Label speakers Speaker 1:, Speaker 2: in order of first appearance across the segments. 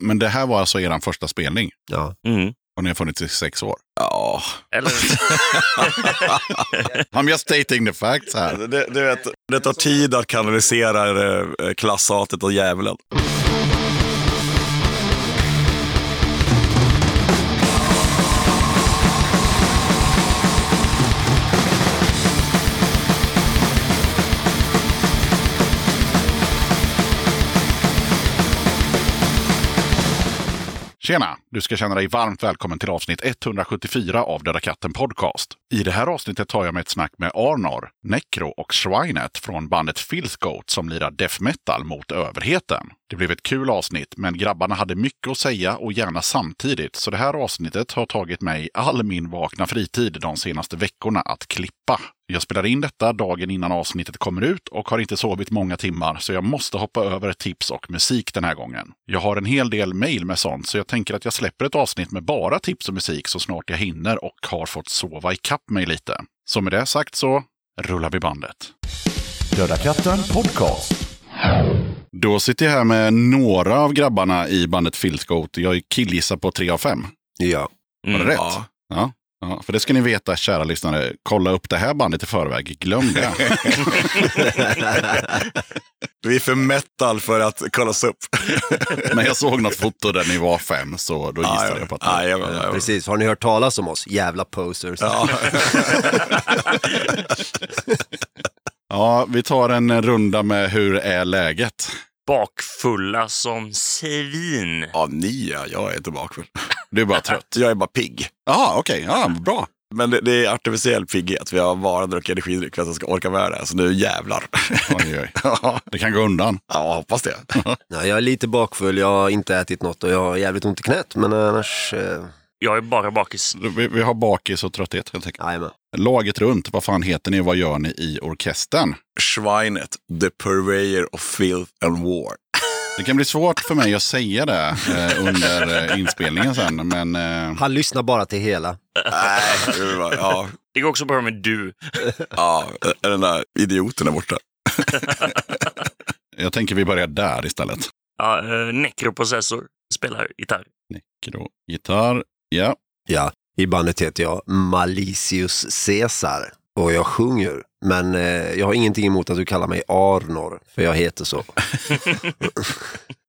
Speaker 1: Men det här var alltså er första spelning
Speaker 2: Ja.
Speaker 3: Mm.
Speaker 1: och ni har funnits i sex år? Ja.
Speaker 3: Eller,
Speaker 1: I'm just stating the facts här.
Speaker 4: Det, du vet, det tar tid att kanalisera eh, klasshatet och djävulen.
Speaker 1: Tjena! Du ska känna dig varmt välkommen till avsnitt 174 av Döda katten podcast. I det här avsnittet tar jag mig ett snack med Arnor, Necro och Shrinet från bandet Filth Goat som lirar death metal mot överheten. Det blev ett kul avsnitt, men grabbarna hade mycket att säga och gärna samtidigt, så det här avsnittet har tagit mig all min vakna fritid de senaste veckorna att klippa. Jag spelar in detta dagen innan avsnittet kommer ut och har inte sovit många timmar, så jag måste hoppa över tips och musik den här gången. Jag har en hel del mejl med sånt, så jag tänker att jag släpper ett avsnitt med bara tips och musik så snart jag hinner och har fått sova ikapp mig lite. Så med det sagt så rullar vi bandet.
Speaker 5: Döda katten podcast.
Speaker 1: Då sitter jag här med några av grabbarna i bandet Filthgoat. Jag killgissar på tre av fem.
Speaker 2: Ja.
Speaker 1: Var
Speaker 3: mm.
Speaker 1: det rätt? Ja. Ja, För det ska ni veta, kära lyssnare. Kolla upp det här bandet i förväg. Glöm det.
Speaker 4: Vi är för metal för att kollas upp.
Speaker 1: Men jag såg något foto där ni var fem, så då gissade jag på att
Speaker 4: Ja,
Speaker 1: ni...
Speaker 4: ja, ja, ja.
Speaker 2: Precis, har ni hört talas om oss? Jävla posers.
Speaker 4: Ja.
Speaker 1: Ja, vi tar en runda med hur är läget?
Speaker 3: Bakfulla som svin.
Speaker 4: ja, ni ja. Jag är inte bakfull.
Speaker 1: Du är bara trött.
Speaker 4: Jag är bara pigg.
Speaker 1: Ja, okej. Ja, bra.
Speaker 4: Men det, det är artificiell pigghet. Vi har bara druckit energidryck för att jag ska orka med det här. Så nu jävlar.
Speaker 1: Oj, oj. Det kan gå undan.
Speaker 4: Ja, hoppas det.
Speaker 2: Ja, jag är lite bakfull, jag har inte ätit något och jag har jävligt ont i knät. Men annars, eh,
Speaker 3: Jag är bara bakis.
Speaker 1: Vi, vi har bakis och trötthet helt enkelt.
Speaker 2: jajamän.
Speaker 1: Laget runt, vad fan heter ni och vad gör ni i orkestern?
Speaker 4: Schweinet, the purveyor of filth and war.
Speaker 1: Det kan bli svårt för mig att säga det eh, under eh, inspelningen sen, men... Eh,
Speaker 2: Han lyssnar bara till hela.
Speaker 4: Nej, Äh, det var- ja,
Speaker 3: Det går också bra med du.
Speaker 4: ja, den där idioten där borta.
Speaker 1: Jag tänker vi börjar där istället.
Speaker 3: Ja, eh, Necroprocessor spelar gitarr.
Speaker 1: Kro, gitarr, ja.
Speaker 2: Ja, i bandet heter jag Malicius Caesar och jag sjunger. Men eh, jag har ingenting emot att du kallar mig Arnor, för jag heter så.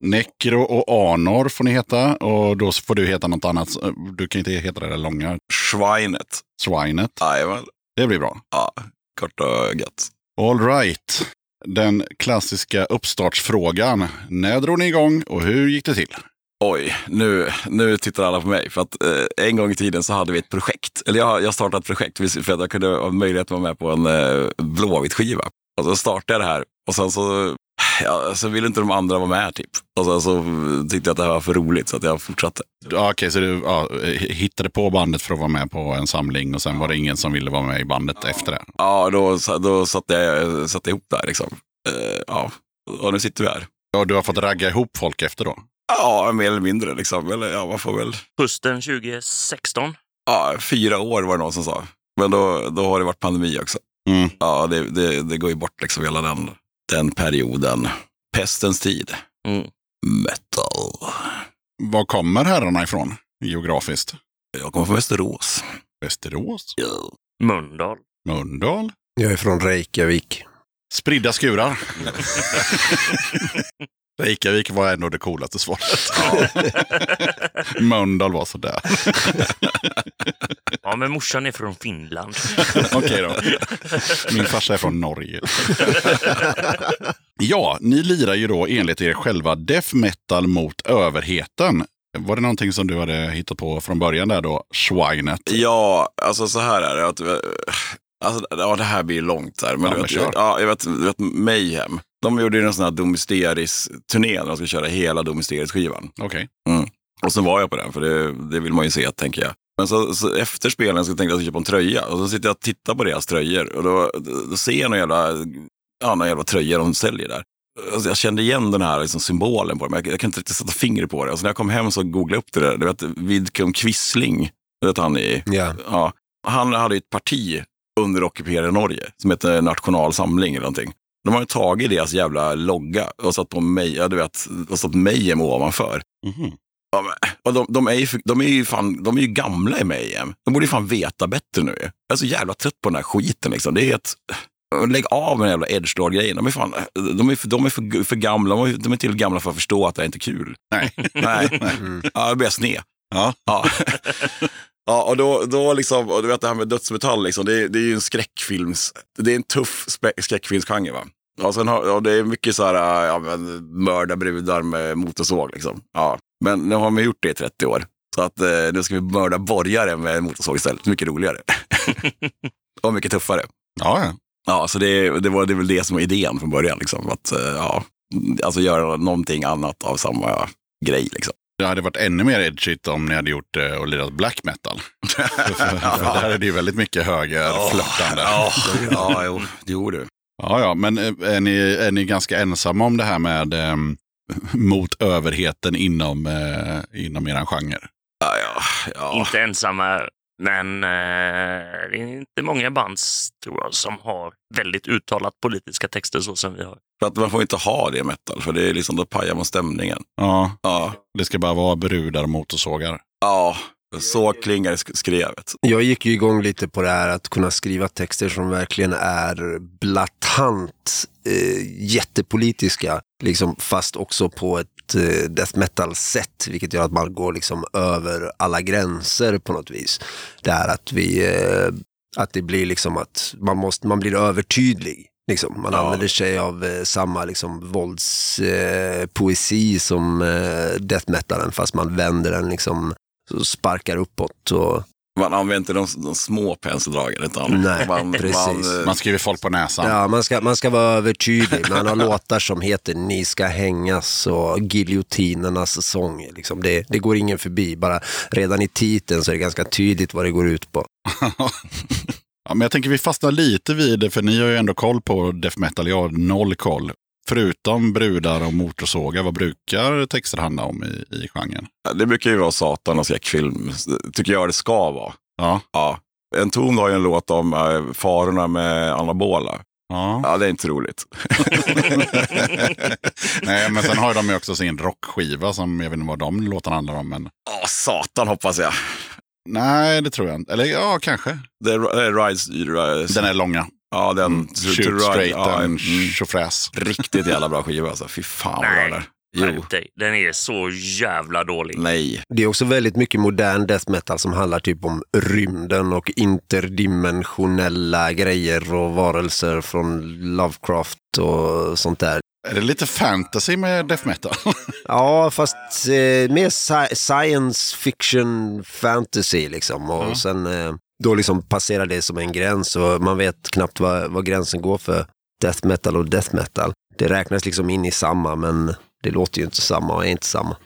Speaker 1: Necro och Anor får ni heta och då får du heta något annat. Du kan inte heta det där långa.
Speaker 4: Schweinet.
Speaker 1: Swinet.
Speaker 4: Jajamän.
Speaker 1: Det blir bra.
Speaker 4: Ja, kort och gött.
Speaker 1: All right. Den klassiska uppstartsfrågan. När drog ni igång och hur gick det till?
Speaker 4: Oj, nu, nu tittar alla på mig. För att eh, en gång i tiden så hade vi ett projekt. Eller jag, jag startade ett projekt för att jag kunde ha möjlighet att vara med på en eh, blåvitt skiva. Och så startade jag det här och sen så, ja, så ville inte de andra vara med typ. Och sen så tyckte jag att det här var för roligt så att jag fortsatte.
Speaker 1: Ja, Okej, så du ja, hittade på bandet för att vara med på en samling och sen var det ingen som ville vara med i bandet efter det.
Speaker 4: Ja, då, sa- då satte jag satte ihop det här liksom. Eh, ja, och nu sitter vi här.
Speaker 1: Ja, du har fått ragga ihop folk efter då?
Speaker 4: Ja, mer eller mindre liksom. Eller ja, man får väl
Speaker 3: Hösten 2016.
Speaker 4: ja, fyra år var det någon som sa. Men då, då har det varit pandemi också.
Speaker 1: Mm.
Speaker 4: Ja, det, det, det går ju bort liksom hela den, den perioden. Pestens tid.
Speaker 3: Mm.
Speaker 4: Metal.
Speaker 1: Var kommer herrarna ifrån geografiskt?
Speaker 4: Jag kommer från Västerås.
Speaker 1: Västerås?
Speaker 4: Ja.
Speaker 3: Mölndal.
Speaker 1: Mölndal?
Speaker 2: Jag är från Reykjavik.
Speaker 1: Spridda skurar. Reykjavik var ändå det coolaste svaret. Mölndal var sådär.
Speaker 3: Ja, men morsan är från Finland.
Speaker 1: Okej då. Min farsa är från Norge. ja, ni lirar ju då enligt er själva death metal mot överheten. Var det någonting som du hade hittat på från början där då? Schweinet.
Speaker 4: ja, alltså så här är det. Att, alltså, ja, det här blir ju långt här. Men
Speaker 1: Ja,
Speaker 4: du
Speaker 1: men
Speaker 4: vet,
Speaker 1: kör.
Speaker 4: ja, jag vet, du vet Mayhem. De gjorde ju en sån här Domisteris-turné där de skulle köra hela Domisteris-skivan.
Speaker 1: Okej.
Speaker 4: Och sen var jag på den, för det, det vill man ju se, tänker jag. Men så, så efter spelen så tänkte jag att jag skulle köpa en tröja. Och så sitter jag och tittar på deras tröjor. Och då, då ser jag någon jävla, ja, någon jävla tröja de säljer där. Alltså jag kände igen den här liksom, symbolen på dem. Jag, jag kan inte riktigt sätta fingret på det. Och så när jag kom hem så googlade jag upp det där. Du vet, Vidkun Quisling, du vet han i...
Speaker 2: Ja,
Speaker 4: Ja, han hade ju ett parti under ockuperade Norge som hette National Samling eller någonting. De har ju tagit deras jävla logga och satt på mig, ja, du vet, och satt Mayhem ovanför.
Speaker 6: Mhm.
Speaker 4: Ja, men, och de, de, är ju, för- de, är ju fan, de är ju gamla i Mayhem. De borde ju fan veta bättre nu. Jag är så jävla trött på den här skiten. Liksom. Det är ett, lägg av med den jävla edgelord-grejen. De är, fan, de är, för, de är för, för gamla. De är- De är till gamla för att förstå att det här inte är kul.
Speaker 1: Nej.
Speaker 4: Nej.
Speaker 2: Mm.
Speaker 4: Ja, jag började sne.
Speaker 1: Ja.
Speaker 4: Ja. Ja, och då, då liksom, och du vet det här med dödsmetall, liksom, det, är- det är ju en skräckfilms, det är en tuff spe- skräckfilmsgenre va. Ja, sen har, ja, det är mycket så här, äh, ja men mörda brudar med motorsåg liksom. Ja, men nu har man gjort det i 30 år. Så att eh, nu ska vi mörda borgare med motorsåg istället, mycket roligare. och mycket tuffare.
Speaker 1: Ja, ja.
Speaker 4: Ja, så det, det, var, det är väl det som var idén från början, liksom. Att, eh, ja, alltså göra någonting annat av samma grej liksom.
Speaker 1: Det hade varit ännu mer edgigt om ni hade gjort eh, och lirat black metal. För- för- för Där är det ju väldigt mycket högerflörtande.
Speaker 4: Ja, ja, jo, jo du.
Speaker 1: Ja, ja, men eh, är ni, är ni ganska ensamma om det här med eh, mot överheten inom, eh, inom er genre?
Speaker 4: Ja, ja, ja.
Speaker 3: Inte ensamma, men eh, det är inte många bands tror jag som har väldigt uttalat politiska texter så som vi har.
Speaker 4: För att man får inte ha det i metal, för det är liksom, då pajar man stämningen.
Speaker 1: Ja,
Speaker 4: Ja,
Speaker 1: det ska bara vara brudar och motorsågar.
Speaker 4: ja. Så klingar det sk- skrevet.
Speaker 2: Jag gick ju igång lite på det här att kunna skriva texter som verkligen är blatant eh, jättepolitiska, liksom, fast också på ett eh, death metal-sätt, vilket gör att man går liksom över alla gränser på något vis. Det är att vi, eh, att det blir liksom att man, måste, man blir övertydlig. Liksom. Man
Speaker 4: Ja.
Speaker 2: använder sig av eh, samma liksom, våldspoesi eh, poesi som eh, death metalen, fast man vänder den liksom, och sparkar uppåt. Och,
Speaker 4: Man använder inte de, de små penseldragen, utan
Speaker 2: Nej,
Speaker 4: man,
Speaker 2: precis.
Speaker 4: Man, eh,
Speaker 1: Man skriver folk på näsan.
Speaker 2: Ja, man ska, man ska vara övertydlig. Man har låtar som heter Ni ska hängas och Giljotinernas sång. Liksom. Det, det går ingen förbi. Bara redan i titeln så är det ganska tydligt vad det går ut på.
Speaker 1: ja, men jag tänker vi fastnar lite vid det, för ni har ju ändå koll på death metal. Jag har noll koll. Förutom brudar och motorsågar, vad brukar texter handla om i, i genren?
Speaker 4: det brukar ju vara satan och skräckfilm, tycker jag det ska vara.
Speaker 1: Ja.
Speaker 4: Ja. En ton har ju en låt om eh, farorna med anabola.
Speaker 1: ja.
Speaker 4: Ja, det är inte roligt.
Speaker 1: Nej, men sen har ju de ju också sin rockskiva som jag vet inte vad de låtarna handlar om. Men...
Speaker 4: Ja, satan hoppas jag.
Speaker 1: Nej, det tror jag inte. Eller ja, kanske.
Speaker 4: Det är, det är Rides... eh, Rides
Speaker 1: Den är långa.
Speaker 4: ja, den...
Speaker 1: Mm.
Speaker 4: to- to
Speaker 1: Shoot
Speaker 4: ride,
Speaker 1: straight
Speaker 4: ja,
Speaker 1: and
Speaker 4: mm.
Speaker 1: tjofräs.
Speaker 4: Riktigt jävla bra skiva alltså. Fy fan vad
Speaker 3: Nej.
Speaker 4: bra den är. Jo.
Speaker 3: Skärp dig. Den är så jävla dålig.
Speaker 4: Nej.
Speaker 2: Det är också väldigt mycket modern death metal som handlar typ om rymden och interdimensionella grejer och varelser från Lovecraft och sånt där.
Speaker 1: Är det lite fantasy med death metal?
Speaker 2: Ja, fast eh, mer sci- science fiction fantasy liksom. Och
Speaker 1: Ja.
Speaker 2: sen eh, då liksom passerar det som en gräns och man vet knappt vad, vad gränsen går för death metal och death metal. Det räknas liksom in i samma, men det låter ju inte samma och är inte samma.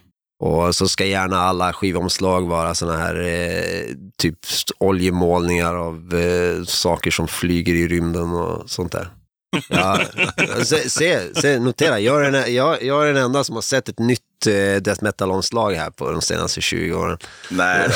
Speaker 2: Och så ska gärna alla skivomslag vara såna här eh, typ st- oljemålningar av eh, saker som flyger i rymden och sånt där. Ja, se, se, se, notera, jag är, den, jag, jag är den enda som har sett ett nytt eh, death metal-omslag här på de senaste 20 åren.
Speaker 4: Nej.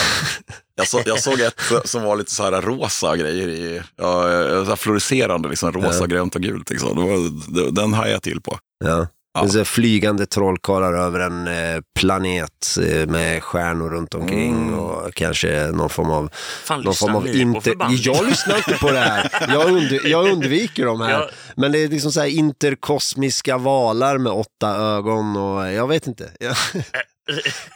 Speaker 4: Jag, så, jag såg ett som var lite så här rosa grejer i. Ja, så här fluorescerande liksom. Rosa,
Speaker 2: Ja.
Speaker 4: grönt och gult liksom. Det var, det, den hajade jag till på.
Speaker 2: Ja.
Speaker 4: Ja.
Speaker 2: Det är så här flygande trollkarlar över en eh, planet eh, med stjärnor runt omkring och kanske någon form av...
Speaker 3: Fan,
Speaker 2: Någon form
Speaker 3: Mm. lyssnar
Speaker 2: av
Speaker 3: ni på
Speaker 2: inte...
Speaker 3: förband?
Speaker 2: Jag lyssnar inte på det här. Jag, und- jag undviker de här.
Speaker 3: Ja.
Speaker 2: Men det är liksom så här interkosmiska valar med åtta ögon och jag vet inte. Jag...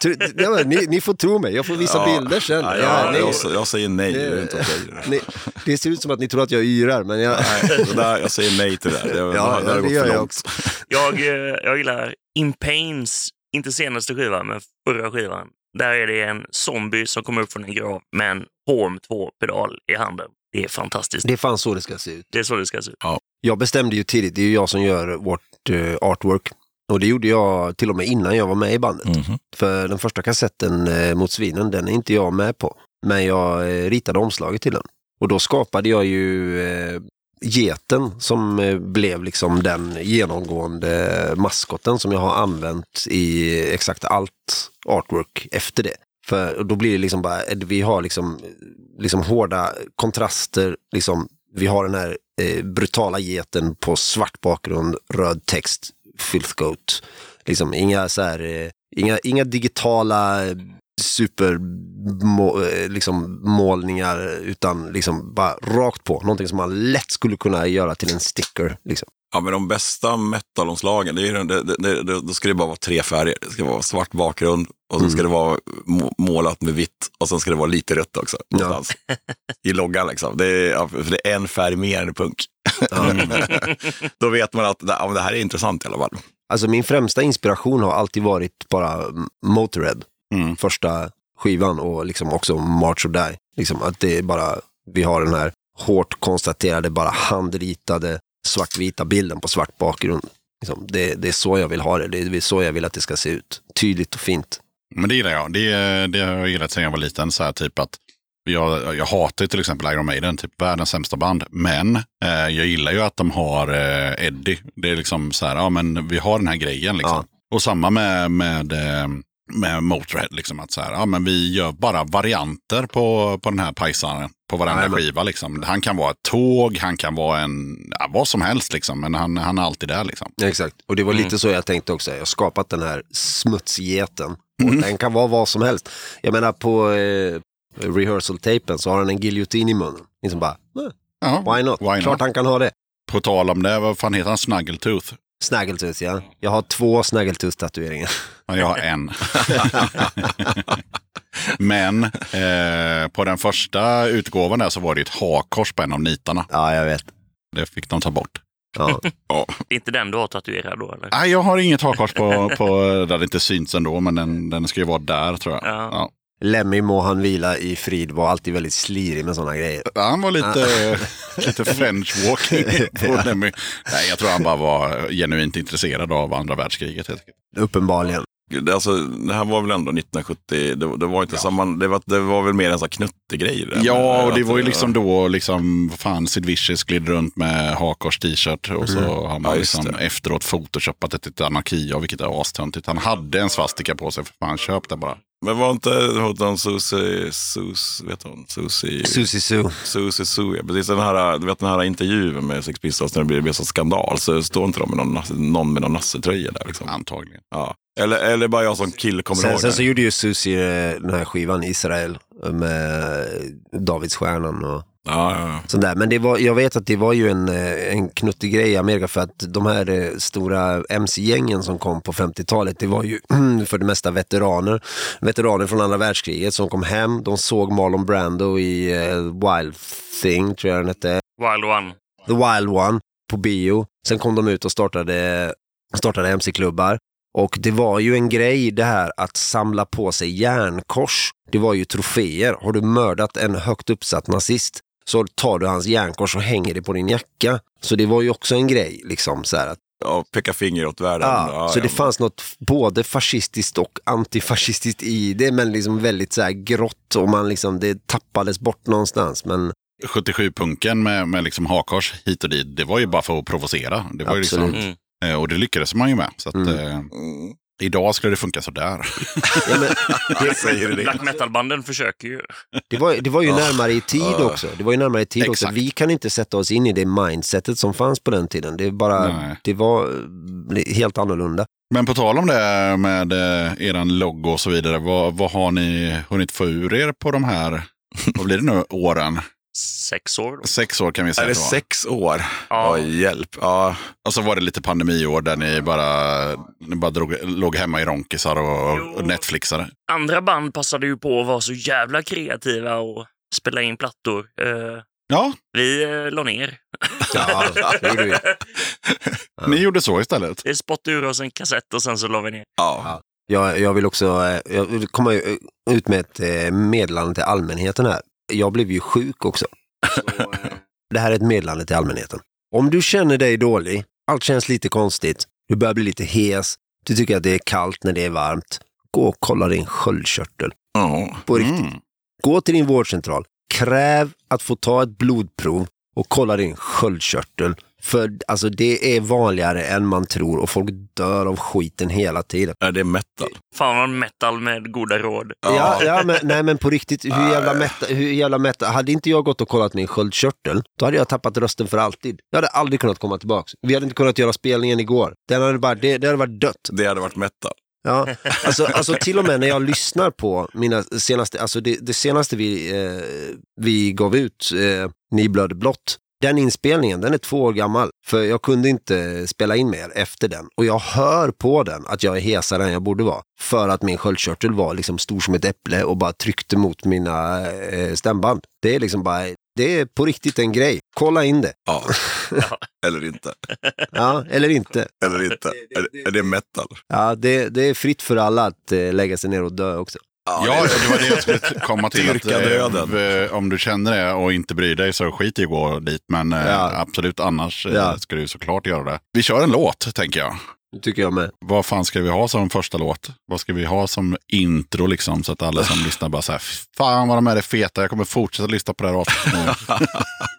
Speaker 2: Tro- ja, men ni, ni får tro mig, jag får visa
Speaker 4: Ja.
Speaker 2: bilder sen.
Speaker 4: Ja,
Speaker 2: Ja,
Speaker 4: jag,
Speaker 2: ni-
Speaker 4: jag, jag säger nej. Det,
Speaker 2: det-
Speaker 4: är inte okej.
Speaker 2: Ni, det ser ut som att ni tror att jag yrar, men jag...
Speaker 4: Nej, det där, jag säger nej till det där. Det, det har- det har gått för långt.
Speaker 3: Jag, eh, jag gillar In Pains, inte senaste skivan, men förra skivan. Där är det en zombie som kommer upp från en grav med en Horm 2-pedal i handen. Det är fantastiskt.
Speaker 2: Det är fan så det ska se ut.
Speaker 3: Det är så det ska se ut.
Speaker 2: Jag bestämde ju tidigt, det är ju jag som gör vårt eh, artwork. Och det gjorde jag till och med innan jag var med i bandet. För den första kassetten eh, mot svinen, den är inte jag med på. Men jag eh, ritade omslaget till den. Och då skapade jag ju eh, geten som eh, blev liksom den genomgående maskotten som jag har använt i exakt allt artwork efter det. eh, För och då blir det liksom bara, vi har liksom, liksom hårda kontraster, liksom Vi har den här eh, brutala geten på svart bakgrund, röd text, filthgoat. Liksom inga så här, eh, inga, inga digitala eh, supermålningar, eh, liksom, målningar, utan liksom bara rakt på. Någonting som man lätt skulle kunna göra till en sticker. Liksom.
Speaker 4: Ja, men de bästa metalomslagen, det är ju, den- det, det, det, det, då ska det bara vara tre färger. Det ska vara svart bakgrund och så
Speaker 2: Mm.
Speaker 4: ska det vara må- målat med vitt och sen ska det vara lite rött också. Någonstans. I loggan liksom. Det är, ja, för det är en färg mer än punk.
Speaker 2: Ja.
Speaker 4: Då vet man att ja, men det här är intressant i alla fall.
Speaker 2: Alltså min främsta inspiration har alltid varit bara mm, Motörhead.
Speaker 1: Mm.
Speaker 2: Första skivan och liksom också March or Die. Liksom att det är bara, vi har den här hårt konstaterade, bara handritade svartvita bilden på svart bakgrund. Liksom, det, det är så jag vill ha det. Det är så jag vill att det ska se ut. Tydligt och fint.
Speaker 1: Men det gillar jag. Det, det har jag gillat sedan jag var liten. Så här, typ att jag, jag hatar ju till exempel Iron Maiden, typ världens sämsta band. Men eh, jag gillar ju att de har eh, Eddie. Det är liksom så här, ja men vi har den här grejen liksom. Och samma med, med, eh, med Motörhead, liksom att så här, ja men vi gör bara varianter på, på den här pajsaren. På varenda
Speaker 2: Jajamän.
Speaker 1: skiva liksom. Han kan vara ett tåg, han kan vara en, ja, vad som helst liksom. Men han, han är alltid där liksom.
Speaker 2: Exakt. Och det var lite så jag tänkte också. Jag har skapat den här smutsgeten. Och den kan vara vad som helst. Jag menar på eh, rehearsal-tapen så har han en giljotin i munnen. Liksom bara, "Nä,
Speaker 1: Ja.
Speaker 2: why not?
Speaker 1: Why not?
Speaker 2: Klart han kan ha det.
Speaker 1: På tal om det, vad fan heter han? Snaggletooth?
Speaker 2: Snaggletooth, ja. Jag har två snaggletooth-tatueringar.
Speaker 1: Ja, Jag har en. Men eh, på den första utgåvan där så var det ett hakkors på en av nitarna.
Speaker 2: Ja, jag vet.
Speaker 1: Det fick de ta bort.
Speaker 2: Ja.
Speaker 3: Det är inte den du har tatuerad då
Speaker 2: Ah.
Speaker 3: eller?
Speaker 1: Nej, jag har inget hakkors på, på där det inte syns ändå, men den, den ska ju vara där tror jag.
Speaker 3: Ja.
Speaker 1: Ja.
Speaker 2: Lemmy må han vila i frid, var alltid väldigt slirig med sådana grejer.
Speaker 1: Ja, Han var lite, lite French walking. På Lemmy. Nej, jag tror han bara var genuint intresserad av andra världskriget. helt enkelt.
Speaker 2: Uppenbarligen.
Speaker 4: Gud, Alltså, det här var väl ändå 1970, det, det var inte
Speaker 1: Ja.
Speaker 4: samma, det var, det var väl mer en sån här knuttegrej. det där
Speaker 1: Ja,
Speaker 4: med
Speaker 1: och det
Speaker 4: att- eh,
Speaker 1: var ju liksom då liksom, vad fan, Sid Vicious gled runt med hakkors t-shirt och så har man
Speaker 4: Ja, just
Speaker 1: liksom efteråt photoshopat det till ett anarki av vilket är astöntigt. Han hade en svastika på sig, för fan, köp den bara.
Speaker 4: Men var inte hon hon Susie, Sus, vet hon, Susie,
Speaker 2: Susie Sue.
Speaker 4: Susie Sue, ja, precis den här, du vet den här intervjun med Sex Pistols när det blir- blir sån skandal, så står inte de med någon, nazi- någon med någon nassetröja där liksom.
Speaker 1: Antagligen.
Speaker 4: Ja. Eller, eller bara jag som kille kommer
Speaker 2: Sen,
Speaker 4: ihåg
Speaker 2: sen
Speaker 4: det.
Speaker 2: så gjorde ju Susie eh, den här skivan Israel med Davidsstjärnan och
Speaker 4: Ja, ja, ja.
Speaker 2: sånt där. Men det var, jag vet att det var ju en, eh, en knuttig grej i Amerika för att de här eh, stora mc-gängen som kom på 50-talet, det var ju för det mesta veteraner. Veteraner från andra världskriget som kom hem, de såg Marlon Brando i eh, Wild Thing, tror jag den hette.
Speaker 3: Wild One.
Speaker 2: The Wild One på bio. Sen kom de ut och startade, startade MC-klubbar. Och det var ju en grej det här att samla på sig järnkors. Det var ju troféer. Har du mördat en högt uppsatt nazist så tar du hans järnkors och hänger det på din jacka. Så det var ju också en grej. Liksom, så här att,
Speaker 4: ja, peka finger åt världen.
Speaker 2: ja,
Speaker 4: Ja,
Speaker 2: Ah, så det
Speaker 4: ja.
Speaker 2: fanns något både fascistiskt och antifascistiskt i det, men liksom väldigt så här grått och man liksom, det tappades bort någonstans. Men
Speaker 1: 77-punken med, med liksom hakkors hit och dit, det var ju bara för att provocera. Det var ju liksom,
Speaker 2: Absolut.
Speaker 3: Mm.
Speaker 1: eh, och det lyckades man ju med. Så att,
Speaker 2: Mm.
Speaker 1: eh,
Speaker 4: Mm.
Speaker 1: idag skulle det funka sådär.
Speaker 2: ja, men,
Speaker 4: Jag säger det.
Speaker 3: Black metal-banden försöker ju.
Speaker 2: Det var, det var ju
Speaker 4: Ah.
Speaker 2: närmare i tid
Speaker 4: Ah.
Speaker 2: också. Det var ju närmare i tid också.
Speaker 1: Exakt.
Speaker 2: Vi kan inte sätta oss in i det mindsetet som fanns på den tiden. Det, är bara,
Speaker 1: Nej.
Speaker 2: det var eh, helt annorlunda.
Speaker 1: Men på tal om det med eh, eran logo och så vidare, vad, vad har ni hunnit få ur er på de här, vad blir det nu, åren?
Speaker 3: Sex år då.
Speaker 1: Sex år kan vi säga
Speaker 4: Är det
Speaker 1: att var.
Speaker 4: sex år? Ja,
Speaker 3: Ja.
Speaker 4: hjälp. Ja,
Speaker 1: Och så var det lite pandemiår där ni bara, ni bara drog, låg hemma i ronkisar och, och
Speaker 3: Jo.
Speaker 1: Netflixade.
Speaker 3: Andra band passade ju på att vara så jävla kreativa och spela in plattor. Eh,
Speaker 1: Ja,
Speaker 3: vi eh, la ner.
Speaker 2: Ja, det gjorde vi.
Speaker 1: ni gjorde så istället.
Speaker 3: Vi spottade ur oss en kassett och sen så la vi ner.
Speaker 4: ja.
Speaker 2: Jag, jag vill också eh, jag vill komma eh, ut med ett eh, meddelande till allmänheten här. Jag blev ju sjuk också. Så, eh, det här är ett meddelande till allmänheten. Om du känner dig dålig, allt känns lite konstigt, du börjar bli lite hes, du tycker att det är kallt när det är varmt, gå och kolla din sköldkörtel.
Speaker 4: ja.
Speaker 2: På riktigt.
Speaker 1: Mm.
Speaker 2: Gå till din vårdcentral, kräv att få ta ett blodprov och kolla din sköldkörtel För alltså, det är vanligare än man tror och folk dör av skiten hela tiden.
Speaker 4: Är det metal?
Speaker 3: Fan vad metal med goda råd.
Speaker 2: Ja, ja, men, nej men på riktigt, hur jävla, meta, hur jävla meta, hade inte jag gått och kollat min sköldkörtel, då hade jag tappat rösten för alltid. Jag hade aldrig kunnat komma tillbaks. Vi hade inte kunnat göra spelningen igår. Den hade bara, det, det hade varit dött.
Speaker 4: Det hade varit metal.
Speaker 2: Ja, alltså, alltså till och med när jag lyssnar på mina senaste, alltså det, det senaste vi, eh, vi gav ut, eh, Ni blöder blått, den inspelningen, den är två år gammal. För jag kunde inte spela in mer efter den. Och jag hör på den att jag är hesare än jag borde vara. För att min sköldkörtel var liksom stor som ett äpple och bara tryckte mot mina eh, stämband. Det är liksom bara, det är på riktigt en grej. Kolla in det.
Speaker 4: Ja. Eller inte.
Speaker 2: Ja, eller inte.
Speaker 4: Eller inte. Är, det- är det metal?
Speaker 2: Ja, det, det är fritt för alla att eh, lägga sig ner och dö också.
Speaker 1: Ja, det var det jag skulle komma till. att,
Speaker 4: Dyrka
Speaker 1: eh,
Speaker 4: döden.
Speaker 1: v- Om du känner det och inte bryr dig så skit i att gå dit. Men eh,
Speaker 2: Ja.
Speaker 1: absolut, annars eh,
Speaker 2: Ja.
Speaker 1: ska du såklart göra det. Vi kör en låt, tänker jag.
Speaker 2: Det tycker jag med.
Speaker 1: Vad fan ska vi ha som första låt? Vad ska vi ha som intro liksom? Så att alla som lyssnar bara så här, fan vad de här är feta, jag kommer fortsätta lyssna på det här avsnittet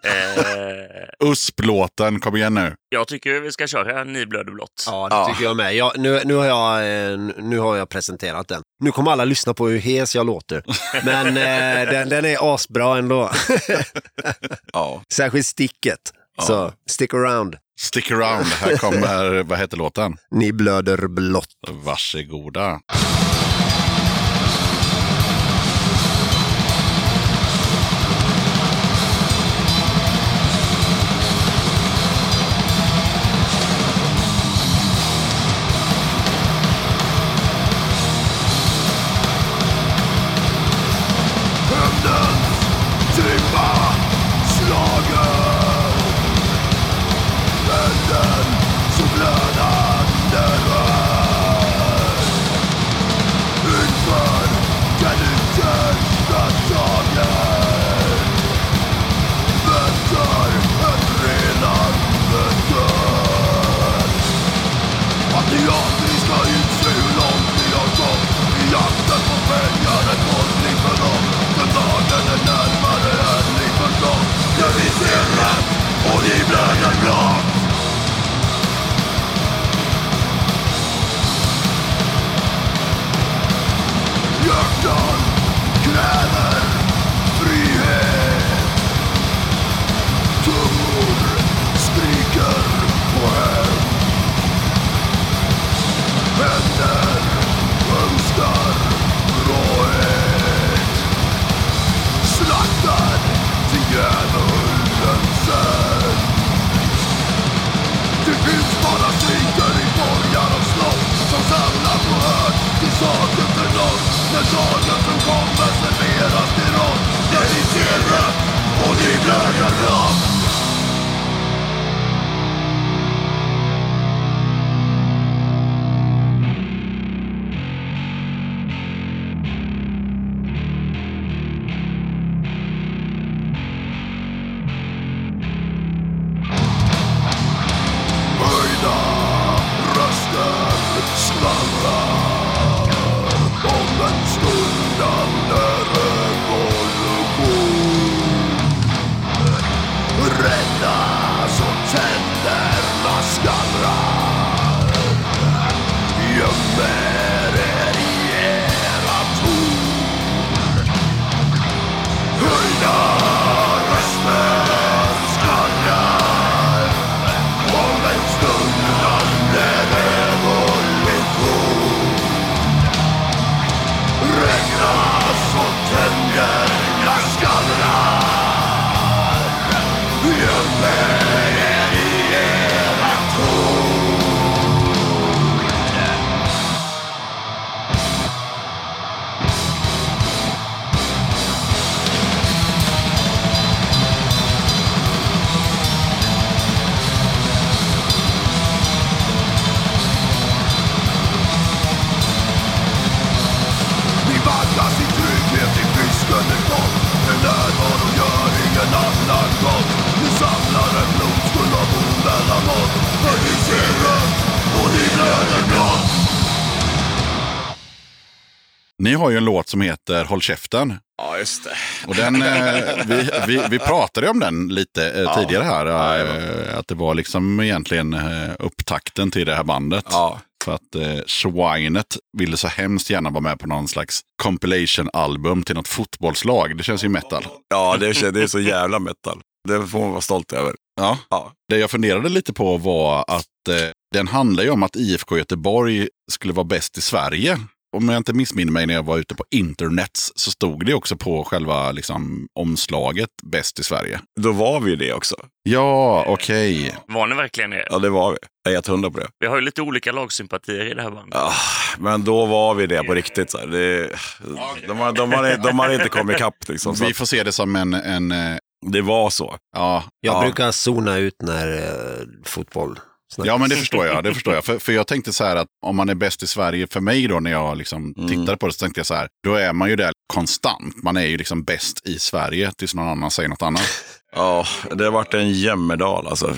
Speaker 3: Eh,
Speaker 1: nu. USP-låten, kom igen nu.
Speaker 3: jag tycker vi ska köra Ni blöder blått.
Speaker 2: Ja, det
Speaker 4: Ja.
Speaker 2: tycker jag med. Jag, nu, nu, har jag, eh, nu har jag presenterat den. Nu kommer alla lyssna på hur hes jag låter. Men eh, den, den är asbra ändå.
Speaker 4: Ja.
Speaker 2: Särskilt sticket. Så stick around.
Speaker 1: Stick around, här kommer, vad heter låten?
Speaker 2: Ni blöder blått.
Speaker 1: Varsågoda. Ni har ju en låt som heter Håll käften.
Speaker 4: Ja, just det.
Speaker 1: Och den, eh, vi, vi, vi pratade ju om den lite eh,
Speaker 4: Ja.
Speaker 1: tidigare här.
Speaker 4: Ja,
Speaker 1: Eh, att det var liksom egentligen eh, upptakten till det här bandet.
Speaker 4: Ja,
Speaker 1: För att eh, Swinet ville så hemskt gärna vara med på någon slags compilation-album till något fotbollslag. Det känns ju metal.
Speaker 4: ja det, är, det är så jävla metal. Det får man vara stolt över.
Speaker 1: Ja.
Speaker 4: Ja.
Speaker 1: Det jag funderade lite på var att eh, den handlar ju om att IFK Göteborg skulle vara bäst i Sverige. Om jag inte missminner mig när jag var ute på internets så stod det också på själva liksom, omslaget bäst i Sverige.
Speaker 4: Då var vi ju det också.
Speaker 1: Ja, okej.
Speaker 3: Var ni verkligen det?
Speaker 4: Ja, det var vi. Jag är helt hundra på det.
Speaker 3: Vi har ju lite olika lagsympatier i det här bandet.
Speaker 4: Ah, men då var vi det på riktigt. Så här. Det, de, har, de, har, de har inte kommit ikapp. Liksom, så
Speaker 1: Vi
Speaker 4: att
Speaker 1: får se det som en... en eh,
Speaker 4: det var så.
Speaker 1: ja.
Speaker 2: Jag
Speaker 4: Ja.
Speaker 2: brukar zona ut när eh, fotboll snackas.
Speaker 1: ja, men det förstår jag. Det förstår jag. För, för jag tänkte så här att om man är bäst i Sverige, för mig då när jag liksom
Speaker 4: Mm.
Speaker 1: tittade på det så tänkte jag så här, då är man ju där konstant. Man är ju liksom bäst i Sverige tills någon annan säger något annat.
Speaker 4: Ja, det har varit en jämmerdal. Alltså.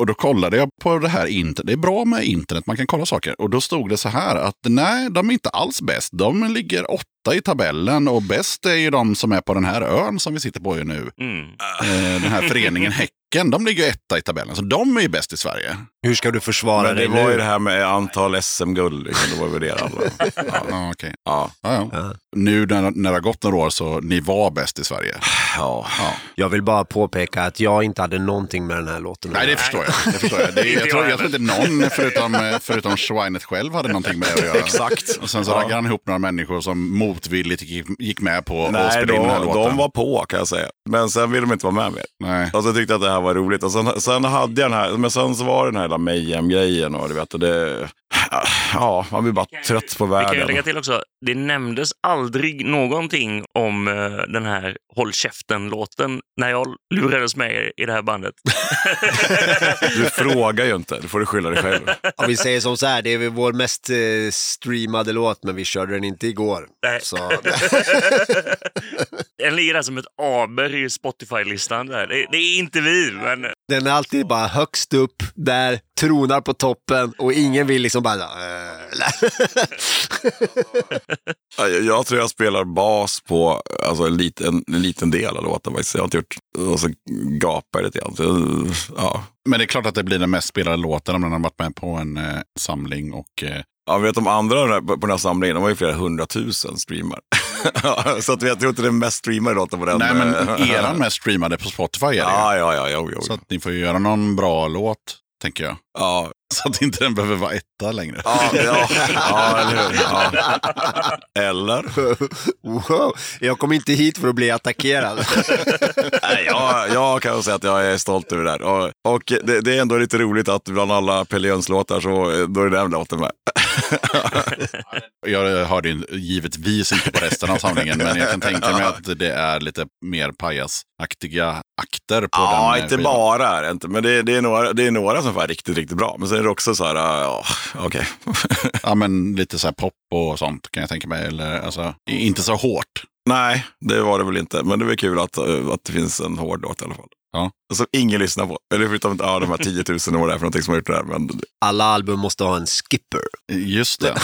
Speaker 1: Och då kollade jag på det här internet. Det är bra med internet, man kan kolla saker. Och då stod det så här att nej, de är inte alls bäst. De ligger åtta i tabellen och bäst är ju de som är på den här ön som vi sitter på ju nu.
Speaker 3: Mm.
Speaker 1: Eh, Den här föreningen Häcken, de ligger ju etta i tabellen. Så de är ju bäst i Sverige.
Speaker 2: Hur ska du försvara
Speaker 4: Men det
Speaker 2: dig
Speaker 4: var ju det
Speaker 2: nu?
Speaker 4: här med antal SM-guld. Liksom. Det var väl det det handlade om.
Speaker 1: Ja, ja, okej.
Speaker 4: Ja.
Speaker 1: ja, ja.
Speaker 2: Ja.
Speaker 1: Nu när, när det har gått några år så ni var bäst i Sverige.
Speaker 4: Ja.
Speaker 2: Jag vill bara påpeka att jag inte hade någonting med den här låten att
Speaker 1: Nej, det
Speaker 2: göra.
Speaker 1: förstår jag. Det förstår jag. Det är, jag, tror, jag tror inte någon förutom, eh, förutom Schweinet själv hade någonting med det att göra.
Speaker 4: Exakt.
Speaker 1: Och sen så
Speaker 4: Ja.
Speaker 1: raggade han ihop några människor som motvilligt gick, gick med på att
Speaker 4: Nej,
Speaker 1: spela in den här
Speaker 4: de,
Speaker 1: låten.
Speaker 4: de var på kan jag säga. Men sen ville de inte vara med mer.
Speaker 1: Nej.
Speaker 4: Och så tyckte Alltså, jag att det här var roligt. Och sen, sen hade jag den här, men sen så var det den här hela Mayhem-grejen och du vet, och det, ja, man blir bara trött på
Speaker 3: Vi kan ju lägga
Speaker 4: världen.
Speaker 3: till också, det nämndes aldrig någonting om eh, den här Håll käften-låten när jag lurades med i det här bandet.
Speaker 4: Du frågar ju inte, då får du skylla dig själv.
Speaker 2: Om vi säger som så här, det är väl vår mest eh, streamade låt, men vi körde den inte igår.
Speaker 3: Nej.
Speaker 2: Så,
Speaker 3: den ligger där som ett aber i Spotify-listan. Där. Det, det är inte vi, men
Speaker 2: den är alltid bara högst upp, där, tronar på toppen och ingen vill liksom bara... eh,
Speaker 4: Ja, Jag, jag tror jag spelar bas på alltså, en, liten, en liten del av låten faktiskt. Jag har inte gjort, och så gapar jag lite grann. Så, Ja.
Speaker 1: Men det är klart att det blir den mest spelade låten om den har varit med på en eh, samling. Och, eh,
Speaker 4: Ja, vet de andra där på på den här samlingen, de var ju flera hundratusen streamar. Ja, så att jag tror inte det är mest streamade låten på den.
Speaker 1: nej, men
Speaker 4: eh,
Speaker 1: eran mest streamade på Spotify är det ju.
Speaker 4: Ja, ja, ja, jo, jo.
Speaker 1: Så att ni får ju göra någon bra låt, tänker jag.
Speaker 4: ja,
Speaker 1: Så att inte den behöver vara etta längre.
Speaker 4: ja, ja, ja, eller hur? Ja. Eller?
Speaker 2: wow, jag kom inte hit för att bli attackerad.
Speaker 4: Nej, jag, jag kan säga att jag är stolt över det här. Och, och det, det är ändå lite roligt att bland alla Pelle låtar så eh, då är den låten med.
Speaker 1: Jag hörde ju givetvis inte på resten av samlingen, men jag kan tänka mig att det är lite mer pajasaktiga akter på den.
Speaker 4: Ja,
Speaker 1: eh,
Speaker 4: inte
Speaker 1: skivan.
Speaker 4: bara är det inte, men det, det, är några, det är några som var riktigt, riktigt bra. Men sen är det också så här, eh, ja, okej.
Speaker 1: Ja, men lite så här pop och sånt kan jag tänka mig. Eller, alltså, i- inte så hårt.
Speaker 4: Nej, det var det väl inte. Men det var kul att, eh, att det finns en hård låt i alla fall.
Speaker 1: Ja.
Speaker 4: Som ingen lyssnar på. Eller förutom ja, de här 10 000 och vad det är för någonting som har gjort det här. Men
Speaker 2: Alla album måste ha en skipper.
Speaker 1: Just det.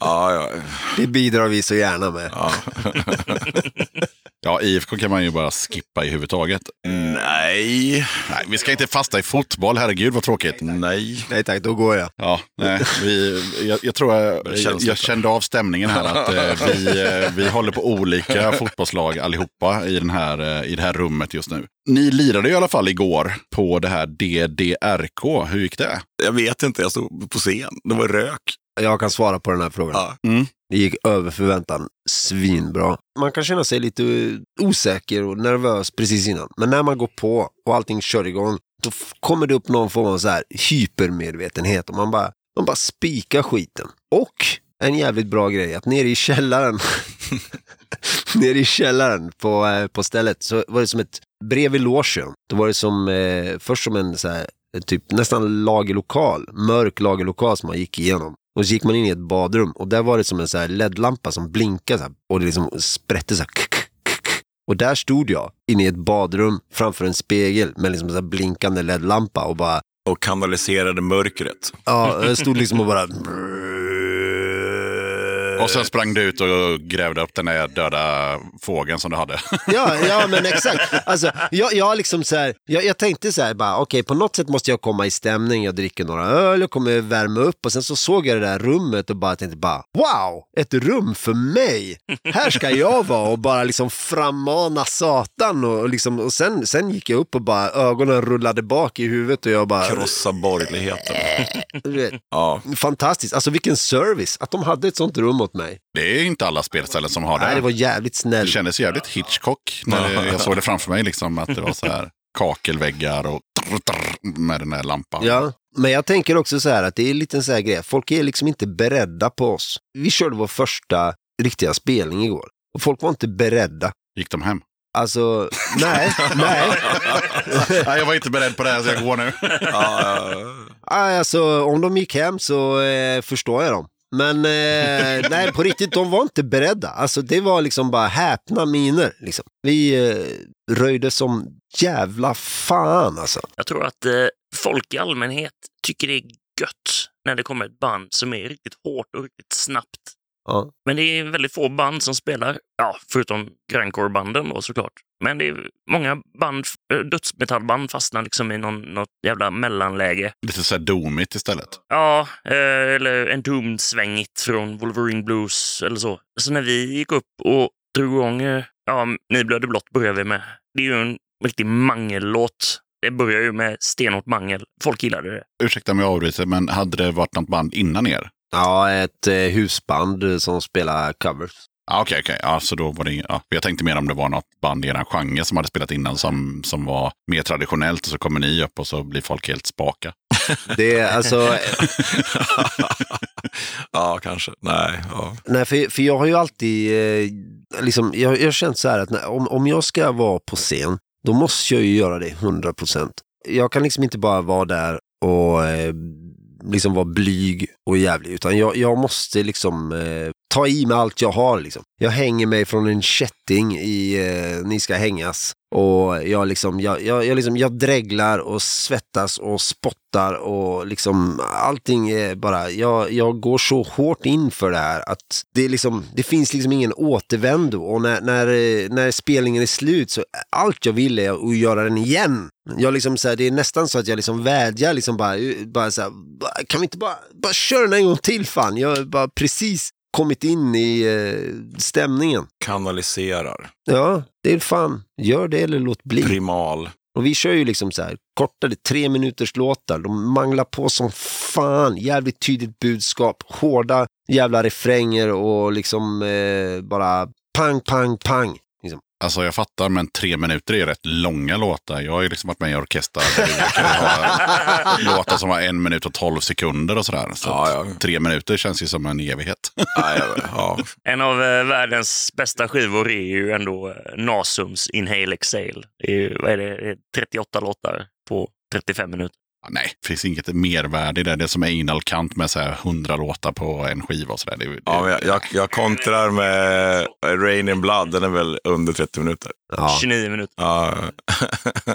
Speaker 4: ja, ja,
Speaker 2: Det bidrar vi så gärna med.
Speaker 4: ja.
Speaker 1: Ja, IFK kan man ju bara skippa i huvud taget.
Speaker 4: Mm. Nej,
Speaker 1: Nej, vi ska inte fasta i fotboll, herregud vad tråkigt.
Speaker 4: nej.
Speaker 2: Nej tack, då går jag.
Speaker 1: Ja, nej, vi, jag, jag tror jag, jag, jag kände av stämningen här att eh, vi, eh, vi håller på olika fotbollslag allihopa i, den här, eh, i det här rummet just nu. Ni lirade i alla fall igår på det här DDRK. Hur gick det?
Speaker 4: Jag vet inte, jag stod på scen. Det var rök.
Speaker 2: Jag kan svara på den här frågan.
Speaker 4: Ja.
Speaker 2: Det gick över förväntan svinbra. Man kan känna sig lite eh, osäker och nervös precis innan. Men när man går på och allting kör igång, då f- kommer det upp någon form av så här hypermedvetenhet och man bara, man bara spikar skiten. Och en jävligt bra grej, att nere i källaren, nere i källaren på, eh, på stället, så var det som ett, bredvid logen, då var det som, eh, först som en så här, eh, typ nästan lagerlokal, mörk lagerlokal som man gick igenom. Och så gick man in i ett badrum och där var det som en så här LED-lampa som blinkade så här, och det liksom sprätte så här. K- k- k- k. Och där stod jag inne i ett badrum framför en spegel med liksom så här blinkande LED-lampa och bara,
Speaker 4: Och kanaliserade mörkret.
Speaker 2: ja, jag stod liksom och bara...
Speaker 1: Och sen sprang du ut och grävde upp den där döda fågeln som du hade.
Speaker 2: Ja, ja men exakt. Alltså, jag, jag, liksom så här, jag, jag tänkte så här, bara, okej på något sätt måste jag komma i stämning, jag dricker några öl, jag kommer värma upp och sen så såg jag det där rummet och bara tänkte bara, wow, ett rum för mig. Här ska jag vara och bara liksom frammana satan och, och liksom, och sen, sen gick jag upp och bara ögonen rullade bak i huvudet och jag bara,
Speaker 4: Krossa borgerligheten.
Speaker 2: du vet,
Speaker 4: Ja.
Speaker 2: fantastiskt, alltså vilken service att de hade ett sånt rum åt mig.
Speaker 1: Det är inte alla spelställen som har det.
Speaker 2: Nej, det var jävligt
Speaker 1: Det
Speaker 2: snällt.
Speaker 1: kändes jävligt Hitchcock när
Speaker 4: Ja.
Speaker 1: jag såg det framför mig. Liksom, att det var så här kakelväggar och trr, trr, med den där lampan.
Speaker 2: Ja, men jag tänker också så här att det är en liten så här grej. Folk är liksom inte beredda på oss. Vi körde vår första riktiga spelning igår. Och folk var inte beredda.
Speaker 1: Gick de hem?
Speaker 2: Alltså, nej, nej.
Speaker 1: Nej, jag var inte beredd på det här så jag går nu.
Speaker 4: Ja, ja.
Speaker 2: Aj, Alltså, om de gick hem så eh, förstår jag dem. Men eh, nej, på riktigt, de var inte beredda. Alltså, det var liksom bara häpna miner. Liksom. Vi eh, röjde som jävla fan alltså.
Speaker 3: Jag tror att eh, folk i allmänhet tycker det är gött när det kommer ett band som är riktigt hårt och riktigt snabbt.
Speaker 2: Ja.
Speaker 3: Men det är väldigt få band som spelar, ja, förutom grindcore-banden då såklart. Men det är många band, eh, dödsmetallband fastnar liksom i någon, något jävla mellanläge.
Speaker 1: Lite så här domigt istället.
Speaker 3: Ja, eh, eller en Doom-svängigt från Wolverine Blues eller så. Så när vi gick upp och drog igång, eh, ja, Ni blöder blått börjar vi med. Det är ju en riktig mangellåt. Det börjar ju med stenhårt mangel. Folk gillade det.
Speaker 1: Ursäkta om jag avbryter, men hade det varit något band innan er?
Speaker 2: Ja, ett eh, husband som spelar covers.
Speaker 1: Ja, Okej, okej. Ja, så då var det... Ja. Jag tänkte mer om det var något band i eran genre som hade spelat innan som, som var mer traditionellt och så kommer ni upp och så blir folk helt spaka.
Speaker 2: Det är alltså,
Speaker 4: ja, kanske. Nej, ja.
Speaker 2: Nej, för, för jag har ju alltid, eh, liksom, jag, jag har känt så här att när, om, om jag ska vara på scen, då måste jag ju göra det 100%. Jag kan liksom inte bara vara där och eh, liksom vara blyg och jävlig, utan jag, jag måste liksom eh, ta i med allt jag har. Liksom. Jag hänger mig från en kätting i eh, Ni ska hängas och jag, liksom, jag, jag, jag, liksom, jag dreglar och svettas och spottar och liksom allting är bara, jag, jag går så hårt in för det här att det, är liksom, det finns liksom ingen återvändo och när, när, eh, när spelningen är slut så allt jag vill är att göra den igen. Jag liksom så här, det är nästan så att jag liksom vädjar, liksom bara, bara så här, "Bara, kan vi inte bara, bara köra den en gång till fan, jag har bara precis kommit in i eh, stämningen.
Speaker 4: Kanaliserar.
Speaker 2: Ja, det är fan, gör det eller låt bli.
Speaker 4: Primal.
Speaker 2: Och vi kör ju liksom så här kortare tre minuters låtar. De manglar på som fan. Jävligt tydligt budskap. Hårda jävla refränger och liksom eh, bara pang, pang, pang. Liksom.
Speaker 1: Alltså jag fattar, men tre minuter är rätt långa låtar. Jag har ju liksom varit med i orkestrar där vi brukade ha låtar som var en minut och tolv sekunder och sådär. Så
Speaker 4: Ja,
Speaker 1: att
Speaker 4: ja.
Speaker 1: tre minuter känns ju som en evighet.
Speaker 4: Nej, ja.
Speaker 3: En av eh, världens bästa skivor är ju ändå eh, Nasums Inhale Exhale. Det är ju, vad är det, Det är 38 låtar på 35 minuter.
Speaker 1: Ja, Nej, det finns inget mervärde i det. Det är som Einal Kant med så här 100 låtar på en skiva och sådär. Det, det,
Speaker 4: Ja, men jag, jag, jag kontrar med Rain in Blood. Den är väl under 30 minuter.
Speaker 2: Ja,
Speaker 3: 29 minuter.
Speaker 4: Ja,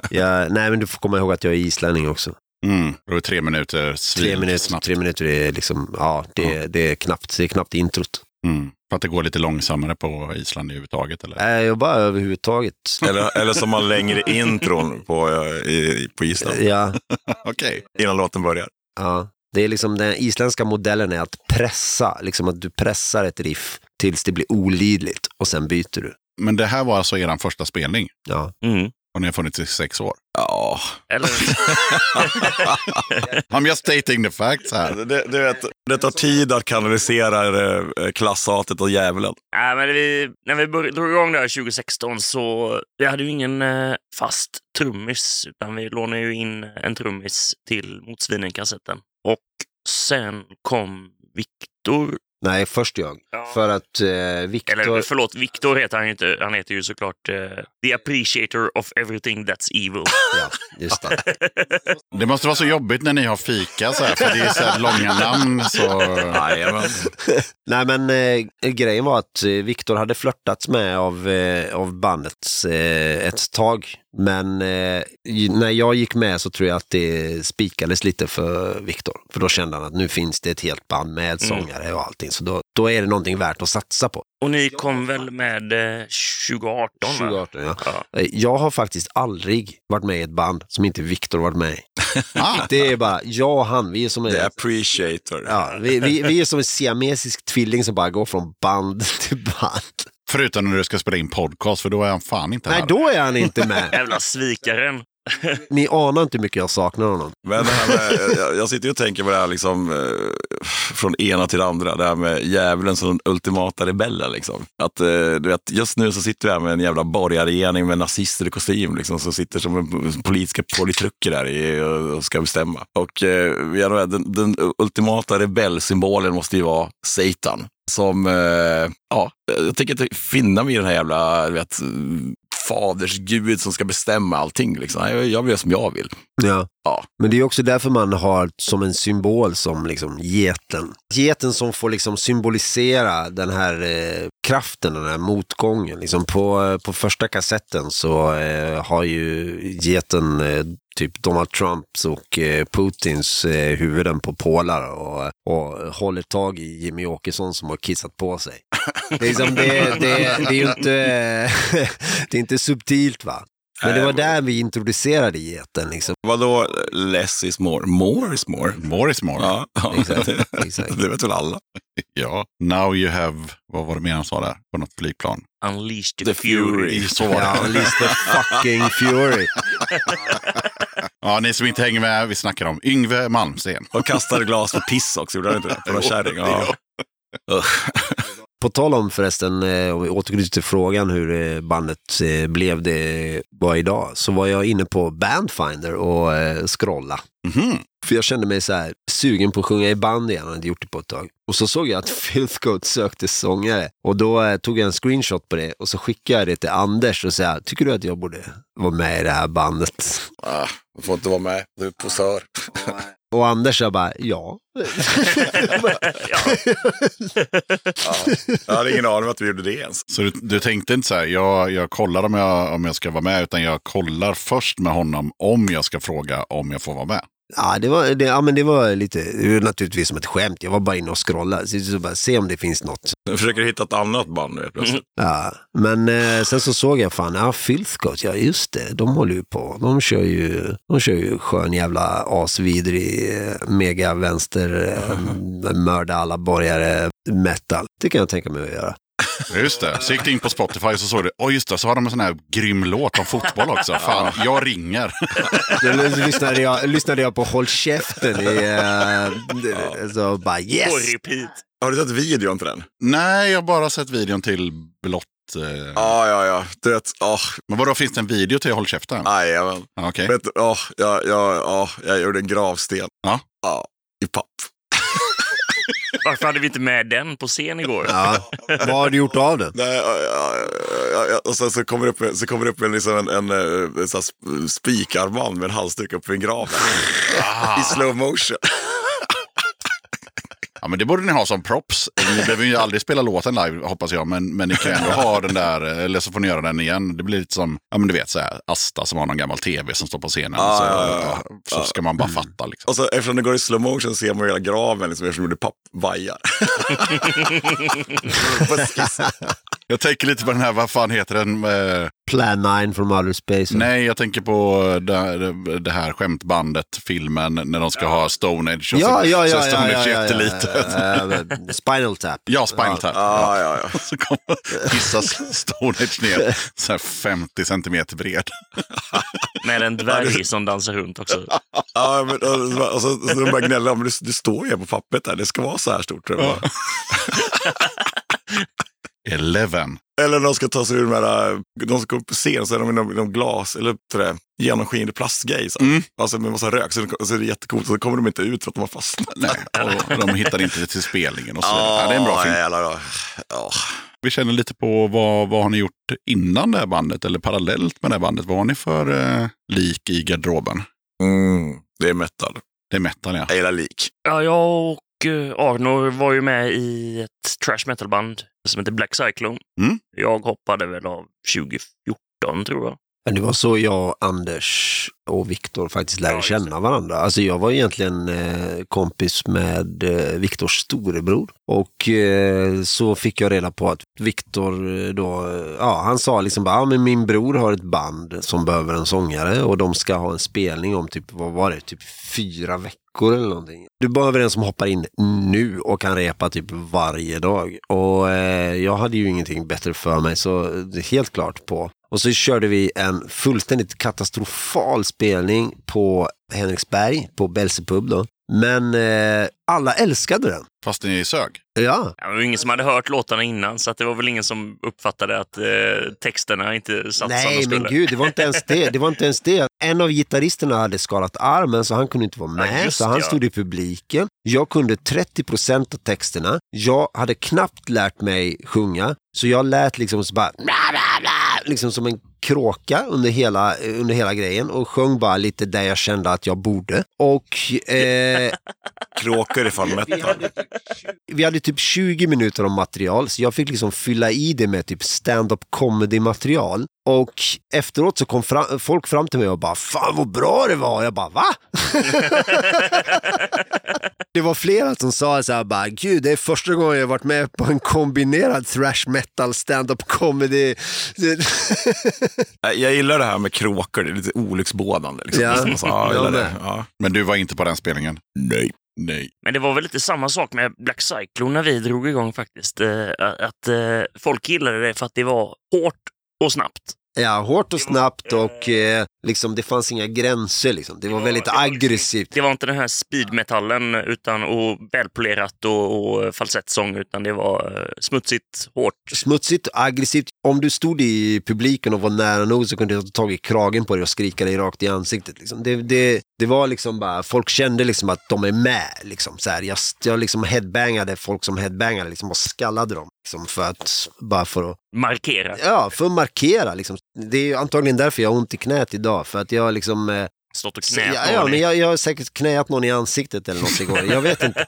Speaker 2: ja, nej men du får komma ihåg att jag är islänning också.
Speaker 1: mm, då är tre minuter
Speaker 2: Tre minuter,
Speaker 1: svinsnabbt.
Speaker 2: tre minuter är liksom, ja det, det är knappt, det är knappt introt.
Speaker 1: Mm. För att det går lite långsammare på Island överhuvudtaget eller?
Speaker 2: Nej, jag bara överhuvudtaget.
Speaker 4: eller, eller som man längre intron på, eh, i, på Island
Speaker 2: Ja,
Speaker 1: Okej.
Speaker 4: innan låten börjar.
Speaker 2: ja. Det är liksom den isländska modellen är att pressa, liksom att du pressar ett riff tills det blir olidligt och sen byter du.
Speaker 1: Men det här var alltså er första spelning
Speaker 2: Ja.
Speaker 3: Mm.
Speaker 1: och ni har funnits i sex år.
Speaker 4: Ja,
Speaker 3: Eller,
Speaker 1: I'm just stating the facts här.
Speaker 4: det, det- du vet, det tar tid att kanalisera eh, klasshatet och djävulen.
Speaker 3: Nej, men vi, när vi började, drog igång där 2016 så vi hade ju ingen eh, fast trummis utan vi lånade ju in en trummis till Motsvinen-kassetten. Och sen kom Viktor.
Speaker 2: Nej, först jag. För att eh, Viktor...
Speaker 3: Eller förlåt, Viktor heter han ju inte. Han heter ju såklart eh, The Appreciator of Everything That's Evil.
Speaker 2: Ja, just det.
Speaker 1: Det måste vara så jobbigt när ni har fika så här, för det är så här långa namn. Så...
Speaker 4: Jajamän.
Speaker 2: Nej, men eh, grejen var att eh, Viktor hade flörtats med av, eh, av bandet eh, ett tag. Men eh, ju- när jag gick med så tror jag att det spikades lite för Viktor. För då kände han att nu finns det ett helt band med sångare och allting. Så då, då är det någonting värt att satsa på.
Speaker 3: Och ni kom väl med eh, 2018? va?
Speaker 2: 2018, ja.
Speaker 3: Ja.
Speaker 2: Eh, Jag har faktiskt aldrig varit med i ett band som inte Viktor varit med i.
Speaker 1: Ah,
Speaker 2: Det är bara jag och han, vi är som en,
Speaker 4: The appreciator.
Speaker 2: ja, vi, vi, vi är som en siamesisk tvilling som bara går från band till band.
Speaker 1: förutom när du ska spela in podcast, för då är han fan inte
Speaker 2: Nej,
Speaker 1: här.
Speaker 2: då är han inte med.
Speaker 3: Jävla svikaren.
Speaker 2: Ni anar inte hur mycket jag saknar honom.
Speaker 4: Men det här med, jag, jag sitter ju och tänker på det här liksom, eh, från ena till det andra. Det här med djävulen som den ultimata rebellen. Liksom. Att, eh, du vet, just nu så sitter vi här med en jävla borgarregering med nazister i kostym liksom, som sitter som en politiska politruker där i, och, och ska bestämma. Och eh, vi har- den, den ultimata rebellsymbolen måste ju vara Satan. Som, eh, ja, jag tänker inte finna mig i den här jävla, du vet, fadersgud som ska bestämma allting. Liksom. Nej, Jag gör som jag vill.
Speaker 2: Ja.
Speaker 4: Ja.
Speaker 2: Men det är också därför man har som en symbol som liksom geten. Geten som får liksom symbolisera den här eh, kraften, den här motgången. Liksom på, eh, på första kassetten så eh, har ju geten eh, typ Donald Trumps och eh, Putins eh, huvuden på pålar och, och håller tag i Jimmy Åkesson som har kissat på sig. Det är, liksom, det, det, det är ju inte, det är inte subtilt va? Men det var där vi introducerade geten. Liksom.
Speaker 4: Vadå less is more? More is more?
Speaker 1: Morris Moore.
Speaker 4: Ja, ja.
Speaker 2: Exakt, exakt.
Speaker 4: det vet väl alla.
Speaker 1: Ja. Now you have, vad var det mer han sa där? På något flygplan.
Speaker 3: Unleashed
Speaker 4: The
Speaker 3: the
Speaker 4: Fury.
Speaker 3: Fury.
Speaker 1: Så var det.
Speaker 2: Ja, Lister fucking Fury.
Speaker 1: Ja, ni som inte hänger med, vi snackar om Yngve Malmsten.
Speaker 4: De kastade glas för piss också, gjorde de inte det? På någon kärring. Ja. Usch.
Speaker 2: På tal om förresten, eh, om vi återknyter till frågan hur eh, bandet eh, blev det var idag, så var jag inne på Bandfinder och eh, scrolla.
Speaker 1: Mhm.
Speaker 2: För jag kände mig så här sugen på att sjunga i band igen, jag hade inte gjort det på ett tag. Och så såg jag att Filth Goat sökte sångare och då eh, tog jag en screenshot på det och så skickade jag det till Anders och sa, tycker du att jag borde vara med i det här bandet?
Speaker 4: Ah, du får inte vara med, du är posör.
Speaker 2: Och Anders jag bara, ja.
Speaker 3: ja.
Speaker 4: Jag hade ingen aning om att vi gjorde det ens.
Speaker 1: Så du, du tänkte inte så här, jag, jag kollar om jag, om jag ska vara med, utan jag kollar först med honom om jag ska fråga om jag får vara med.
Speaker 2: Ja, det var, det, ja, men det var lite, det var naturligtvis som ett skämt. Jag var bara inne och scrollade, så, så bara, se om det finns något.
Speaker 4: Jag försöker hitta ett annat band nu helt plötsligt.
Speaker 2: Ja, men eh, sen så såg jag fan, ja, Filthcoat, ja just det, de håller ju på. De kör ju, de kör ju skön jävla asvidrig eh, mega vänster eh, mörda alla borgare metal. Det kan jag tänka mig att göra.
Speaker 1: Just det. Så gick du in på Spotify så såg du, åh just det, så har de en sån här grym låt om fotboll också. Fan, jag ringer.
Speaker 2: Då lyssnade jag, lyssnade jag på Håll käften i, eh, så bara yes!
Speaker 3: På repeat.
Speaker 4: Har du sett videon till den?
Speaker 1: Nej, jag har bara sett videon till Blått. Eh.
Speaker 4: Ja, ja, ja. Du vet, åh,
Speaker 1: Men vadå, finns det en video till Håll käften?
Speaker 4: nej, jag,
Speaker 1: Ja, Okej.
Speaker 4: vet, åh, jag, jag, åh, jag gjorde en gravsten.
Speaker 1: Ja.
Speaker 4: Ja, I papp.
Speaker 3: Varför hade vi inte med den på scen igår?
Speaker 2: Ja, vad har du gjort av den?
Speaker 4: Nej, ja, ja, ja, ja, och sen så kommer det upp, så kommer det upp en, liksom en, en, eh, så här sp- spikarmband med en halsduk upp i en grav. I slow motion.
Speaker 1: Ja, men det borde ni ha som props. Ni behöver ju aldrig spela låten live, hoppas jag, men, men ni kan ju ändå ha den där, eller så får ni göra den igen. Det blir lite som, ja men du vet, så här, Asta som har någon gammal tv som står på scenen.
Speaker 4: Ja,
Speaker 1: så,
Speaker 4: Ah, ja, ja.
Speaker 1: ja, så ska man bara
Speaker 2: Mm.
Speaker 1: fatta liksom.
Speaker 4: Och så, eftersom det går i slow motion ser man ju hela graven liksom, eftersom det är papp vajar. På skissen.
Speaker 1: Jag tänker lite på den här, vad fan heter den? Eh,
Speaker 2: Mm. Plan 9 from Outer Space.
Speaker 1: Nej, jag tänker på det, det här skämtbandet, filmen, när de ska ha Stone Age. och
Speaker 2: Ja,
Speaker 1: så,
Speaker 2: ja,
Speaker 1: så
Speaker 2: ja.
Speaker 1: är Stone
Speaker 2: ja, ja,
Speaker 1: Age
Speaker 2: ja,
Speaker 1: jättelitet.
Speaker 2: ja, ja. Spinal Tap.
Speaker 1: Ja, Spinal Tap.
Speaker 4: ja, ja, ja.
Speaker 1: Så kommer hissas Stone Age ner, så här 50 centimeter bred.
Speaker 3: Med en dvärg som dansar runt också.
Speaker 4: ja men, och, så- och så, så de bara gnäller om det, det står ju på pappret där, det ska vara så här stort. Tror jag.
Speaker 1: Eleven.
Speaker 4: Eller de ska ta sig ur de här, de ska upp på scen så är de i någon- någon glas eller sådär, genomskinlig plastgrej. Så.
Speaker 1: Mm.
Speaker 4: Alltså med massa rök, så det, så är det jättecoolt. Så kommer de inte ut för att de har fastnat.
Speaker 1: Nej, och de hittar inte till spelningen och så vidare. ja, Det är en bra film.
Speaker 4: Jävlar, ja. Ja.
Speaker 1: Vi känner lite på vad, vad har ni gjort innan det här bandet eller parallellt med det här bandet. Vad har ni för eh, lik i garderoben?
Speaker 4: Mm, det är metal.
Speaker 1: Det är metal ja.
Speaker 4: Jag gillar lik.
Speaker 3: Ja, jag och eh, Arnor var ju med i ett trash metal-band som heter Black Cyclone.
Speaker 1: Mm.
Speaker 3: Jag hoppade väl av 2014, tror jag.
Speaker 2: Men det var så jag, Anders och Viktor faktiskt lärde
Speaker 3: Ja, just det.
Speaker 2: känna varandra. Alltså jag var egentligen eh, kompis med eh, Viktors storebror. Och eh, så fick jag reda på att Viktor eh, då, eh, ja han sa liksom bara, ja men min bror har ett band som behöver en sångare och de ska ha en spelning om typ, vad var det, typ fyra veckor eller någonting. Du behöver en som hoppar in nu och kan repa typ varje dag. Och eh, jag hade ju ingenting bättre för mig så det är helt klart på. Och så körde vi en fullständigt katastrofal spelning på Henriksberg, på Belsepub då. Men eh, alla älskade den.
Speaker 1: Fast ni sög.
Speaker 2: Ja,
Speaker 3: Ja, det var ingen som hade hört låtarna innan, så att det var väl ingen som uppfattade att eh, texterna inte satt som de
Speaker 2: nej
Speaker 3: skulle.
Speaker 2: men gud, det var inte ens det. Det var inte ens det. En av gitarristerna hade skadat armen så han kunde inte vara med.
Speaker 3: just
Speaker 2: så han
Speaker 3: det, ja.
Speaker 2: stod i publiken. Jag kunde 30% av texterna. Jag hade knappt lärt mig sjunga. Så jag lät liksom så bara... Liksom som en kråka under hela, eh, under hela grejen och sjöng bara lite där jag kände att jag borde. Och eh,
Speaker 4: Kråkor i fall
Speaker 2: vi
Speaker 4: metal.
Speaker 2: hade, typ 20, vi hade typ 20 minuter om material, så jag fick liksom fylla i det med typ stand-up comedy-material. Och efteråt så kom fram, folk fram till mig och bara “Fan vad bra det var!” Jag bara “Va?” Det var flera som sa så här bara “Gud, det är första gången jag har varit med på en kombinerad thrash metal stand-up comedy”.
Speaker 4: Jag Äh, jag gillar det här med kråkor, det är lite olycksbådande. Liksom.
Speaker 2: Ja.
Speaker 4: Så, ja, jag
Speaker 2: Jag
Speaker 4: gillar det.
Speaker 2: med.
Speaker 4: Ja.
Speaker 1: Men du var inte på den spelningen?
Speaker 4: Nej.
Speaker 1: Nej.
Speaker 3: Men det var väl lite samma sak med Black Cyclone när vi drog igång faktiskt. Eh, att eh, folk gillade det för att det var hårt och snabbt.
Speaker 2: Ja, hårt och snabbt och eh, liksom, det fanns inga gränser. Liksom. Det var väldigt
Speaker 3: det var liksom-
Speaker 2: aggressivt.
Speaker 3: Det var inte den här speedmetallen utan, och välpolerat och, och falsettsång, utan det var eh, smutsigt, hårt.
Speaker 2: Smutsigt och aggressivt. Om du stod i publiken och var nära nog så kunde jag ta tag i kragen på dig och skrika dig rakt i ansiktet. Liksom. Det, det, det var liksom bara, folk kände liksom att de är med. Liksom. Så här, jag, jag liksom headbangade folk som headbangade liksom, och skallade dem. Liksom, för att, bara för att,
Speaker 3: Markera.
Speaker 2: ja, för att markera. Liksom. Det är ju antagligen därför jag har ont i knät idag. För att jag liksom... Eh,
Speaker 3: Stått och
Speaker 2: så-
Speaker 3: knät
Speaker 2: ja, ja,
Speaker 3: någon i-
Speaker 2: men jag, jag har säkert knäat någon i ansiktet eller något igår. Jag vet inte.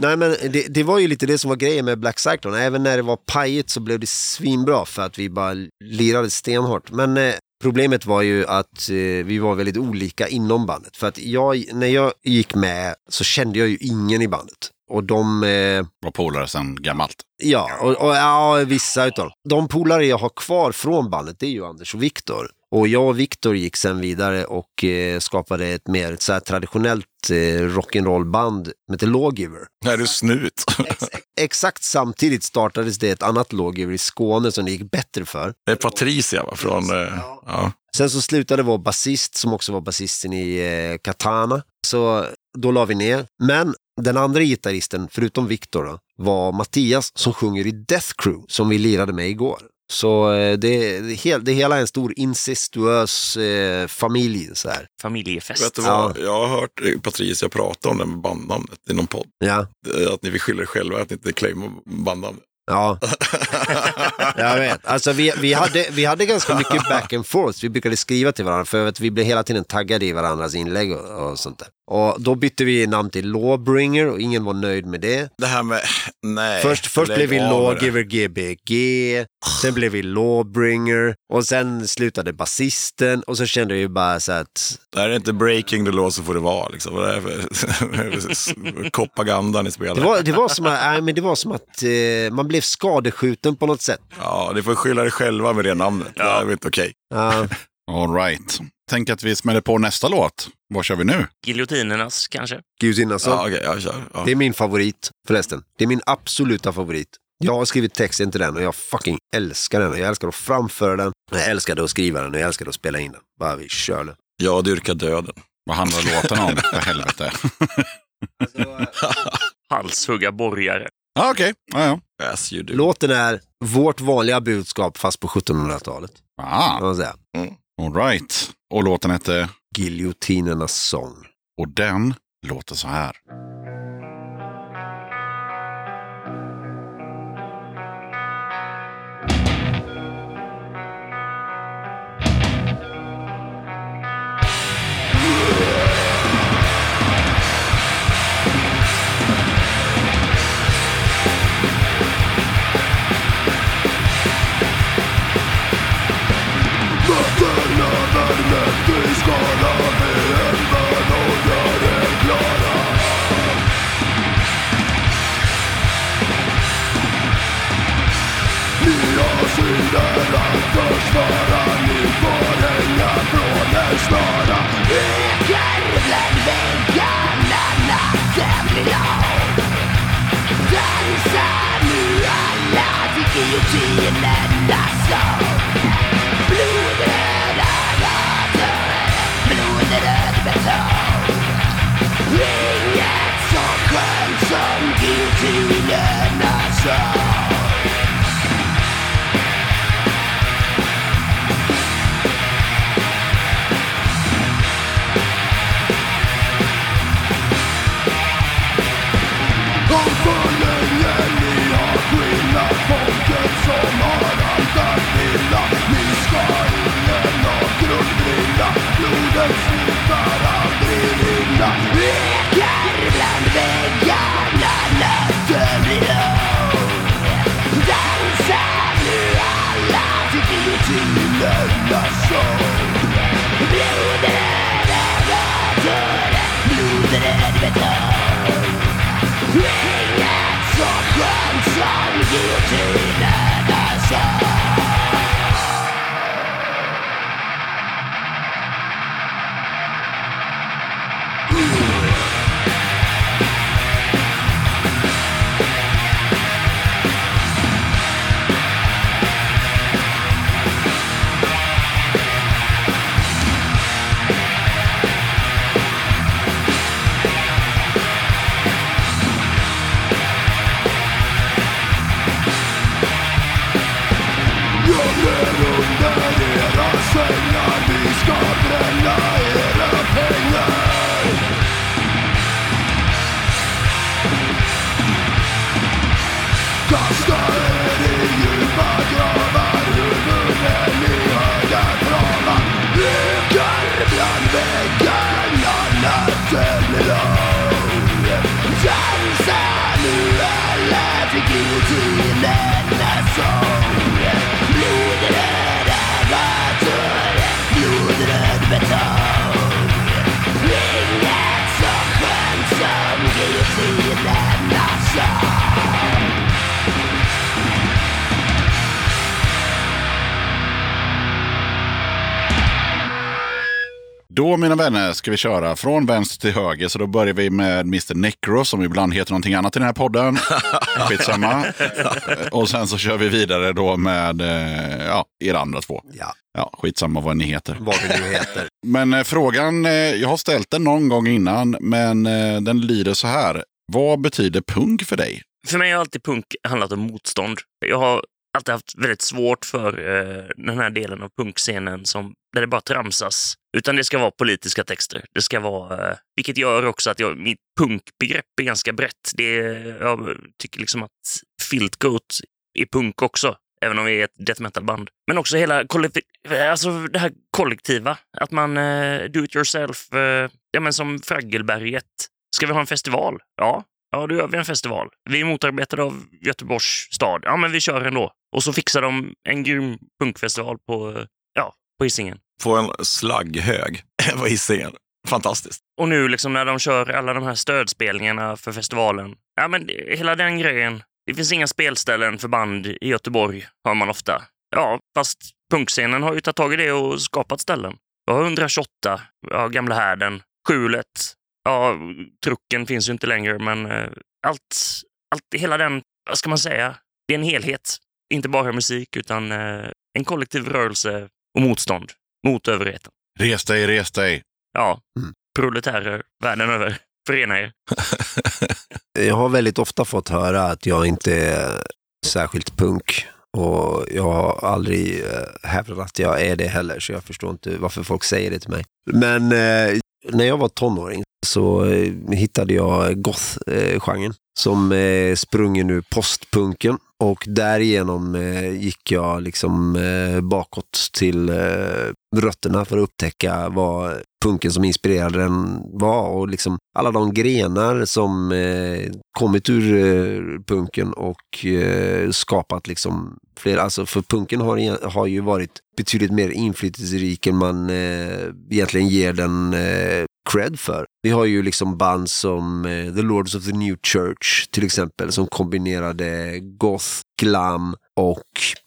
Speaker 2: Nej, men det, det var ju lite det som var grejen med Black Cyclone. Även när det var pajigt så blev det svinbra för att vi bara lirade stenhårt. Men eh, problemet var ju att eh, vi var väldigt olika inom bandet. För att jag, när jag gick med så kände jag ju ingen i bandet. Och de... Eh,
Speaker 1: Var polare sedan gammalt.
Speaker 2: Ja, och, och ja, vissa utav dem. De polare jag har kvar från bandet, det är ju Anders och Viktor. Och jag och Viktor gick sen vidare och eh, skapade ett mer så här, traditionellt eh, rock'n'roll-band som heter Lawgiver.
Speaker 4: Är du snut?
Speaker 2: Exakt samtidigt startades det ett annat Lawgiver i Skåne som det gick bättre för.
Speaker 4: Det är Patricia va? Från, eh, ja.
Speaker 2: Sen så slutade vår basist, som också var basisten i eh, Katana. Så då la vi ner. Men den andra gitarristen, förutom Viktor, då, var Mattias som sjunger i Death Crew, som vi lirade med igår. Så eh, det, det, hel, det hela är en stor incestuös eh, familj. Så här.
Speaker 4: Vet
Speaker 3: Familjefest.
Speaker 4: du vad? Jag har hört eh, Patricia prata om det med bandnamnet i någon podd.
Speaker 2: Ja,
Speaker 4: Eh, Att ni vill skylla er själva att ni inte claimar bandnamnet.
Speaker 2: ja, jag vet. Alltså, vi, vi, hade, vi hade ganska mycket back and forth. Vi brukade skriva till varandra, för att vi blev hela tiden taggade i varandras inlägg och, och sånt där. Och då bytte vi namn till Lawbringer och ingen var nöjd med det.
Speaker 4: Det här med, nej.
Speaker 2: Först, först
Speaker 4: lägg
Speaker 2: blev vi
Speaker 4: av med det.
Speaker 2: Lawgiver GBG, sen blev vi Lawbringer och sen slutade basisten och så kände vi bara så att
Speaker 4: Det här är inte breaking the law så får det vara. Liksom. Vad är det här för propaganda ni spelar?
Speaker 2: det var, det var som att, nej, men det var som att eh, man blev skadeskjuten på något sätt.
Speaker 4: Ja, ni får skylla er själva med det namnet. Det här är inte okej.
Speaker 2: Ja,
Speaker 1: All right. Tänk att vi smäller på nästa låt. Vad kör vi nu?
Speaker 3: Giljotinernas kanske?
Speaker 2: Gud alltså.
Speaker 4: Ja, okej, jag kör. Ja.
Speaker 2: Det är min favorit förresten. Det är min absoluta favorit. Jag har skrivit texten till den och jag fucking älskar den. Jag älskar att framföra den, jag älskade att skriva den och jag älskade att spela in den. Bara vi kör nu.
Speaker 4: Jag dyrkar döden.
Speaker 1: Vad handlar låten om? För helvete.
Speaker 3: Halshugga borgare.
Speaker 1: Ah, Okej. Ah, ja.
Speaker 4: As you do.
Speaker 2: Låten är vårt vanliga budskap fast på 1700-talet. kan
Speaker 1: Ah,
Speaker 2: man säga.
Speaker 1: all right. Och låten hette...
Speaker 2: Giljotinernas sång.
Speaker 1: Och den låter så här.
Speaker 2: Mötena
Speaker 1: Då mina vänner ska vi köra från vänster till höger. Så då börjar vi med Mr Necro som ibland heter någonting annat i den här podden. Skitsamma. Och sen så kör vi vidare då med eh, ja, er andra två.
Speaker 2: Ja,
Speaker 1: Ja, skitsamma vad ni heter.
Speaker 2: vad det nu heter.
Speaker 1: Men eh, frågan, eh, jag har ställt den någon gång innan, men eh, den lyder så här. Vad betyder punk för dig?
Speaker 3: För mig har alltid punk handlat om motstånd. Jag har alltid haft väldigt svårt för eh, den här delen av punkscenen som, där det bara tramsas. Utan det ska vara politiska texter. Det ska vara, eh, vilket gör också att jag, mitt punkbegrepp är ganska brett. Det, är- jag tycker liksom att Filtgoat är punk också. Även om vi är ett death metal-band. Men också hela kollektiv, alltså det här kollektiva. Att man eh, do it yourself, eh, ja, men som Fraggelberget. Ska vi ha en festival? Ja, Ja, då gör vi en festival. Vi är motarbetade av Göteborgs stad. Ja, men vi kör ändå. Och så fixar de en grym punkfestival på, eh, ja, på Hisingen.
Speaker 4: På en slagghög på Hisingen. Fantastiskt.
Speaker 3: Och nu liksom när de kör alla de här stödspelningarna för festivalen. Ja, men det- hela den grejen. Det finns inga spelställen för band i Göteborg, hör man ofta. Ja, fast punkscenen har ju tagit tag i det och skapat ställen. Jag har 128, ja, Gamla härden, Skjulet. Ja, trucken finns ju inte längre, men eh, allt, allt, hela den, vad ska man säga, det är en helhet. Inte bara musik, utan eh, en kollektiv rörelse och motstånd mot överheten.
Speaker 1: Res dig, res dig.
Speaker 3: Ja,
Speaker 2: Mm.
Speaker 3: proletärer världen över, förena er.
Speaker 2: Jag har väldigt ofta fått höra att jag inte är särskilt punk och jag har aldrig eh, hävdat att jag är det heller, så jag förstår inte varför folk säger det till mig. Men eh, när jag var tonåring så eh, hittade jag goth-genren som eh, sprungen ur postpunken och därigenom eh, gick jag liksom eh, bakåt till eh, rötterna för att upptäcka vad punken som inspirerade den var och liksom alla de grenar som eh, kommit ur eh, punken och eh, skapat liksom fler, alltså för punken har, egen- har ju varit betydligt mer inflytelserik än man eh, egentligen ger den eh, cred för. Vi har ju liksom band som eh, The Lords of the New Church till exempel som kombinerade goth, glam och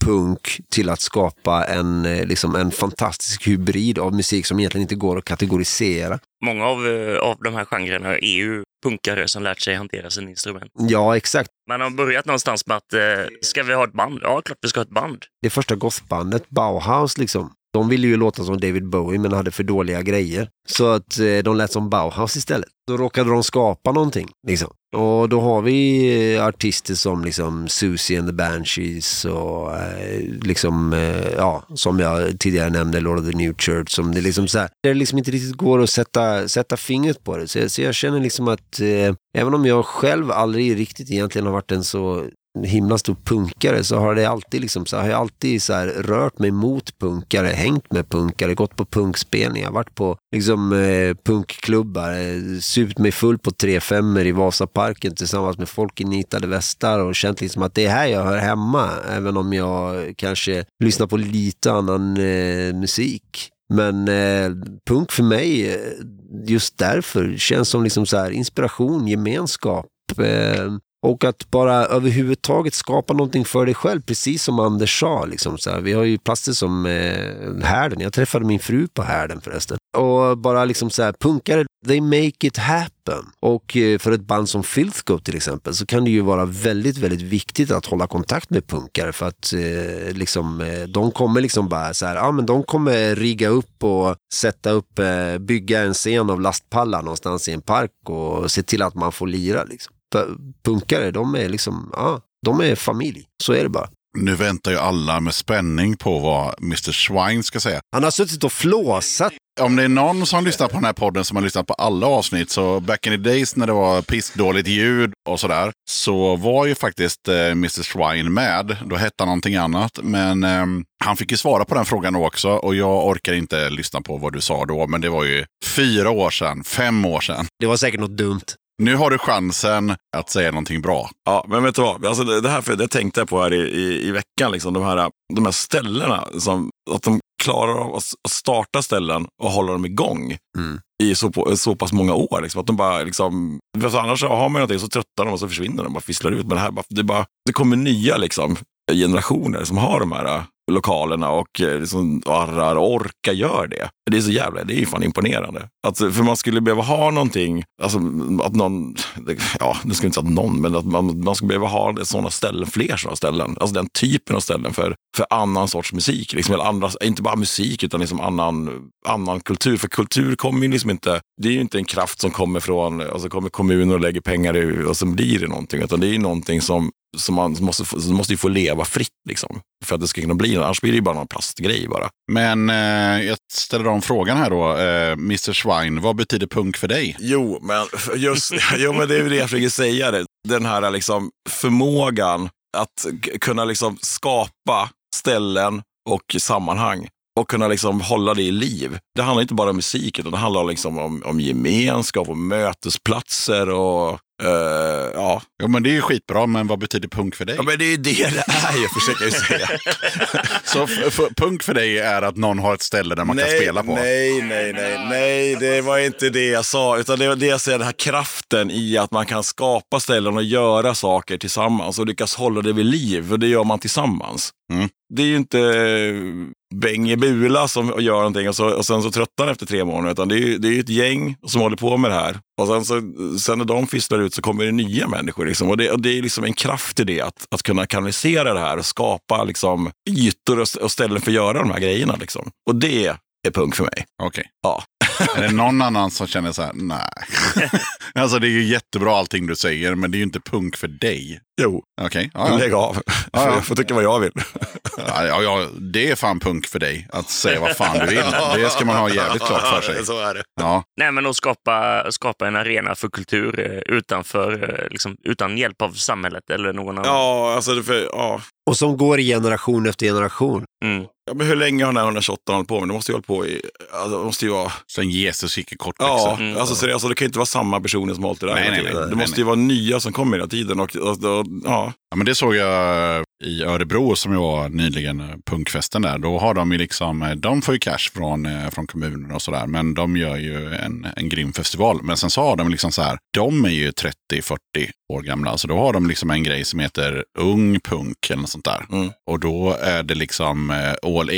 Speaker 2: punk till att skapa en, eh, liksom en fantastisk hybrid av musik som egentligen inte går att kategorisera.
Speaker 3: Många av, eh, av de här genrerna är ju punkare som lärt sig hantera sina instrument.
Speaker 2: Ja, exakt.
Speaker 3: Man har börjat någonstans med att, eh, ska vi ha ett band? Ja, klart vi ska ha ett band.
Speaker 2: Det första gothbandet, Bauhaus, liksom, de ville ju låta som David Bowie men hade för dåliga grejer. Så att eh, de lät som Bauhaus istället. Då råkade de skapa någonting. Liksom. Och då har vi eh, artister som liksom Susie and the Banshees och eh, liksom, eh, ja, som jag tidigare nämnde, Lord of the New Church. Som det, liksom så här, det liksom inte riktigt går att sätta, sätta fingret på det. Så jag, så jag känner liksom att eh, även om jag själv aldrig riktigt egentligen har varit en så himla stor punkare så har det alltid liksom så här, har jag alltid så här rört mig mot punkare, hängt med punkare, gått på punkspelningar, varit på liksom eh, punkklubbar, eh, supit mig full på 3-5 i Vasaparken tillsammans med folk i nitade västar och känt liksom att det är här jag hör hemma, även om jag kanske lyssnar på lite annan eh, musik. Men eh, punk för mig, eh, just därför, känns som liksom så här inspiration, gemenskap, eh, och att bara överhuvudtaget skapa någonting för dig själv, precis som Anders sa. Liksom, så här. Vi har ju platser som eh, härden. Jag träffade min fru på härden förresten. Och bara liksom så här, punkare, they make it happen. Och eh, för ett band som Filthgoat till exempel så kan det ju vara väldigt, väldigt viktigt att hålla kontakt med punkare för att eh, liksom, eh, de kommer liksom bara så här, ja men de kommer rigga upp och sätta upp, eh, bygga en scen av lastpallar någonstans i en park och se till att man får lira liksom p- punkare, de är liksom, ja, de är familj. Så är det bara.
Speaker 1: Nu väntar ju alla med spänning på vad Mr. Schwein ska säga.
Speaker 2: Han har suttit och flåsat.
Speaker 1: Om det är någon som lyssnar på den här podden som har lyssnat på alla avsnitt, så back in the days när det var pissdåligt ljud och sådär, så var ju faktiskt eh, Mr. Swine med. Då hette han någonting annat, men ehm, han fick ju svara på den frågan då också. Och jag orkar inte lyssna på vad du sa då, men det var ju fyra år sedan, fem år sedan.
Speaker 2: Det var säkert något dumt.
Speaker 1: Nu har du chansen att säga någonting bra.
Speaker 4: Ja, men vet du vad? Alltså det, det här för, det tänkte jag på här i, i, i veckan. Liksom, de, här, de här ställena, som, att de klarar av att s- att starta ställen och hålla dem igång
Speaker 2: Mm.
Speaker 4: i så, på, så pass många år. Liksom, att de bara, liksom, för annars så har man någonting så tröttnar de och så försvinner de bara fisslar ut. Men det, här, bara- det, bara, det kommer nya liksom, generationer som har de här eh, lokalerna och eh, liksom arrar och orkar gör det. Det är så jävla, det är ju fan imponerande. Att, äh, för man skulle behöva ha någonting, alltså att någon, ja nu ska jag inte säga att någon, men att man, man skulle behöva ha det- sådana ställen, fler sådana ställen. Alltså den typen av ställen för, för annan sorts musik. Liksom, eller andra, inte bara musik utan liksom annan, annan kultur. För kultur kommer ju liksom inte, det är ju inte en kraft som kommer från, alltså kommer kommuner och lägger pengar i och sen blir det någonting. Utan det är ju någonting som som man måste, få- som måste ju få leva fritt liksom, för att det ska kunna bli något. Annars blir det ju bara någon plastgrej bara.
Speaker 1: Men eh, jag ställer om frågan här då. Eh, Mr. Swine, vad betyder punk för dig?
Speaker 4: Jo, men f- just jo, men det är ju det jag försöker säga. Det. Den här liksom, förmågan att k- kunna liksom, skapa ställen och sammanhang och kunna liksom hålla det i liv. Det handlar inte bara om musik, utan det handlar liksom om, om gemenskap och mötesplatser och eh, ja.
Speaker 1: Jo, men det är ju skitbra, men vad betyder punk för dig?
Speaker 4: ja, men det är ju det det är, jag försöker ju säga.
Speaker 1: Så f- f- punk för dig är att någon har ett ställe där man kan spela på?
Speaker 4: Nej, nej, nej, nej, det var inte det jag sa. Utan det var det jag säger, den här kraften i att man kan skapa ställen och göra saker tillsammans och lyckas hålla det vid liv. Och det gör man tillsammans.
Speaker 1: Mm.
Speaker 4: Det är ju inte eh, Bengt i Bula som gör någonting och, så, och sen så tröttnar han efter tre månader. Utan det är ju det är ju ett gäng som håller på med det här. Och sen, så, sen när de fisslar ut så kommer det nya människor. Liksom. Och, det, och det är liksom en kraft i det, att, att kunna kanalisera det här och skapa liksom, ytor och, och ställen för att göra de här grejerna. Liksom. Och det är punk för mig.
Speaker 1: Okej.
Speaker 4: Ja.
Speaker 1: Är det någon annan som känner så här, nej. alltså det är ju jättebra allting du säger, men det är ju inte punk för dig.
Speaker 4: Jo,
Speaker 1: Okej, ja, ja.
Speaker 4: lägg av.
Speaker 1: ja.
Speaker 4: Jag får tycka vad jag vill.
Speaker 1: ja, ja, ja, det är fan punk för dig. Att säga vad fan du vill. Det ska man ha jävligt klart för sig.
Speaker 4: Så är det.
Speaker 1: Ja,
Speaker 3: Nej, men att skapa, skapa en arena för kultur eh, utanför, eh, liksom, utan hjälp av samhället eller någon annan.
Speaker 4: Ja, alltså, det för, ja.
Speaker 2: Och som går i generation efter generation.
Speaker 3: Mm.
Speaker 4: Ja, men hur länge har den här 128 hållit på med? Det måste ju ha hållit på i... Alltså, det måste ju vara...
Speaker 1: sen Jesus gick i kortbyxor.
Speaker 4: Ja,
Speaker 3: Mm.
Speaker 4: alltså, seriöst, alltså, det kan ju inte vara samma personer som har hållit det där
Speaker 1: Nej,
Speaker 4: hela
Speaker 1: nej,
Speaker 4: tiden.
Speaker 1: nej,
Speaker 4: Det
Speaker 1: nej,
Speaker 4: måste ju vara nya som kommer hela tiden. Och, och, och, ja,
Speaker 1: Ja, men det såg jag i Örebro som jag var nyligen, eh, punkfesten där. Då har de ju liksom, de får ju cash från, eh, från kommunen och sådär. Men de gör ju en, en grym festival. Men sen så har de liksom så här, de är ju 30-40 år gamla. Så då har de liksom en grej som heter ung punk eller något sånt där.
Speaker 4: Mm.
Speaker 1: Och då är det liksom eh, all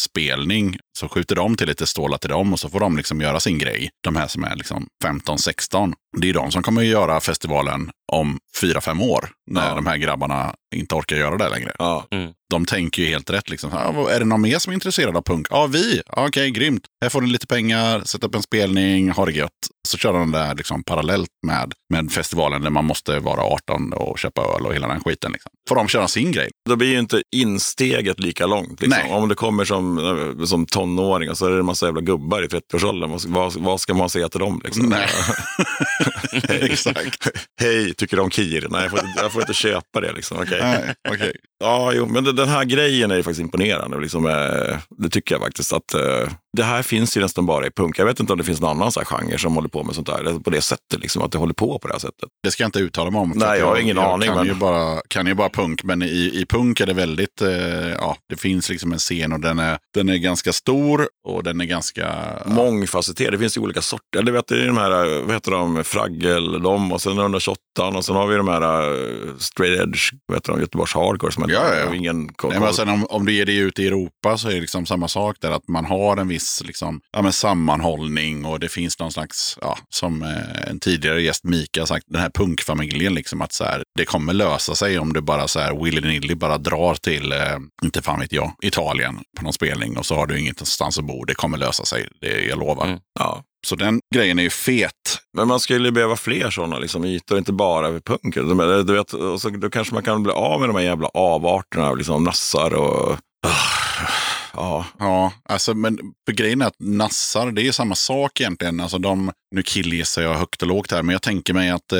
Speaker 1: ages-spelning. Så skjuter de till lite stålar till dem och så får de liksom göra sin grej. De här som är liksom 15-16. Det är de som kommer att göra festivalen om 4-5 år. När
Speaker 4: Ja.
Speaker 1: de här grabbarna inte orkar göra det längre.
Speaker 4: Ja.
Speaker 1: De tänker ju helt rätt. Liksom. Ah, vad- är det någon mer som är intresserad av punk? Ja, ah, vi. Ah, Okej, grymt. Här får ni lite pengar, sätt upp en spelning, ha det gött. Så kör de det där liksom, parallellt med, med festivalen där man måste vara 18 och köpa öl och hela den skiten. Liksom. Får de köra sin grej.
Speaker 4: Då blir ju inte insteget lika långt. Liksom.
Speaker 1: Nej.
Speaker 4: Om du kommer som, eh, som tonåring och så är det en massa jävla gubbar i 30-årsåldern. Vad, vad, vad ska man säga till dem? Liksom?
Speaker 1: Exakt.
Speaker 4: Hej, tycker du om Kir? Nej, jag får, inte- jag får inte köpa det. Liksom. Okej.
Speaker 1: Nej, okej.
Speaker 4: Ja, jo, men det- den här grejen är ju faktiskt imponerande. Liksom, eh, det tycker jag faktiskt. att eh, Det här finns ju nästan bara i punk. Jag vet inte om det finns någon annan så här genre som håller på med sånt där. På det sättet, liksom, att det håller på på det här sättet.
Speaker 1: Det ska jag inte uttala mig om. för
Speaker 4: Nej,
Speaker 1: att
Speaker 4: jag har ingen aning,
Speaker 1: Kan
Speaker 4: men-
Speaker 1: ju bara, kan ju bara punk, men i, i punk är det väldigt... Eh, ja, det finns liksom en scen och den är, den är ganska stor och den är ganska...
Speaker 4: Mångfacetterad. Det finns ju olika sorter. Eller vet, det är de här, eh, vad heter de, Fraggel, de och sen 128 och sen har vi de här eh, Straight Edge, vad heter de, Göteborgs Hardcore som
Speaker 1: Ja, ja, ja.
Speaker 4: jag har ingen koll
Speaker 1: Nej, men alltså sen om, om du ger dig ut i Europa så är det liksom samma sak där. Att man har en viss liksom, ja, men sammanhållning och det finns någon slags, ja, som eh, en tidigare gäst Mika har sagt, den här punkfamiljen. Liksom, att så här, det kommer lösa sig om du bara så här, willy-nilly bara drar till, eh, inte fan vet jag, Italien på någon spelning och så har du ingenstans att bo. Det kommer lösa sig, det, jag lovar.
Speaker 3: Mm.
Speaker 4: ja.
Speaker 1: Så den grejen är ju fet.
Speaker 4: Men man skulle ju behöva fler sådana liksom, ytor, inte bara över punk. Du vet, och så, då kanske man kan bli av med de här jävla avarterna, av liksom nassar och... Ah, Ja,
Speaker 1: Ja, alltså, men för grejen är att nassar, det är samma sak egentligen. Alltså, de, nu killgissar jag högt och lågt här, men jag tänker mig att eh,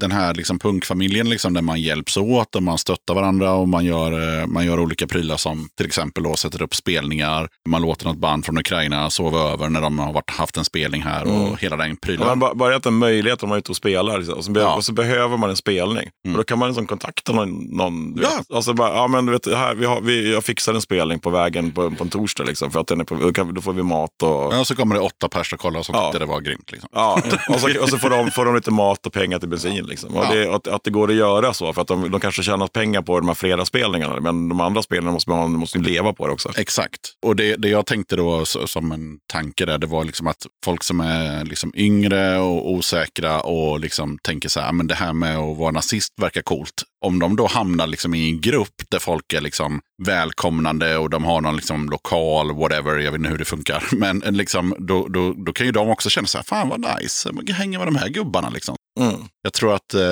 Speaker 1: den här liksom, punkfamiljen liksom, där man hjälps åt och man stöttar varandra och man gör, eh, man gör olika prylar som till exempel då, sätter upp spelningar. Man låter något band från Ukraina sova över när de har varit, haft en spelning här och
Speaker 4: Mm.
Speaker 1: hela den
Speaker 4: Ja,
Speaker 1: prylen.
Speaker 4: men ba- bara att en möjlighet om man är ute och spelar liksom, och, så be-
Speaker 1: Ja.
Speaker 4: och så behöver man en spelning.
Speaker 1: Mm.
Speaker 4: Och då kan man liksom kontakta någon. någon du
Speaker 1: Ja.
Speaker 4: vet. Alltså bara, ja, men du vet, här, vi har, vi, jag fixar en spelning på vägen på, på en torsdag. Liksom, för att den är på, då, kan, då får vi mat och...
Speaker 1: Ja, så kommer det åtta pers och kollar och så
Speaker 4: Ja.
Speaker 1: tyckte det var grymt. Liksom.
Speaker 4: Ja, och så, och så får, de, får de lite mat och pengar till bensin. Liksom. Och
Speaker 1: Ja.
Speaker 4: det, att, att det går att göra så, för att de, de kanske tjänar pengar på de här fredagsspelningarna, men de andra spelarna måste, man, måste ju leva på det också.
Speaker 1: Exakt. Och det, det jag tänkte då s- som en tanke där, det var liksom att folk som är liksom yngre och osäkra och liksom tänker så här, men det här med att vara nazist verkar coolt. Om de då hamnar liksom i en grupp där folk är liksom välkomnande och de har någon liksom lokal, whatever, jag vet inte hur det funkar. Men liksom, då, då, då kan ju de också känna så här, fan vad nice, jag hänger med de här gubbarna liksom.
Speaker 4: Mm.
Speaker 1: Jag tror att eh,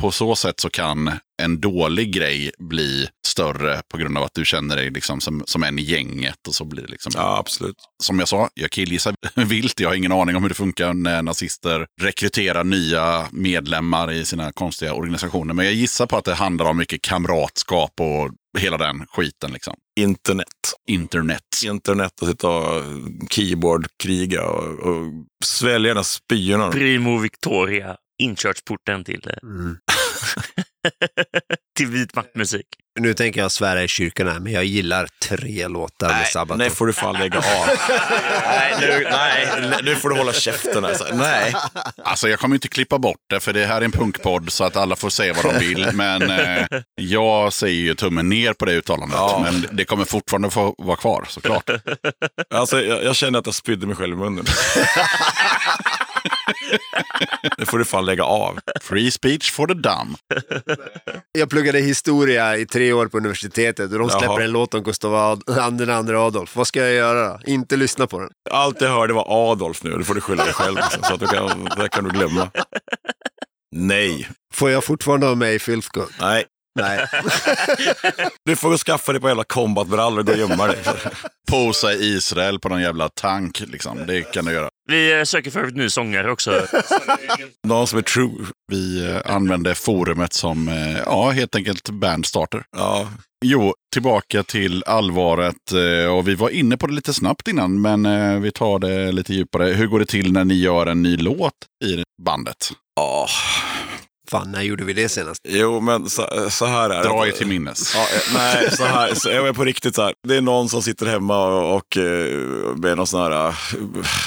Speaker 1: på så sätt så kan en dålig grej bli större på grund av att du känner dig liksom som, som en i gänget. Och så blir det liksom,
Speaker 4: Ja, absolut.
Speaker 1: Som jag sa, jag killgissar vilt. Jag har ingen aning om hur det funkar när nazister rekryterar nya medlemmar i sina konstiga organisationer. Men jag gissar på att det handlar om mycket kamratskap och hela den skiten. Liksom.
Speaker 4: Internet.
Speaker 1: Internet.
Speaker 4: Internet och sitta och keyboardkriga och, och svälja den här spyorna.
Speaker 3: Primo Victoria, inkörsporten till, eh,
Speaker 2: Mm.
Speaker 3: till vit maktmusik.
Speaker 2: Nu tänker jag svära i kyrkan här, men jag gillar tre låtar med Sabaton.
Speaker 4: Nej, får du fan lägga av. nej, nu, nej, nu får du hålla käften. Alltså. Nej.
Speaker 1: Alltså jag kommer inte klippa bort det för det här är en punkpodd så att alla får säga vad de vill. Men eh, jag säger ju tummen ner på det uttalandet.
Speaker 4: Ja.
Speaker 1: Men det kommer fortfarande få vara kvar såklart.
Speaker 4: Alltså, jag, jag känner att jag spydde mig själv i munnen. nu får du fan lägga av.
Speaker 1: Free speech for the dumb.
Speaker 2: Jag pluggade historia i tre år på universitetet och de släpper
Speaker 4: Jaha.
Speaker 2: en låt om Gustav Ad- Ad- den andra Adolf. Vad ska jag göra då? Inte lyssna på den.
Speaker 4: Allt jag hörde var Adolf nu. Det får du skylla dig själv. Liksom. Så att du kan, det kan du glömma. Nej.
Speaker 2: Får jag fortfarande ha med i Filthgood?
Speaker 4: Nej.
Speaker 2: Nej.
Speaker 4: Du får skaffa dig på jävla combatbrallor och gå och gömma dig.
Speaker 1: Posa i Israel på någon jävla tank liksom. Det kan du göra.
Speaker 3: Vi eh, söker för övrigt ny sångare också.
Speaker 4: Någon som är true.
Speaker 1: Vi eh, använder forumet som, eh, ja helt enkelt bandstarter.
Speaker 4: Ja.
Speaker 1: Jo, tillbaka till allvaret. eh, Och vi var inne på det lite snabbt innan, men eh, vi tar det lite djupare. Hur går det till när ni gör en ny låt i bandet?
Speaker 4: Ja.
Speaker 2: Fan, när gjorde vi det senast?
Speaker 4: Jo, men så, så här är det.
Speaker 1: Dra er till minnes.
Speaker 4: Ja, eh, nej, så här, så jag är på riktigt så här. Det är någon som sitter hemma och, och eh, med någon sån här, eh,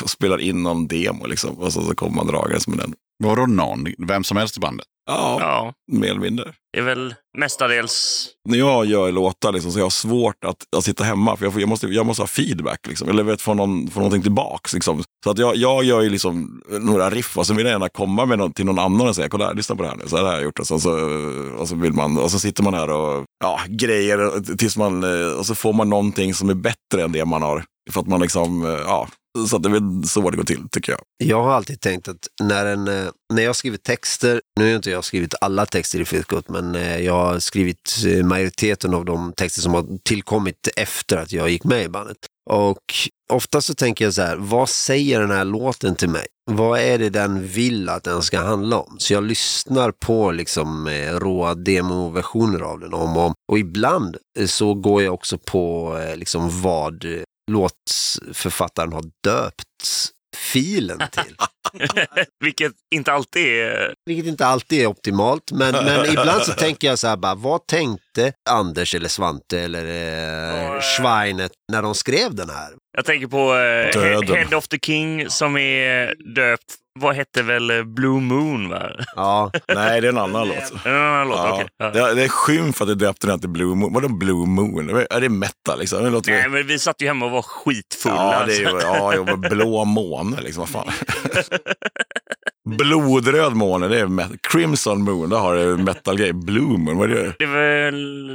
Speaker 4: och spelar in någon demo liksom. Och så, så kommer man dragandes med den.
Speaker 1: Vadå någon? Vem som helst i bandet?
Speaker 4: Ja,
Speaker 3: Ja,
Speaker 4: mer eller mindre.
Speaker 3: det är väl mestadels
Speaker 4: När jag gör låtar liksom, så jag har svårt att, att sitta hemma. För jag, får, jag, måste, jag måste ha feedback, liksom, eller vet, få, någon, få någonting tillbaks. Liksom. Så att jag, jag gör ju liksom några riff och så vill jag gärna komma med någon, till någon annan och säga, kolla här, lyssna på det här nu. Så här har jag gjort. Och, sen så, och, så vill man, och så sitter man här och ja, grejer tills man, eh, och så får man någonting som är bättre än det man har. För att man liksom, eh, ja. Så att det är väl så det går till, tycker jag.
Speaker 2: Jag har alltid tänkt att när, en, eh, när jag skriver texter, nu har ju inte jag skrivit alla texter i Fiskot, men eh, jag har skrivit eh, majoriteten av de texter som har tillkommit efter att jag gick med i bandet. Och ofta så tänker jag så här, vad säger den här låten till mig? Vad är det den vill att den ska handla om? Så jag lyssnar på liksom eh, råa demoversioner av den om och om. Och ibland eh, så går jag också på eh, liksom vad eh, låtförfattaren har döpt filen till.
Speaker 3: Vilket inte alltid är...
Speaker 2: Vilket inte alltid är optimalt, men, men ibland så tänker jag så här bara, vad tänkte Anders eller Svante eller eh,
Speaker 3: Ja,
Speaker 2: Schweinet när de skrev den här?
Speaker 3: Jag tänker på eh,
Speaker 4: Döden.
Speaker 3: He- Head of the King som är döpt... Vad hette väl eh, Blue Moon? Va?
Speaker 2: Ja,
Speaker 4: Nej, det är en annan låt.
Speaker 3: En annan låt,
Speaker 4: Ja.
Speaker 3: okej. Ja.
Speaker 4: Det, det är skymf att du döpte den till Blue Moon. Vadå Blue Moon? Är det metal liksom? Det låter
Speaker 3: Nej, men vi satt ju hemma och var skitfulla.
Speaker 4: Ja, det är,
Speaker 3: så-
Speaker 4: ju- ja jag var blå måne, liksom. Vad fan. Blodröd måne, det är met- Crimson Moon, där har du metal-grej. Blue Moon, vad är det?
Speaker 3: det är väl...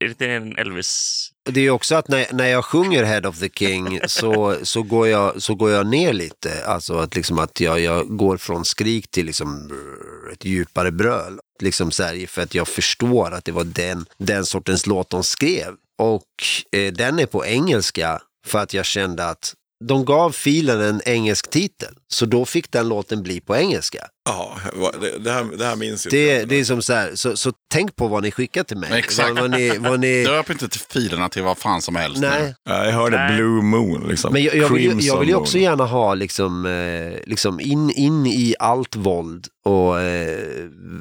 Speaker 3: Är det inte en Elvis?
Speaker 2: det är ju också att när, när jag sjunger Head of the King så, så, går, jag, så går jag ner lite. Alltså att, liksom att jag, jag går från skrik till liksom brr, ett djupare bröl. Liksom så här, för att jag förstår att det var den, den sortens låt de skrev. Och eh, den är på engelska för att jag kände att de gav filen en engelsk titel. Så då fick den låten bli på engelska.
Speaker 4: Ja, vad- det, det, här, det här minns ju
Speaker 2: Det,
Speaker 4: inte.
Speaker 2: det är som så här, så, så tänk på vad ni skickar till mig.
Speaker 1: Exakt.
Speaker 2: Vad, vad ni, vad ni,
Speaker 1: Döp inte till filerna till vad fan som helst. nu.
Speaker 2: Eh. nej.
Speaker 4: Ja, jag hörde
Speaker 3: Nej.
Speaker 4: Blue Moon, liksom.
Speaker 2: Men jag, jag, vill, ju- jag
Speaker 4: Crimson
Speaker 2: vill ju också
Speaker 4: Moon.
Speaker 2: gärna ha liksom, eh, liksom in, in i allt våld och eh,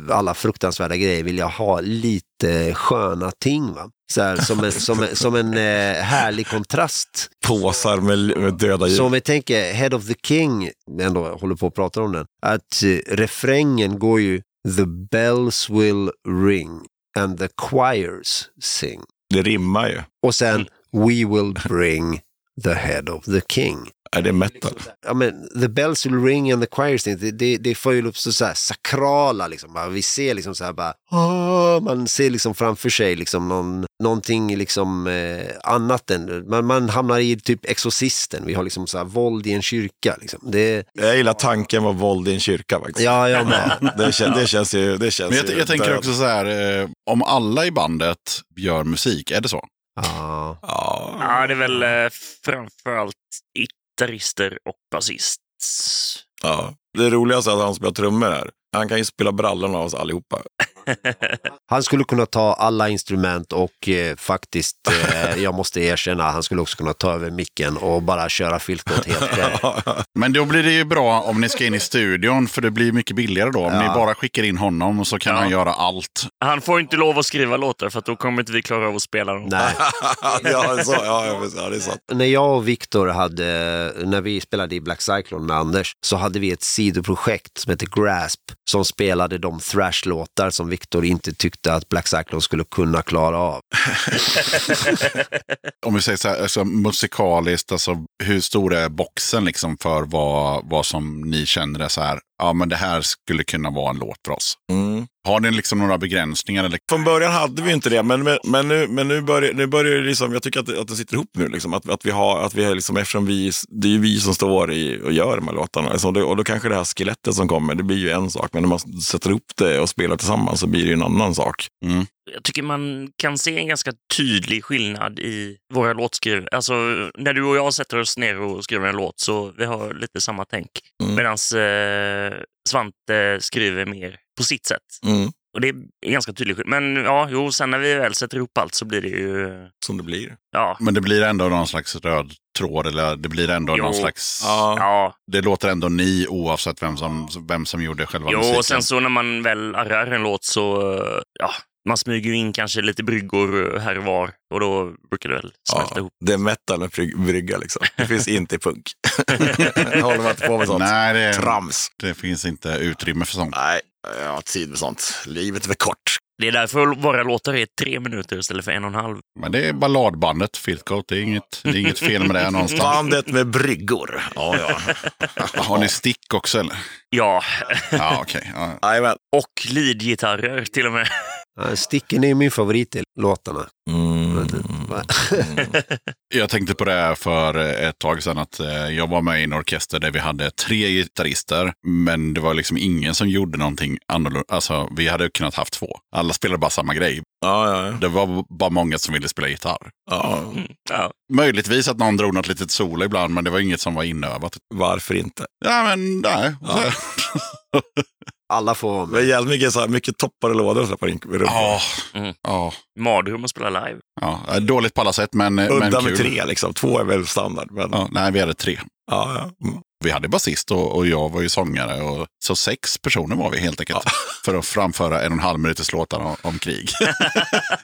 Speaker 2: alla fruktansvärda grejer vill jag ha lite sköna ting. Va? Så här, som en, som, en- som en eh, härlig kontrast.
Speaker 4: Påsar med, med döda djur.
Speaker 2: Så om vi tänker Head of the King, vi ändå håller på att prata om den, att eh, refrängen går ju The bells will ring and the choirs sing.
Speaker 4: Det rimmar ju.
Speaker 2: Och sen We will bring the head of the king.
Speaker 4: Är det metal?
Speaker 2: ja, men, the bells will ring and the choirs thing, det, det, det får ju upp så, så här sakrala, liksom. bara, vi ser liksom så här bara, åh, man ser liksom framför sig liksom någon, någonting liksom eh, annat än, man, man hamnar i typ Exorcisten, vi har liksom så här våld i en kyrka. Liksom. Det,
Speaker 4: Jag gillar tanken vad våld i en kyrka faktiskt.
Speaker 2: ja, jag med.
Speaker 4: Det, kän, det känns ju... Det känns
Speaker 1: Men jag,
Speaker 4: ju
Speaker 2: Alltså,
Speaker 1: jag tänker
Speaker 4: död.
Speaker 1: också så här, eh, om alla i bandet gör musik, är det så?
Speaker 2: Ja.
Speaker 4: Ja.
Speaker 3: Ja, det är väl eh, framförallt gitarrister och basist.
Speaker 4: ja. Det roligaste är att han spelar trummor här. Han kan ju spela brallorna av oss allihopa.
Speaker 2: Han skulle kunna ta alla instrument och eh, faktiskt, eh, jag måste erkänna, han skulle också kunna ta över micken och bara köra filtkort helt själv.
Speaker 1: Men då blir det ju bra om ni ska in i studion, för det blir mycket billigare då. Om
Speaker 2: Ja.
Speaker 1: ni bara skickar in honom så kan
Speaker 3: Ja.
Speaker 1: han göra allt.
Speaker 3: Han får inte lov att skriva låtar för att då kommer inte vi klara av att spela dem.
Speaker 2: Nej.
Speaker 4: ja, så, ja, ja, precis. ja, det är sant.
Speaker 2: när jag och Viktor hade, när vi spelade i Black Cyclone med Anders, så hade vi ett sidoprojekt som hette Grasp, som spelade de thrash-låtar som Viktor inte tyckte att Black Cyclone skulle kunna klara av.
Speaker 1: Om vi säger så här, alltså, musikaliskt, alltså, hur stor är boxen liksom för vad, vad som ni känner är så här, ja men det här skulle kunna vara en låt för oss.
Speaker 4: Mm.
Speaker 1: Har ni liksom några begränsningar? Eller?
Speaker 4: Från början hade vi inte det, men, men, men, nu, men nu börjar, nu börjar det liksom, jag tycker att, det- att det sitter ihop nu. Liksom, att, att vi har, att vi är liksom, eftersom vi, det är ju vi som står i, och gör de här låtarna. Liksom, det, och då kanske det här skelettet som kommer, det blir ju en sak. Men när man sätter ihop det och spelar tillsammans så blir det ju en annan sak.
Speaker 3: jag tycker man kan se en ganska tydlig skillnad i våra låtskrivare. Alltså, när du och jag sätter oss ner och skriver en låt så vi har lite samma tänk.
Speaker 4: Mm.
Speaker 3: Medan eh, Svante skriver mer på sitt sätt.
Speaker 4: Mm.
Speaker 3: Och det är ganska tydligt. Men ja, jo, sen när vi väl sätter ihop allt så blir det ju...
Speaker 4: Som det blir.
Speaker 3: Ja,
Speaker 1: Men det blir ändå någon slags röd tråd eller det blir ändå
Speaker 3: Jo.
Speaker 1: någon slags...
Speaker 4: Ja.
Speaker 3: Ja,
Speaker 1: Det låter ändå ni oavsett vem som, vem som gjorde själva
Speaker 3: jo,
Speaker 1: musiken.
Speaker 3: och sen så när man väl arrar en låt så, eh, ja, man smyger ju in kanske lite bryggor eh, här och var och då brukar det väl smälta ihop.
Speaker 4: det är metal med bryg- brygga liksom. Det finns inte i punk. Håller man inte på med sånt.
Speaker 1: Nej, det,
Speaker 4: Trams.
Speaker 1: det finns inte utrymme för sånt.
Speaker 4: Nej, jag har inte tid med sånt. Livet är för kort.
Speaker 3: Det är därför våra låtar är tre minuter istället för en och en halv.
Speaker 1: Men det är balladbandet, Filtcoat. Det är inget, det är inget fel med det någonstans.
Speaker 4: Bandet med bryggor. Ja, ja.
Speaker 1: Har ni stick också eller?
Speaker 3: Ja,
Speaker 1: Ja, okej. Ja.
Speaker 4: Jajamän.
Speaker 3: och leadgitarrer till och med.
Speaker 2: Ja, Sticken är ju min favorit i låtarna.
Speaker 4: Mm.
Speaker 1: Jag tänkte på det här för ett tag sedan att eh, jag var med i en orkester där vi hade tre gitarrister, men det var liksom ingen som gjorde någonting annorlunda. Alltså, vi hade kunnat haft två. Alla spelade bara samma grej.
Speaker 4: Ja, ja, ja.
Speaker 1: Det var bara många som ville spela gitarr.
Speaker 4: ja.
Speaker 3: Ja,
Speaker 1: Möjligtvis att någon drog något litet solo ibland, men det var inget som var inövat.
Speaker 4: Varför inte?
Speaker 1: Ja, men nej.
Speaker 4: Ja.
Speaker 2: Alla får vara
Speaker 4: Det är
Speaker 2: med.
Speaker 4: jävligt mycket, så här, mycket toppar och lådor och så här på rink- rummet.
Speaker 1: Ja.
Speaker 3: Mm.
Speaker 1: Ja.
Speaker 3: mardröm att spela live.
Speaker 1: Ja. Dåligt på alla sätt, men, eh, men
Speaker 4: Udda
Speaker 1: kul.
Speaker 4: med tre liksom. Två är väl standard. Men, ja.
Speaker 1: Ja, nej, vi hade tre.
Speaker 4: Ja, Mm.
Speaker 1: Vi hade basist och, och jag var ju sångare. Och, så sex personer var vi helt enkelt. För att framföra en och en halv minuters låtar om, om krig.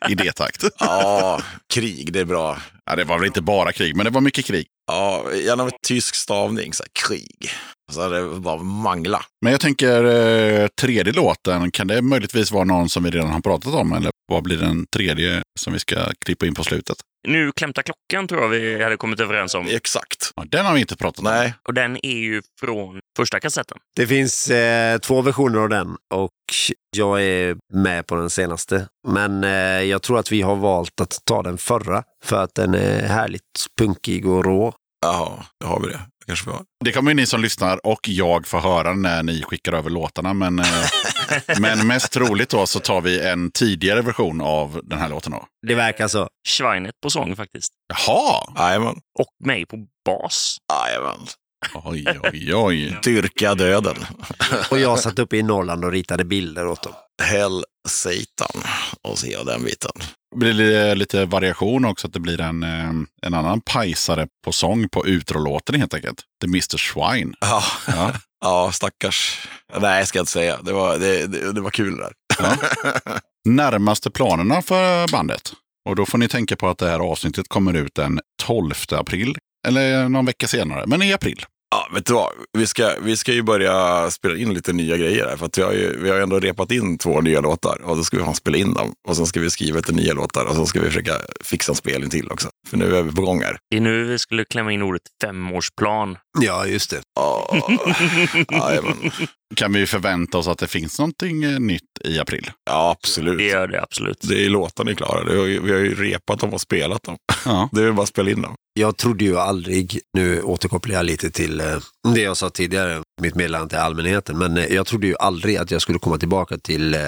Speaker 1: I det takt.
Speaker 4: ja, krig, det är bra.
Speaker 1: Ja, det var väl inte bara krig, men det var mycket krig.
Speaker 4: Ja, gärna med tysk stavning, så här, krig. Så här, det bara mangla.
Speaker 1: Men jag tänker eh, tredje låten, kan det möjligtvis vara någon som vi redan har pratat om? Eller vad blir den tredje som vi ska klippa in på slutet?
Speaker 3: Nu klämta klockan tror jag vi hade kommit överens om.
Speaker 4: Exakt.
Speaker 1: Ja, den har vi inte pratat om.
Speaker 4: Nej,
Speaker 3: Och den är ju från första kassetten.
Speaker 2: Det finns eh, två versioner av den och jag är med på den senaste. Men eh, jag tror att vi har valt att ta den förra för att den är härligt punkig och rå.
Speaker 4: jaha, då har vi det. Kanske vi har.
Speaker 1: Det kommer ju ni som lyssnar och jag få höra när ni skickar över låtarna. Men, eh, men mest troligt då så tar vi en tidigare version av den här låten då.
Speaker 2: Det verkar så.
Speaker 3: Schweinet på sång faktiskt.
Speaker 1: Jaha!
Speaker 4: Jajamän.
Speaker 3: Och mig på bas.
Speaker 4: Jajamän.
Speaker 1: Oj, oj, oj.
Speaker 4: Dyrka döden.
Speaker 2: Och jag satt uppe i Norrland och ritade bilder åt dem.
Speaker 4: Häll Satan. Och se den biten.
Speaker 1: Det blir li- lite variation också, att det blir en, eh, en annan pajsare på sång på utrolåten helt enkelt. The Mr. Swine.
Speaker 4: Ja,
Speaker 1: Ja.
Speaker 4: ja stackars. Nej, ska jag inte säga. Det var, det, det, det var kul det där.
Speaker 1: Närmaste planerna för bandet. Och då får ni tänka på att det här avsnittet kommer ut den 12 april. Eller någon vecka senare, men i april.
Speaker 4: Ja, vet du vad? Vi ska, vi ska ju börja spela in lite nya grejer här. För att vi, har ju, vi har ju ändå repat in två nya låtar och då ska vi fan spela in dem. Och sen ska vi skriva lite nya låtar och sen ska vi försöka fixa en spelning till också. För nu är vi på gång här.
Speaker 3: Det är nu vi skulle klämma in ordet femårsplan.
Speaker 2: Ja, just det.
Speaker 4: Ja, jajamän.
Speaker 1: Kan vi förvänta oss att det finns någonting eh, nytt i april?
Speaker 4: ja,
Speaker 3: Det
Speaker 4: absolut.
Speaker 3: gör det absolut.
Speaker 4: Det är låtarna är klara. Det har ju- Vi har ju repat dem och spelat dem.
Speaker 1: Ja.
Speaker 4: Det är bara att spela in dem.
Speaker 2: Jag trodde ju aldrig, nu återkopplar jag lite till eh, det jag sa tidigare, mitt meddelande till allmänheten, men eh, jag trodde ju aldrig att jag skulle komma tillbaka till eh,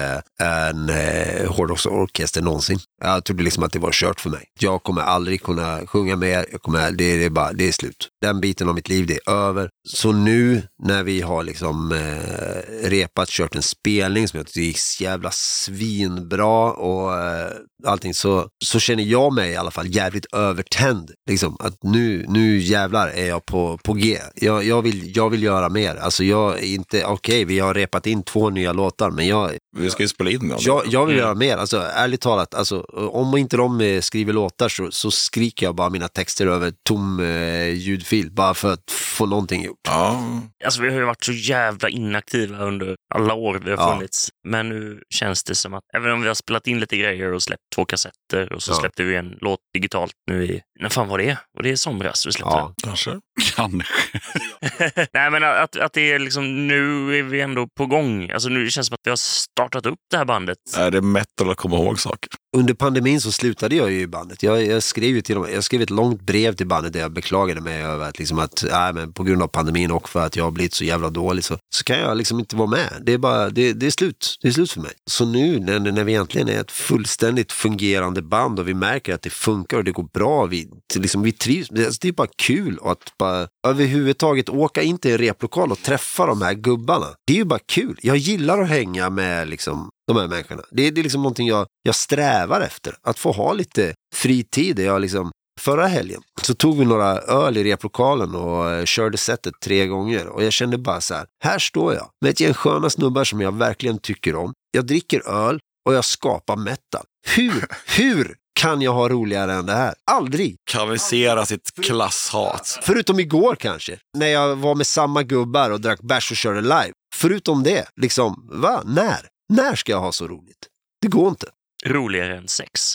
Speaker 2: en eh, hårdrocksorkester någonsin. Jag trodde liksom att det var kört för mig. Jag kommer aldrig kunna sjunga mer, jag kommer, det, det, är bara, det är slut. Den biten av mitt liv, det är över. Så nu när vi har liksom eh, repat, kört en spelning som jag tyckte gick så jävla svinbra och eh, allting så, så känner jag mig i alla fall jävligt övertänd. Liksom, att nu, nu jävlar är jag på, på G. Jag, jag, vill, jag vill göra mer. Alltså jag är inte, okej vi har repat in två nya låtar men jag,
Speaker 4: Vi ska ju spela in dem.
Speaker 2: jag, jag vill
Speaker 3: Mm.
Speaker 2: göra mer. Alltså ärligt talat, alltså, om inte de eh, skriver låtar så, så skriker jag bara mina texter över tom eh, ljudfil bara för att få någonting gjort.
Speaker 4: Ja,
Speaker 3: Alltså, vi har ju varit så jävla inaktiva under alla år vi har funnits. Men nu känns det som att, även om vi har spelat in lite grejer och släppt två kassetter och så
Speaker 2: Ja.
Speaker 3: släppte vi en låt digitalt nu i, när fan var det? Var det i somras vi släppte
Speaker 2: Ja.
Speaker 4: kanske.
Speaker 1: Kanske.
Speaker 3: den? Nej, men att, att det är liksom, nu är vi ändå på gång. Alltså nu känns det som att vi har startat upp det här bandet.
Speaker 4: Är det metal att komma ihåg saker?
Speaker 2: Under pandemin så slutade jag ju i bandet. Jag, jag, skrev ju till dem, jag skrev ett långt brev till bandet där jag beklagade mig över att, liksom att nej, men på grund av pandemin och för att jag har blivit så jävla dålig så, så kan jag liksom inte vara med. Det är, bara, det, det är slut. Det är slut för mig. Så nu när, när vi egentligen är ett fullständigt fungerande band och vi märker att det funkar och det går bra, vi, till liksom, vi trivs. Det, alltså, det är bara kul att bara, överhuvudtaget åka in till en replokal och träffa de här gubbarna. Det är ju bara kul. Jag gillar att hänga med liksom, de här människorna. Det, det är liksom någonting jag, jag strävar efter. Att få ha lite fritid där jag liksom förra helgen så tog vi några öl i replokalen och eh, körde setet tre gånger. Och jag kände bara så här, här står jag med ett gäng sköna snubbar som jag verkligen tycker om. Jag dricker öl och jag skapar metal. Hur, hur kan jag ha roligare än det här? Aldrig!
Speaker 4: Kavisera sitt klasshat.
Speaker 2: Förutom igår kanske, när jag var med samma gubbar och drack bärs och körde live. Förutom det, liksom, va? När? När ska jag ha så roligt? Det går inte.
Speaker 3: Roligare än sex.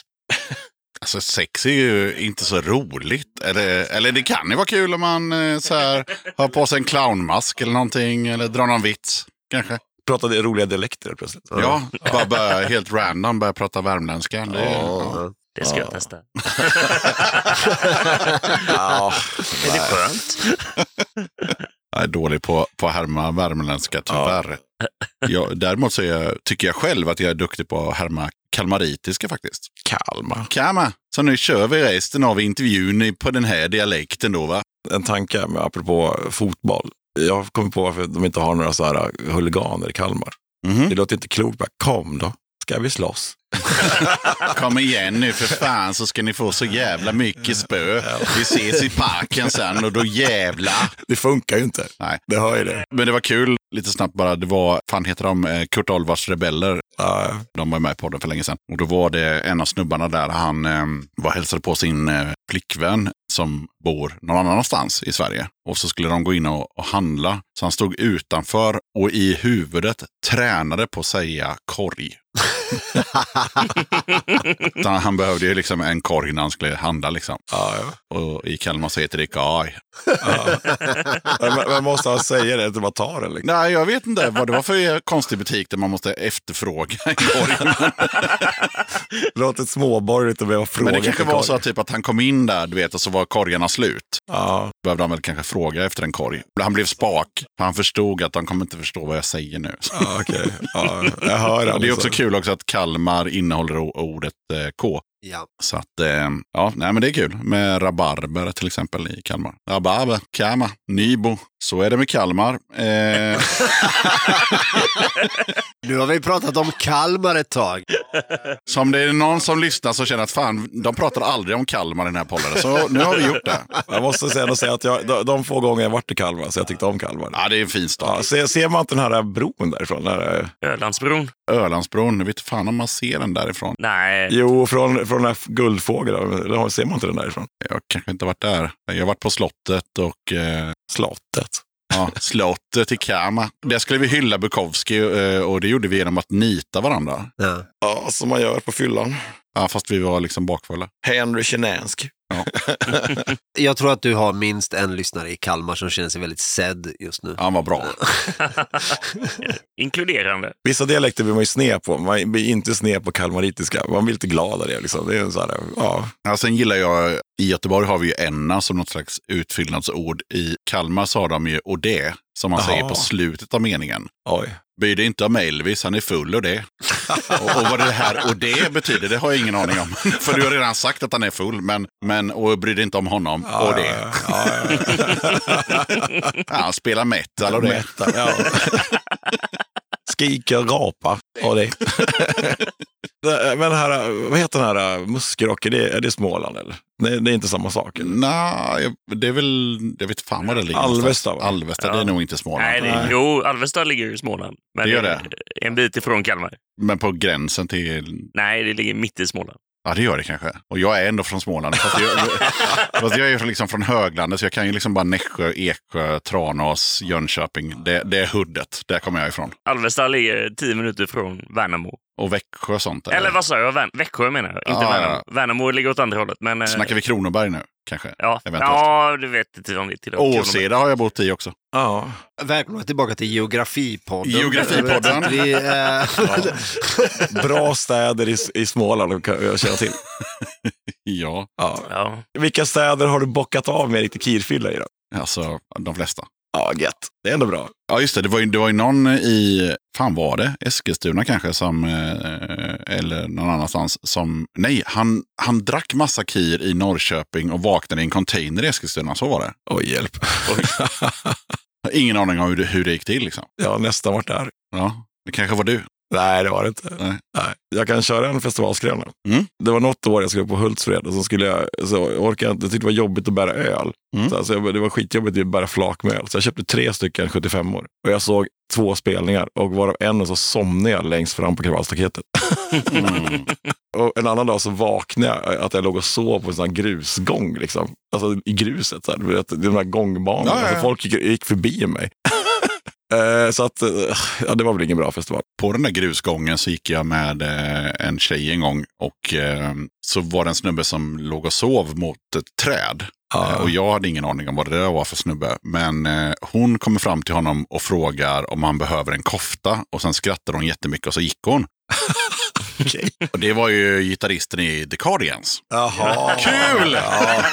Speaker 1: Alltså sex är ju inte så roligt. Eller, eller det kan ju vara kul om man eh, så här, har på sig en clownmask eller någonting. Eller drar någon vits kanske.
Speaker 4: Pratade roliga dialekter plötsligt.
Speaker 1: Ja, bara börja, helt random börja prata värmländska. Det, är- ja.
Speaker 2: Ja.
Speaker 3: Det ska
Speaker 4: Ja.
Speaker 3: jag testa.
Speaker 4: ja.
Speaker 3: Är det skönt?
Speaker 1: Jag är dålig på på att härma värmländska tyvärr. Jag, däremot så är jag, tycker jag själv att jag är duktig på att härma kalmaritiska faktiskt.
Speaker 4: Kalmar.
Speaker 1: Kalmar. Så nu kör vi resten av intervjun i- på den här dialekten då va?
Speaker 4: En tanke med, apropå fotboll. Jag kommer på varför de inte har några så här huliganer i Kalmar.
Speaker 1: Mhm.
Speaker 4: Det låter inte klokt. Bara, kom då, ska vi slåss.
Speaker 1: Kom igen nu för fan så ska ni få så jävla mycket spö. Vi ses i parken sen och då jävla.
Speaker 4: Det funkar ju inte.
Speaker 1: Nej.
Speaker 4: Det hör ju det.
Speaker 1: Men det var kul, lite snabbt bara, det var, fan heter de, Eh, Kurt Olvars rebeller.
Speaker 4: Ja,
Speaker 1: De var ju med i podden för länge sedan. Och då var det en av snubbarna där, han eh, var hälsade på sin eh, flickvän som bor någon annanstans i Sverige. Och så skulle de gå in och, och handla. Så han stod utanför och i huvudet tränade på att säga korg. Så han, han behövde ju liksom en korg när han skulle handla liksom.
Speaker 4: ja, ja.
Speaker 1: Och i Kalmar så heter det kaj.
Speaker 4: Men- men- Men måste han säga det? Inte bara ta den liksom.
Speaker 1: Nej, jag vet inte vad det var för konstig butik där man måste efterfråga en korg.
Speaker 4: Det låter småborgerligt att behöva fråga.
Speaker 1: Men det kanske var
Speaker 4: till
Speaker 1: så att, typ, att han kom in där, du vet, och så var korgarna slut.
Speaker 4: Ja,
Speaker 1: behövde han väl kanske fråga efter en korg. Han blev spak. för Han förstod att han kommer inte förstå vad jag säger nu.
Speaker 4: ja okej. Ja, jag hör
Speaker 1: Det är också
Speaker 4: alltså.
Speaker 1: kul också att Kalmar innehåller o- ordet eh, K.
Speaker 2: Ja.
Speaker 1: Så att, eh, ja, nej men det är kul. Med rabarber till exempel i Kalmar. Rabarber, Kalmar, Nybo. Så är det med Kalmar. Eh,
Speaker 2: Nu har vi pratat om Kalmar ett tag.
Speaker 1: så om det är någon som lyssnar som känner att fan, de pratar aldrig om Kalmar i den här podden. Så nu har vi gjort det.
Speaker 4: Jag måste säga, ändå säga att jag, de, de få gånger jag varit i Kalmar så jag tyckte om Kalmar.
Speaker 1: Ja, det är en fin stad.
Speaker 4: Ja, ser, ser man inte den här bron därifrån? Den här, eh,
Speaker 3: Ölandsbron?
Speaker 1: Ölandsbron, jag vet inte fan om man ser den därifrån.
Speaker 3: Nej.
Speaker 4: jo, från, från den här guldfågeln. Eller har- Ser man inte den därifrån?
Speaker 1: Jag kanske inte har varit där. Jag har varit på slottet och eh,
Speaker 4: Slottet.
Speaker 1: Ja, slottet i Kama. Där skulle vi hylla Bukowski eh, och det gjorde vi genom att nita varandra.
Speaker 2: Ja.
Speaker 4: Ja, som man gör på fyllan.
Speaker 1: Ja, fast vi var liksom bakfulla.
Speaker 4: Henry Kinansk.
Speaker 2: Jag tror att du har minst en lyssnare i Kalmar som känner sig väldigt sedd just nu.
Speaker 1: Ja, Han var bra.
Speaker 3: Inkluderande.
Speaker 4: Vissa dialekter blir man ju sned på. Man blir inte sned på kalmaritiska. Man blir lite glad av det. Liksom. Det är en så här, ja.
Speaker 1: Ja, sen gillar jag, i Göteborg har vi ju enna som något slags utfyllnadsord. I Kalmar så har de ju och det, som man
Speaker 4: Jaha.
Speaker 1: säger på slutet av meningen.
Speaker 4: Oj.
Speaker 1: Bry dig inte om Elvis, han är full och det. Och, och vad det här och det betyder, det har jag ingen aning om. För du har redan sagt att han är full, men, men och bry dig inte om honom
Speaker 4: Ja,
Speaker 1: och det.
Speaker 4: Ja, ja,
Speaker 1: Ja, han spelar metal och det.
Speaker 4: Mätta, ja. Skriker, rapar och det. Det- Men här, vad heter den här muskerocken? Det, är det Småland eller? Det, det är inte samma sak. eller?
Speaker 1: Nej, det är väl, jag vet fan var det ligger.
Speaker 4: Alvesta,
Speaker 1: någonstans.
Speaker 4: va?
Speaker 1: Alvesta, det är
Speaker 3: Ja.
Speaker 1: nog inte Småland.
Speaker 3: Nej, det, jo, Alvesta ligger ju i Småland. Men
Speaker 1: Det gör
Speaker 3: är En bit ifrån Kalmar.
Speaker 1: Men på gränsen till,
Speaker 3: Nej, det ligger mitt i Småland.
Speaker 1: ja det gör det kanske. Och jag är ändå från Småland. Fast jag, fast jag är ju liksom från höglandet så jag kan ju liksom bara Nässjö, Eksjö, Tranås, Jönköping. Det, det är huddet, där kommer jag ifrån.
Speaker 3: Alvesta ligger tio minuter från Värnamo.
Speaker 1: Och Växjö och sånt.
Speaker 3: Eller vad sa jag? Värn- Växjö menar jag, inte
Speaker 1: Ja, ja,
Speaker 3: Värnamo. Värnamo ligger åt andra hållet. Men, eh,
Speaker 1: Snackar vi Kronoberg nu kanske?
Speaker 3: Ja,
Speaker 1: eventuellt?
Speaker 3: ja du vet inte om det tillhör
Speaker 1: Åseda har jag bott i också.
Speaker 4: Ja.
Speaker 2: Välkomna tillbaka till Geografipodden.
Speaker 1: Geografipodden.
Speaker 2: Vi, eh,
Speaker 4: Bra städer i, i Småland kan jag känna till.
Speaker 1: Ja,
Speaker 4: Ja.
Speaker 3: Ja.
Speaker 4: Vilka städer har du bockat av med riktig kirfylla i då?
Speaker 1: alltså de flesta.
Speaker 4: Ja, gött. Det är ändå bra.
Speaker 1: Ja, just det. Det var ju, det var ju någon i, fan var det, Eskilstuna kanske, som, eh, eller någon annanstans, som, nej, han, han drack massa kir i Norrköping och vaknade i en container i Eskilstuna. Så var det.
Speaker 4: Oj, hjälp.
Speaker 1: Ingen aning om hur det, hur det gick till liksom.
Speaker 4: Jag har nästan varit där.
Speaker 1: Ja, det kanske var du.
Speaker 4: Nej, det var det inte.
Speaker 1: Nej.
Speaker 4: Jag kan köra en festivalskröna.
Speaker 1: Mm.
Speaker 4: Det var något år jag skulle på Hultsfred och så skulle jag, så orkade jag inte, jag tyckte det var jobbigt att bära öl.
Speaker 1: Mm.
Speaker 4: Så, här, så jag, det var skitjobbigt att bära flakmöl. Så jag köpte tre stycken 75or och jag såg två spelningar och varav en så somnade jag längst fram på kravallstaketet.
Speaker 1: Mm.
Speaker 4: Och en annan dag så vaknade jag eh, att jag låg och sov på en sån här grusgång. Liksom. Alltså i gruset, så här. Du vet, de här gångbanorna.
Speaker 1: Ja, ja, ja.
Speaker 4: Alltså, folk gick, gick förbi mig. Eh, så att, eh, ja, det var väl ingen bra festival.
Speaker 1: På den där grusgången så gick jag med eh, en tjej en gång och eh, så var det en snubbe som låg och sov mot ett träd. Eh, Och jag hade ingen aning om vad det där var för snubbe. Men eh, hon kommer fram till honom och frågar om han behöver en kofta. Och sen skrattade hon jättemycket och så gick hon. Och det var ju gitarristen i The Cardigans.
Speaker 4: Jaha.
Speaker 1: Kul!
Speaker 4: Ja,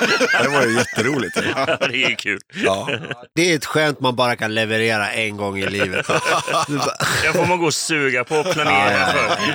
Speaker 4: det var ju jätteroligt.
Speaker 3: Ja, det är ju kul.
Speaker 4: Ja.
Speaker 2: Det är ett skämt man bara kan leverera en gång i livet. Du bara-
Speaker 3: Det får man gå och suga på och planera för.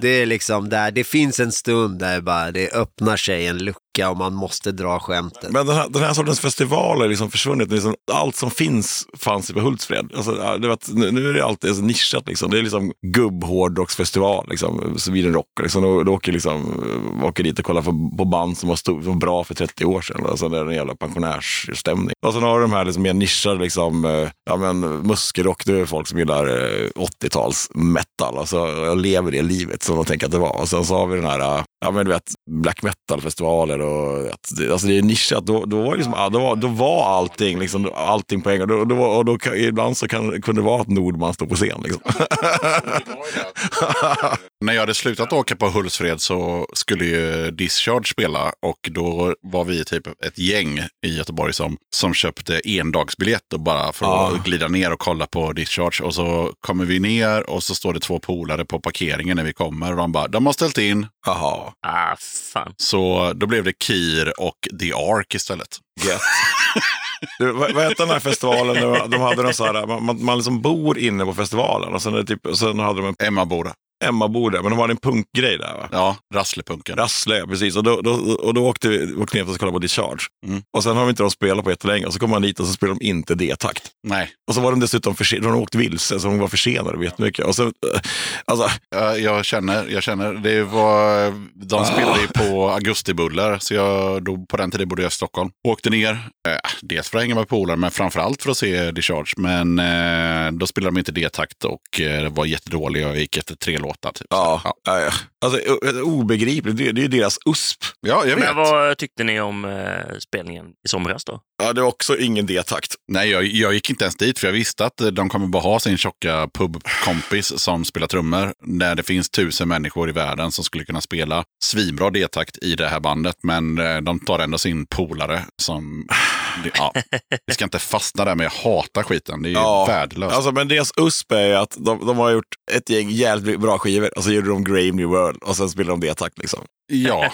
Speaker 2: Det är liksom där, det finns en stund där bara det öppnar sig en lucka och man måste dra skämtet.
Speaker 4: Men den här, den här sortens festivaler har liksom försvunnit. Liksom, allt som finns fanns ju på Hultsfred. Alltså, ja, det var, att- nu nu är det alltid alltså, nischat. Liksom. Det är liksom gubbhårdrocksfestival, liksom, Sweden Rock. Liksom. Då, då åker liksom, eh, åker dit och kollar på, på band som var, stor, som var bra för 30 år sedan. Alltså, det är en jävla pensionärsstämning. Och sen har du de här liksom, mer nischade, liksom, eh, ja, men, muskelrock. Det är folk som gillar eh, 80-tals metal. Alltså, jag lever det livet som de tänker att det var. Och sen så har vi den här eh, ja, men, du vet, black metal-festivaler. Och, att det, alltså, det är nischat. Då, då, var det liksom, ja, då, var, då var allting, liksom, allting på en gång. Då, då, var- och då, kan- ibland så kan, kunde det vara att Nordman stod på scen. Liksom.
Speaker 1: När jag hade slutat åka på Hultsfred så skulle ju Discharge spela och då var vi typ ett gäng i Göteborg som, som köpte endagsbiljett och bara för att
Speaker 4: Ja.
Speaker 1: glida ner och kolla på Discharge. Och så kommer vi ner och så står det två polare på parkeringen när vi kommer och de bara, de har ställt in.
Speaker 4: Jaha,
Speaker 3: Ah, fan.
Speaker 1: Så då blev det Kir och The Ark istället.
Speaker 4: gött. Du, vad, vad hette den här festivalen? De, de hade den så här, man, man, man liksom bor inne på festivalen och sen, är det typ, sen hade de en
Speaker 1: Emma Boda.
Speaker 4: Emma-bord där, men de hade en punkgrej där. Va?
Speaker 1: Ja, Rasslepunken.
Speaker 4: Rassle, ja, precis. Och då, då, och då åkte vi åkte ner för att kolla på Discharge.
Speaker 1: Mm.
Speaker 4: Och sen har vi inte de spelat på jättelänge. Och så kom man dit och så spelade de inte D-takt.
Speaker 1: Nej,
Speaker 4: Och så var de dessutom försenade. De åkt vilse, så de var försenade jättemycket. Och så, eh, alltså,
Speaker 1: jag, jag känner, jag känner. Det var, de spelade ju på augustibuller, så jag, då, på den tiden bodde jag i Stockholm. Åkte ner, eh, dels för att hänga med polare, men framförallt för att se Discharge. Men eh, då spelade de inte D-takt och eh, det var jättedålig. Jag gick efter tre låtar. Typ.
Speaker 4: ja, ja. ja. alltså, o- obegripligt. Det, det är ju deras USP.
Speaker 1: ja, jag vet.
Speaker 3: Men vad tyckte ni om eh, spelningen i somras då?
Speaker 4: Ja, det var också ingen D-takt.
Speaker 1: Nej, jag, jag gick inte ens dit för jag visste att eh, de kommer bara ha sin tjocka pubkompis som spelar trummor. När det finns tusen människor i världen som skulle kunna spela svinbra D-takt i det här bandet. Men eh, de tar ändå sin polare som... det- Ja, vi ska inte fastna där, men jag hatar skiten. Det är ju
Speaker 4: Ja.
Speaker 1: värdelöst.
Speaker 4: Alltså, men deras USP är ju att de, de har gjort ett gäng jävligt bra skivor. Och så gjorde de Grave New World och sen spelade de D-takt. Liksom.
Speaker 1: Ja,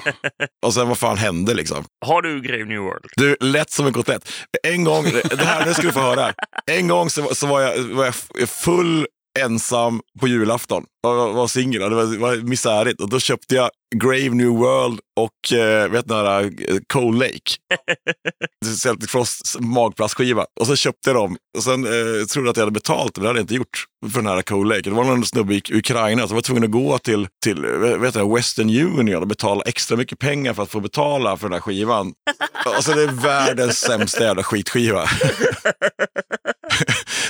Speaker 4: Och sen vad fan hände liksom?
Speaker 3: Har du Grave New World?
Speaker 4: Du, lätt som en kotlett. En gång, det här nu ska du få höra. En gång så, var- så var, jag, var jag f- full ensam på julafton. Jag var, var singel och det var, var misärigt. Och då köpte jag Grave New World och eh, vet ni, den här, eh, Cold Lake. Celtic Frosts magplastskiva. Och så köpte jag dem. Och sen eh, trodde jag att jag hade betalt, men det hade jag inte gjort för den här Cold Lake. Det var någon snubbe i Ukraina som var tvungen att gå till, till eh, vet du, Western Union och betala extra mycket pengar för att få betala för den här skivan. Alltså det är världens sämsta jävla skitskiva.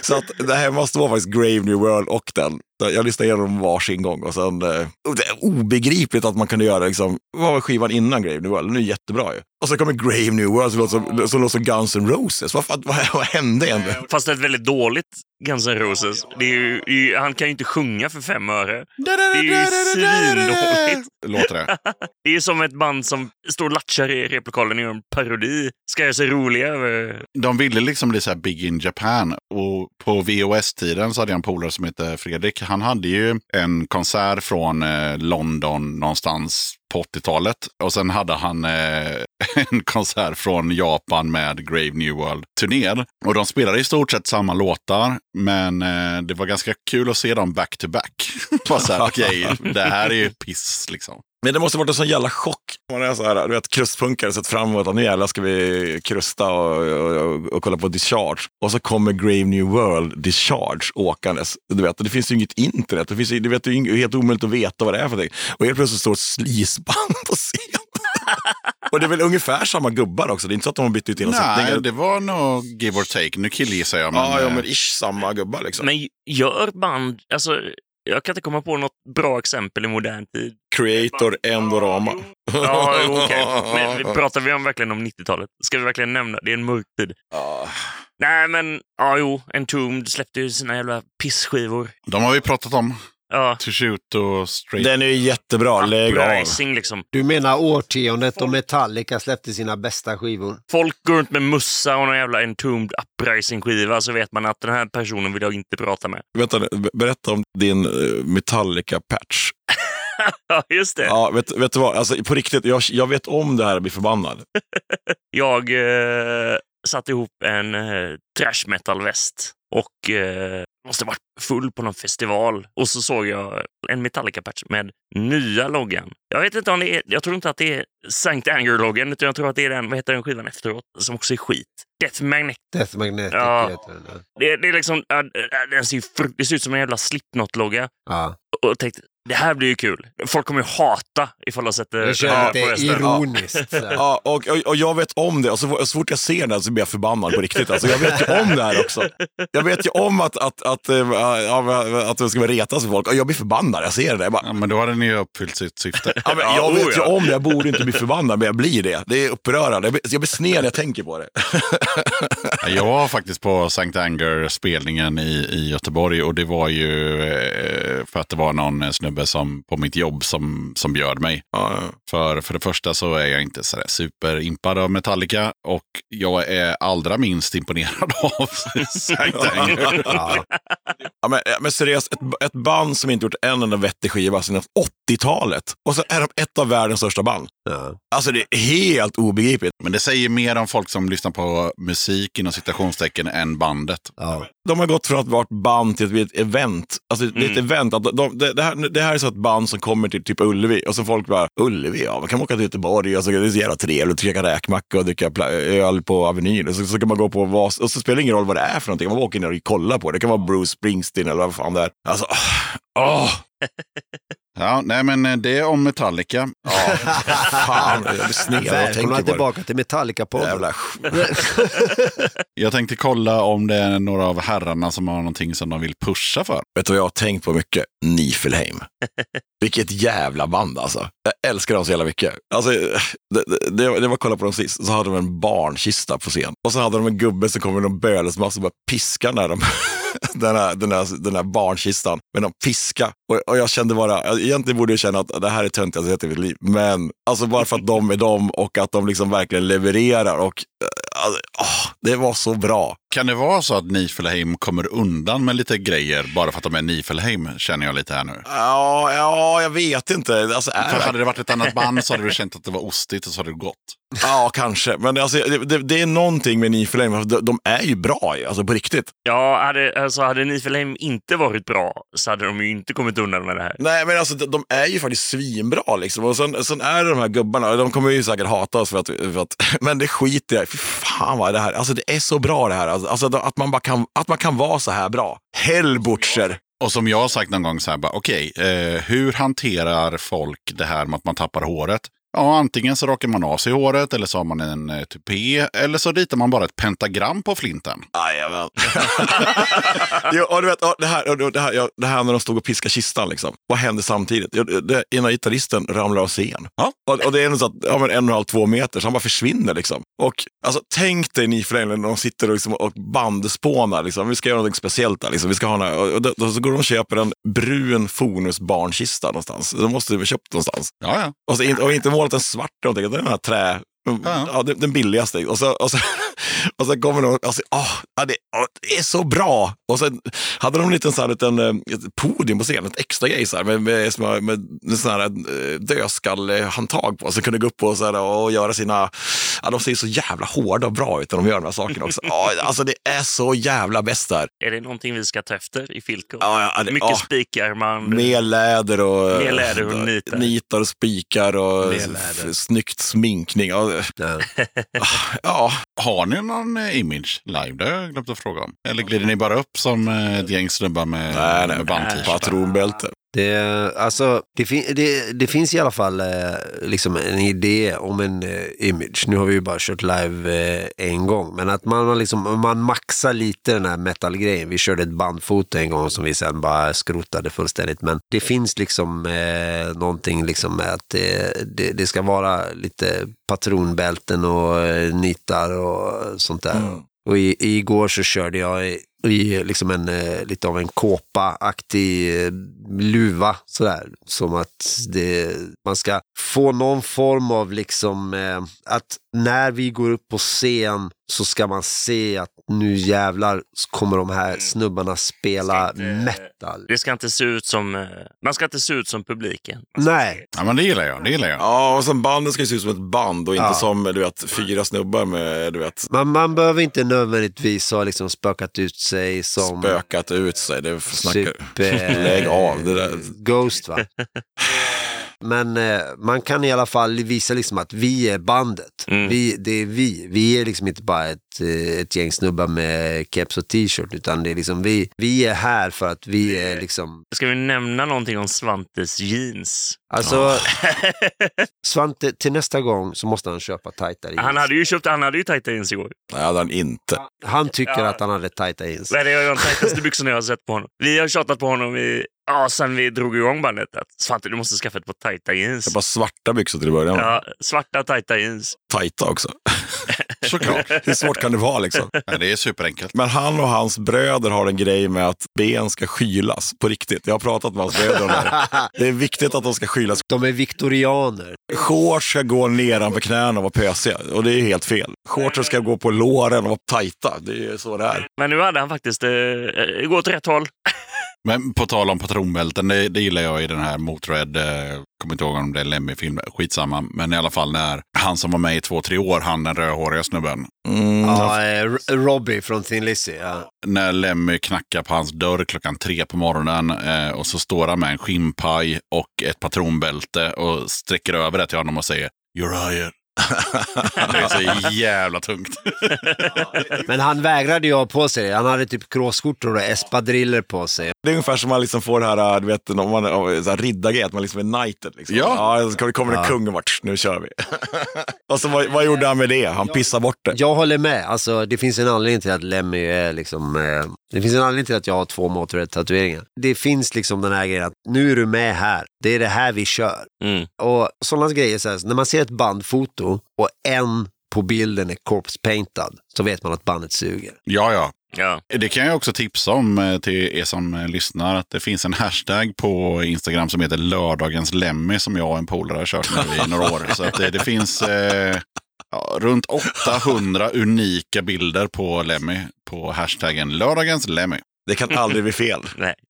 Speaker 4: Så att det här måste vara faktiskt Grave New World och den. Jag lyssnade igenom dem varsin gång och sen... eh, och Det är obegripligt att man kunde göra liksom, vad var skivan innan Grave New World? Den är ju jättebra ju. Och så kommer Grave New World som låter som, som, låter som Guns N' Roses. Vad, fan- vad, vad hände egentligen?
Speaker 3: Fast ett väldigt dåligt Guns N' Roses. Det är ju, det är ju, han kan ju inte sjunga för fem öre. Det är ju svindåligt.
Speaker 1: låter det.
Speaker 3: Det är ju som ett band som står och latchar i replokalen och gör en parodi. Ska göra sig roliga över...
Speaker 1: De ville liksom bli så här big in Japan. Och på VHS-tiden så hade jag en polare som hette Fredrik. Han hade ju en konsert från eh, London någonstans på 80-talet. Och sen hade han eh, en konsert från Japan med Grave New World-turnén. Och de spelade i stort sett samma låtar. Men eh, det var ganska kul att se dem back to back. Bara så här, okej, det här är ju piss liksom.
Speaker 4: Men det måste varit en sån jävla chock. Man är så här, du vet, krustpunkare sett fram emot att nu jävlar ska vi krusta och, och, och, och kolla på Discharge. Och så kommer Grave New World Discharge åkandes. Du vet, och det finns ju inget internet. Det, finns, ju- du vet, det är ju ing- helt omöjligt att veta vad det är för någonting. Och helt plötsligt står ett slisband på scen. och det är väl ungefär samma gubbar också. Det är inte så att de har bytt ut hela
Speaker 1: Nej,
Speaker 4: sättningen.
Speaker 1: det var nog give or take. Nu killgissar jag, men...
Speaker 4: Ja, ja,
Speaker 1: eh,
Speaker 4: men ish samma gubbar liksom.
Speaker 3: Men gör band, alltså, jag kan inte komma på något bra exempel i modern tid.
Speaker 4: Creator Endorama.
Speaker 3: Ja, jo, okej. Men vi pratar vi om verkligen om 90-talet? Ska vi verkligen nämna? Det är en mörk tid.
Speaker 4: Ja.
Speaker 3: Nej, men ja, jo, Entombed släppte ju sina jävla pissskivor.
Speaker 1: De har vi pratat om.
Speaker 3: Ja,
Speaker 1: To shoot och straight.
Speaker 4: Den är ju jättebra. Lägg av.
Speaker 3: uprising liksom.
Speaker 6: Du menar årtiondet då Metallica släppte sina bästa skivor?
Speaker 3: Folk går runt med mussa och någon jävla Entombed uprising-skiva så vet man att den här personen vill jag inte prata med.
Speaker 4: Vänta, be- berätta om din eh, Metallica-patch.
Speaker 3: Ja, just det.
Speaker 4: Ja, vet, vet du vad? Alltså, på riktigt, jag, jag vet om det här och blir förbannad.
Speaker 3: Jag eh, satte ihop en eh, trash metal-väst och eh, måste ha varit full på någon festival. Och så såg jag en Metallica-patch med nya loggan. Jag vet inte om det är, jag tror inte att det är Sankt Anger-loggan, utan jag tror att det är den, vad heter den skivan efteråt, som också är skit. Death Magnetic.
Speaker 6: Death Magnetic
Speaker 3: Ja.
Speaker 6: heter den.
Speaker 3: Det, det är liksom, ja, det- den ser, ju fru- det ser ut som en jävla Slipknot-logga.
Speaker 6: Ja.
Speaker 3: Och tänkte, det här blir ju kul. Folk kommer ju hata ifall de sätter...
Speaker 6: Jag känner
Speaker 3: Eh, Ja,
Speaker 6: att det
Speaker 3: på
Speaker 6: är
Speaker 3: resten. Ja.
Speaker 6: ironiskt. så här.
Speaker 4: Ja, och, och, och jag vet om det. Och så, så fort jag ser den här så blir jag förbannad på riktigt. Alltså, jag vet ju om det här också. Jag vet ju om att, att, att, eh, ja, att det ska vara retas med folk. Och jag blir förbannad. Jag ser det. Jag, bara,
Speaker 1: Ja, men då hade ni ju uppfyllt sitt syfte.
Speaker 4: ja, men, jag
Speaker 3: Ja,
Speaker 4: vet
Speaker 3: oh,
Speaker 4: ju
Speaker 3: ja.
Speaker 4: om det. Jag borde inte bli förbannad, men jag blir det. Det är upprörande. Jag blir, jag blir sned när jag tänker på det.
Speaker 1: Jag var faktiskt på Sankt Anger-spelningen i, i Göteborg och det var ju eh, för att det var någon snubbe som, på mitt jobb som, som bjöd mig.
Speaker 4: Ja,
Speaker 1: För, för det första så är jag inte sådär superimpad av Metallica och jag är allra minst imponerad av Sankt Anger.
Speaker 6: Ja.
Speaker 4: Ja, men, men seriöst, ett, ett band som inte gjort en enda vettig skiva sedan 80-talet. Och så är de ett av världens största band.
Speaker 2: Ja.
Speaker 4: Alltså det är helt obegripligt.
Speaker 1: Men det säger mer om folk som lyssnar på musik inom citationstecken än bandet.
Speaker 2: Ja.
Speaker 4: De har gått från att vara ett band till att bli ett event. Alltså det är ett
Speaker 3: Mm.
Speaker 4: event. Att de, det, det, här, det här är så ett band som kommer till typ Ullevi och så folk bara, Ullevi, ja, man kan åka till Göteborg och så, det är så jävla trevligt att käka räkmacka och dricka pla- öl på Avenyn. Och så, så kan man gå på vad, och så spelar det ingen roll vad det är för någonting. Man åker ner och kollar på det. Det kan vara Bruce Springsteen eller vad fan det är. Alltså, åh,
Speaker 1: Ja, nej men eh, det är om Metallica.
Speaker 4: fan, jag blir sned när jag tänker
Speaker 2: Välkomna
Speaker 4: på det.
Speaker 2: tillbaka till Metallica-podden.
Speaker 4: Jävla sk-
Speaker 1: Jag tänkte kolla om det är några av herrarna som har någonting som de vill pusha för.
Speaker 4: Vet du vad jag har tänkt på mycket? Nifelheim. Vilket jävla band alltså. Jag älskar dem så jävla mycket. Alltså, det, det, det var- det var att kolla på dem sist, så hade de en barnkista på scen. Och så hade de en gubbe som kom med någon bölesmask och bara piskade när de, den, här, den, här, den här barnkistan med någon piska. Och, och jag kände bara, egentligen borde jag känna att det här är töntigast jag sett i mitt liv. Men alltså bara för att de är de och att de liksom verkligen levererar. Och, eh, alltså, åh, det var så bra.
Speaker 1: Kan det vara så att Nifelheim kommer undan med lite grejer bara för att de är Nifelheim, känner jag lite här nu.
Speaker 4: Ja, ja jag vet inte. Alltså, är
Speaker 1: För
Speaker 4: det
Speaker 1: hade det varit ett annat band så hade du känt att det var ostigt och så hade det gått.
Speaker 4: Ja, kanske. Men alltså, det, det, det är någonting med Nifelheim. för De, de är ju bra, ju, alltså på riktigt.
Speaker 3: Ja, hade, alltså, hade Nifelheim inte varit bra så hade de ju inte kommit undan med det här.
Speaker 4: Nej, men alltså de, de är ju faktiskt svinbra liksom. Och sen, sen är det de här gubbarna, de kommer ju säkert hata oss för att, för att men det skiter jag i. Fy fan vad det här, alltså det är så bra det här. Alltså, Alltså att man bara kan, att man kan vara så här bra. Hellbutcher.
Speaker 1: Och som jag har sagt någon gång så här, bara, okej, eh, hur hanterar folk det här med att man tappar håret? Ja, antingen så rakar man av sig håret eller så har man en eh, tupé eller så ritar man bara ett pentagram på flinten.
Speaker 4: Jajamän. jo, och du vet, och det, här, och det, här, ja, det här när de stod och piskade kistan, liksom. vad hände samtidigt? Jo, det, ena gitarristen ramlar av scen. Och, och det är nog så att, ja, men en och en halv, två meter, så han bara försvinner. Liksom. Och alltså, tänk dig Niflängen när de sitter och, liksom, och bandspånar. Liksom. Vi ska göra något speciellt där. Liksom. Vi ska ha några, och, och, då- då så går de och köper en brun fornusbarnkista någonstans. De måste ju köpt någonstans.
Speaker 1: Ja, ja.
Speaker 4: Och, så, inte- och inte målat en svart eller någonting, utan den här trä...
Speaker 1: Ja.
Speaker 4: Ja, den, den billigaste. Och så, och så, Och sen kommer de, alltså, åh, ja, det, åh, det är så bra! Och sen hade de en liten, så här, liten eh, ett podium på scenen, ett extra grej så här, med, med, med, med sån här eh, dödskallehandtag på, så kunde gå upp och, så här, och göra sina, ja, de ser så jävla hårda och bra ut när de gör de här sakerna också. Ja, alltså det är så jävla bäst där.
Speaker 3: Är det någonting vi ska ta efter i Filco?
Speaker 4: Ja, ja, ja, det-
Speaker 3: Mycket
Speaker 4: ja.
Speaker 3: spikar man.
Speaker 4: Med läder och,
Speaker 3: Med läder och nitar.
Speaker 4: nitar och spikar och
Speaker 2: Med läder.
Speaker 4: snyggt sminkning. Ja, det- Ah,
Speaker 2: Ja.
Speaker 4: ja,
Speaker 1: Har ni någon eh, image live? Det har jag glömt att fråga om. Eller glider ni bara upp som eh, ett gäng snubbar med,
Speaker 4: nej, nej.
Speaker 1: med bandt-t-shirtar?
Speaker 4: Patronbälte.
Speaker 2: Det, alltså, det, fin- det, det finns i alla fall eh, liksom en idé om en eh, image. Nu har vi ju bara kört live eh, en gång, men att man, har liksom, man maxar lite den här metal-grejen. Vi körde ett bandfoto en gång som vi sen bara skrotade fullständigt, men det finns liksom eh, någonting liksom med att det, det, det ska vara lite patronbälten och eh, nitar och sånt där.
Speaker 4: Mm.
Speaker 2: Och i, igår så körde jag i, i liksom en, eh, lite av en kåpa-aktig eh, luva. Sådär. Som att det, man ska få någon form av liksom eh, att när vi går upp på scen så ska man se att nu jävlar kommer de här snubbarna spela
Speaker 3: Mm. Ska inte-
Speaker 2: metal.
Speaker 3: Det ska inte se ut som, eh, man ska inte se ut som publiken.
Speaker 2: Nej,
Speaker 1: Ja, men det gillar jag. Det gillar jag.
Speaker 4: Ja, och sen bandet ska ju se ut som ett band och inte
Speaker 2: Ja.
Speaker 4: som du vet, fyra snubbar med du vet,
Speaker 2: man, man behöver inte nödvändigtvis ha liksom spökat ut sig som...
Speaker 4: spökat ut sig. Det snackar du.
Speaker 2: Typ, eh,
Speaker 4: Lägg av, det där.
Speaker 2: Ghost va? Men eh, man kan i alla fall visa liksom att vi är bandet.
Speaker 3: Mm.
Speaker 2: Vi, det är vi. Vi är liksom inte bara ett, eh, ett gäng snubbar med keps och t-shirt, utan det är liksom vi. Vi är här för att vi är liksom...
Speaker 3: Ska vi nämna någonting om Svantes jeans?
Speaker 2: Alltså, Svante, till nästa gång så måste han köpa tajta jeans.
Speaker 3: Han
Speaker 2: Han,
Speaker 3: hade ju köpt, han hade ju tajta jeans igår.
Speaker 4: Nej, det hade han inte.
Speaker 2: tycker
Speaker 3: Ja.
Speaker 2: att han hade tajta jeans.
Speaker 3: Nej, det är de tajtaste byxorna jag har sett på honom. Vi har tjatat på honom i, ja, sen vi drog igång bandet att Svante, du måste skaffa ett par tajta
Speaker 4: Det
Speaker 3: jeans.
Speaker 4: var svarta byxor till början.
Speaker 3: Ja, svarta tajta jeans.
Speaker 4: Tajta också.
Speaker 1: Såklart.
Speaker 4: Hur svårt kan det vara liksom?
Speaker 1: Ja, det är superenkelt.
Speaker 4: Men han och hans bröder har en grej med att ben ska skylas på riktigt. Jag har pratat med hans bröder om det här. Det är viktigt att de ska skylas.
Speaker 2: De är viktorianer.
Speaker 4: Shorts ska gå nedanför knäna och vara pösiga. Och det är helt fel. Shorts ska gå på låren och vara tajta. Det är ju så det är.
Speaker 3: Men nu hade han faktiskt, eh, det går åt rätt håll.
Speaker 1: Men på tal om patronbälten, det, det gillar jag i den här Motörhead, eh, kommer inte ihåg om det är Lemmy-film, skitsamma. Men i alla fall när han som var med i två, tre år, han den rödhåriga snubben,
Speaker 4: Mm.
Speaker 2: Ja, eh, R- Robbie från Thin Lizzy. Ja.
Speaker 1: när Lemmy knackar på hans dörr klockan tre på morgonen eh, och så står han med en skinnpaj och ett patronbälte och sträcker över det till honom och säger You're hired. det är så jävla tungt.
Speaker 2: Men han vägrade ju ha på sig det. Han hade typ kråsskjortor och espadriller på sig.
Speaker 4: Det är ungefär som man liksom får det här, du vet, om man om- så här riddargrej, att man liksom är knighted. Liksom.
Speaker 1: Ja.
Speaker 4: ja så kommer det
Speaker 2: Ja.
Speaker 4: kungen och bara, "Tsch, nu kör vi. och så vad, vad gjorde han med det? Han pissade bort det.
Speaker 2: Jag håller med. Alltså, det finns en anledning till att Lemmy är liksom... Eh, det finns en anledning till att jag har två Motörhead-tatueringar. Det finns liksom den här grejen att nu är du med här. Det är det här vi kör.
Speaker 3: Mm.
Speaker 2: Och sådana grejer, så här, när man ser ett bandfoto och en på bilden är corpse-paintad så vet man att bandet suger.
Speaker 1: Ja, ja.
Speaker 3: Ja.
Speaker 1: Det kan jag också tipsa om eh, till er som eh, lyssnar. Att det finns en hashtag på Instagram som heter lördagens Lemmy som jag och en polare har kört nu i några år. Så att det, det finns eh, ja, runt 800 unika bilder på Lemmy på hashtaggen lördagens Lemmy.
Speaker 4: Det kan aldrig bli fel.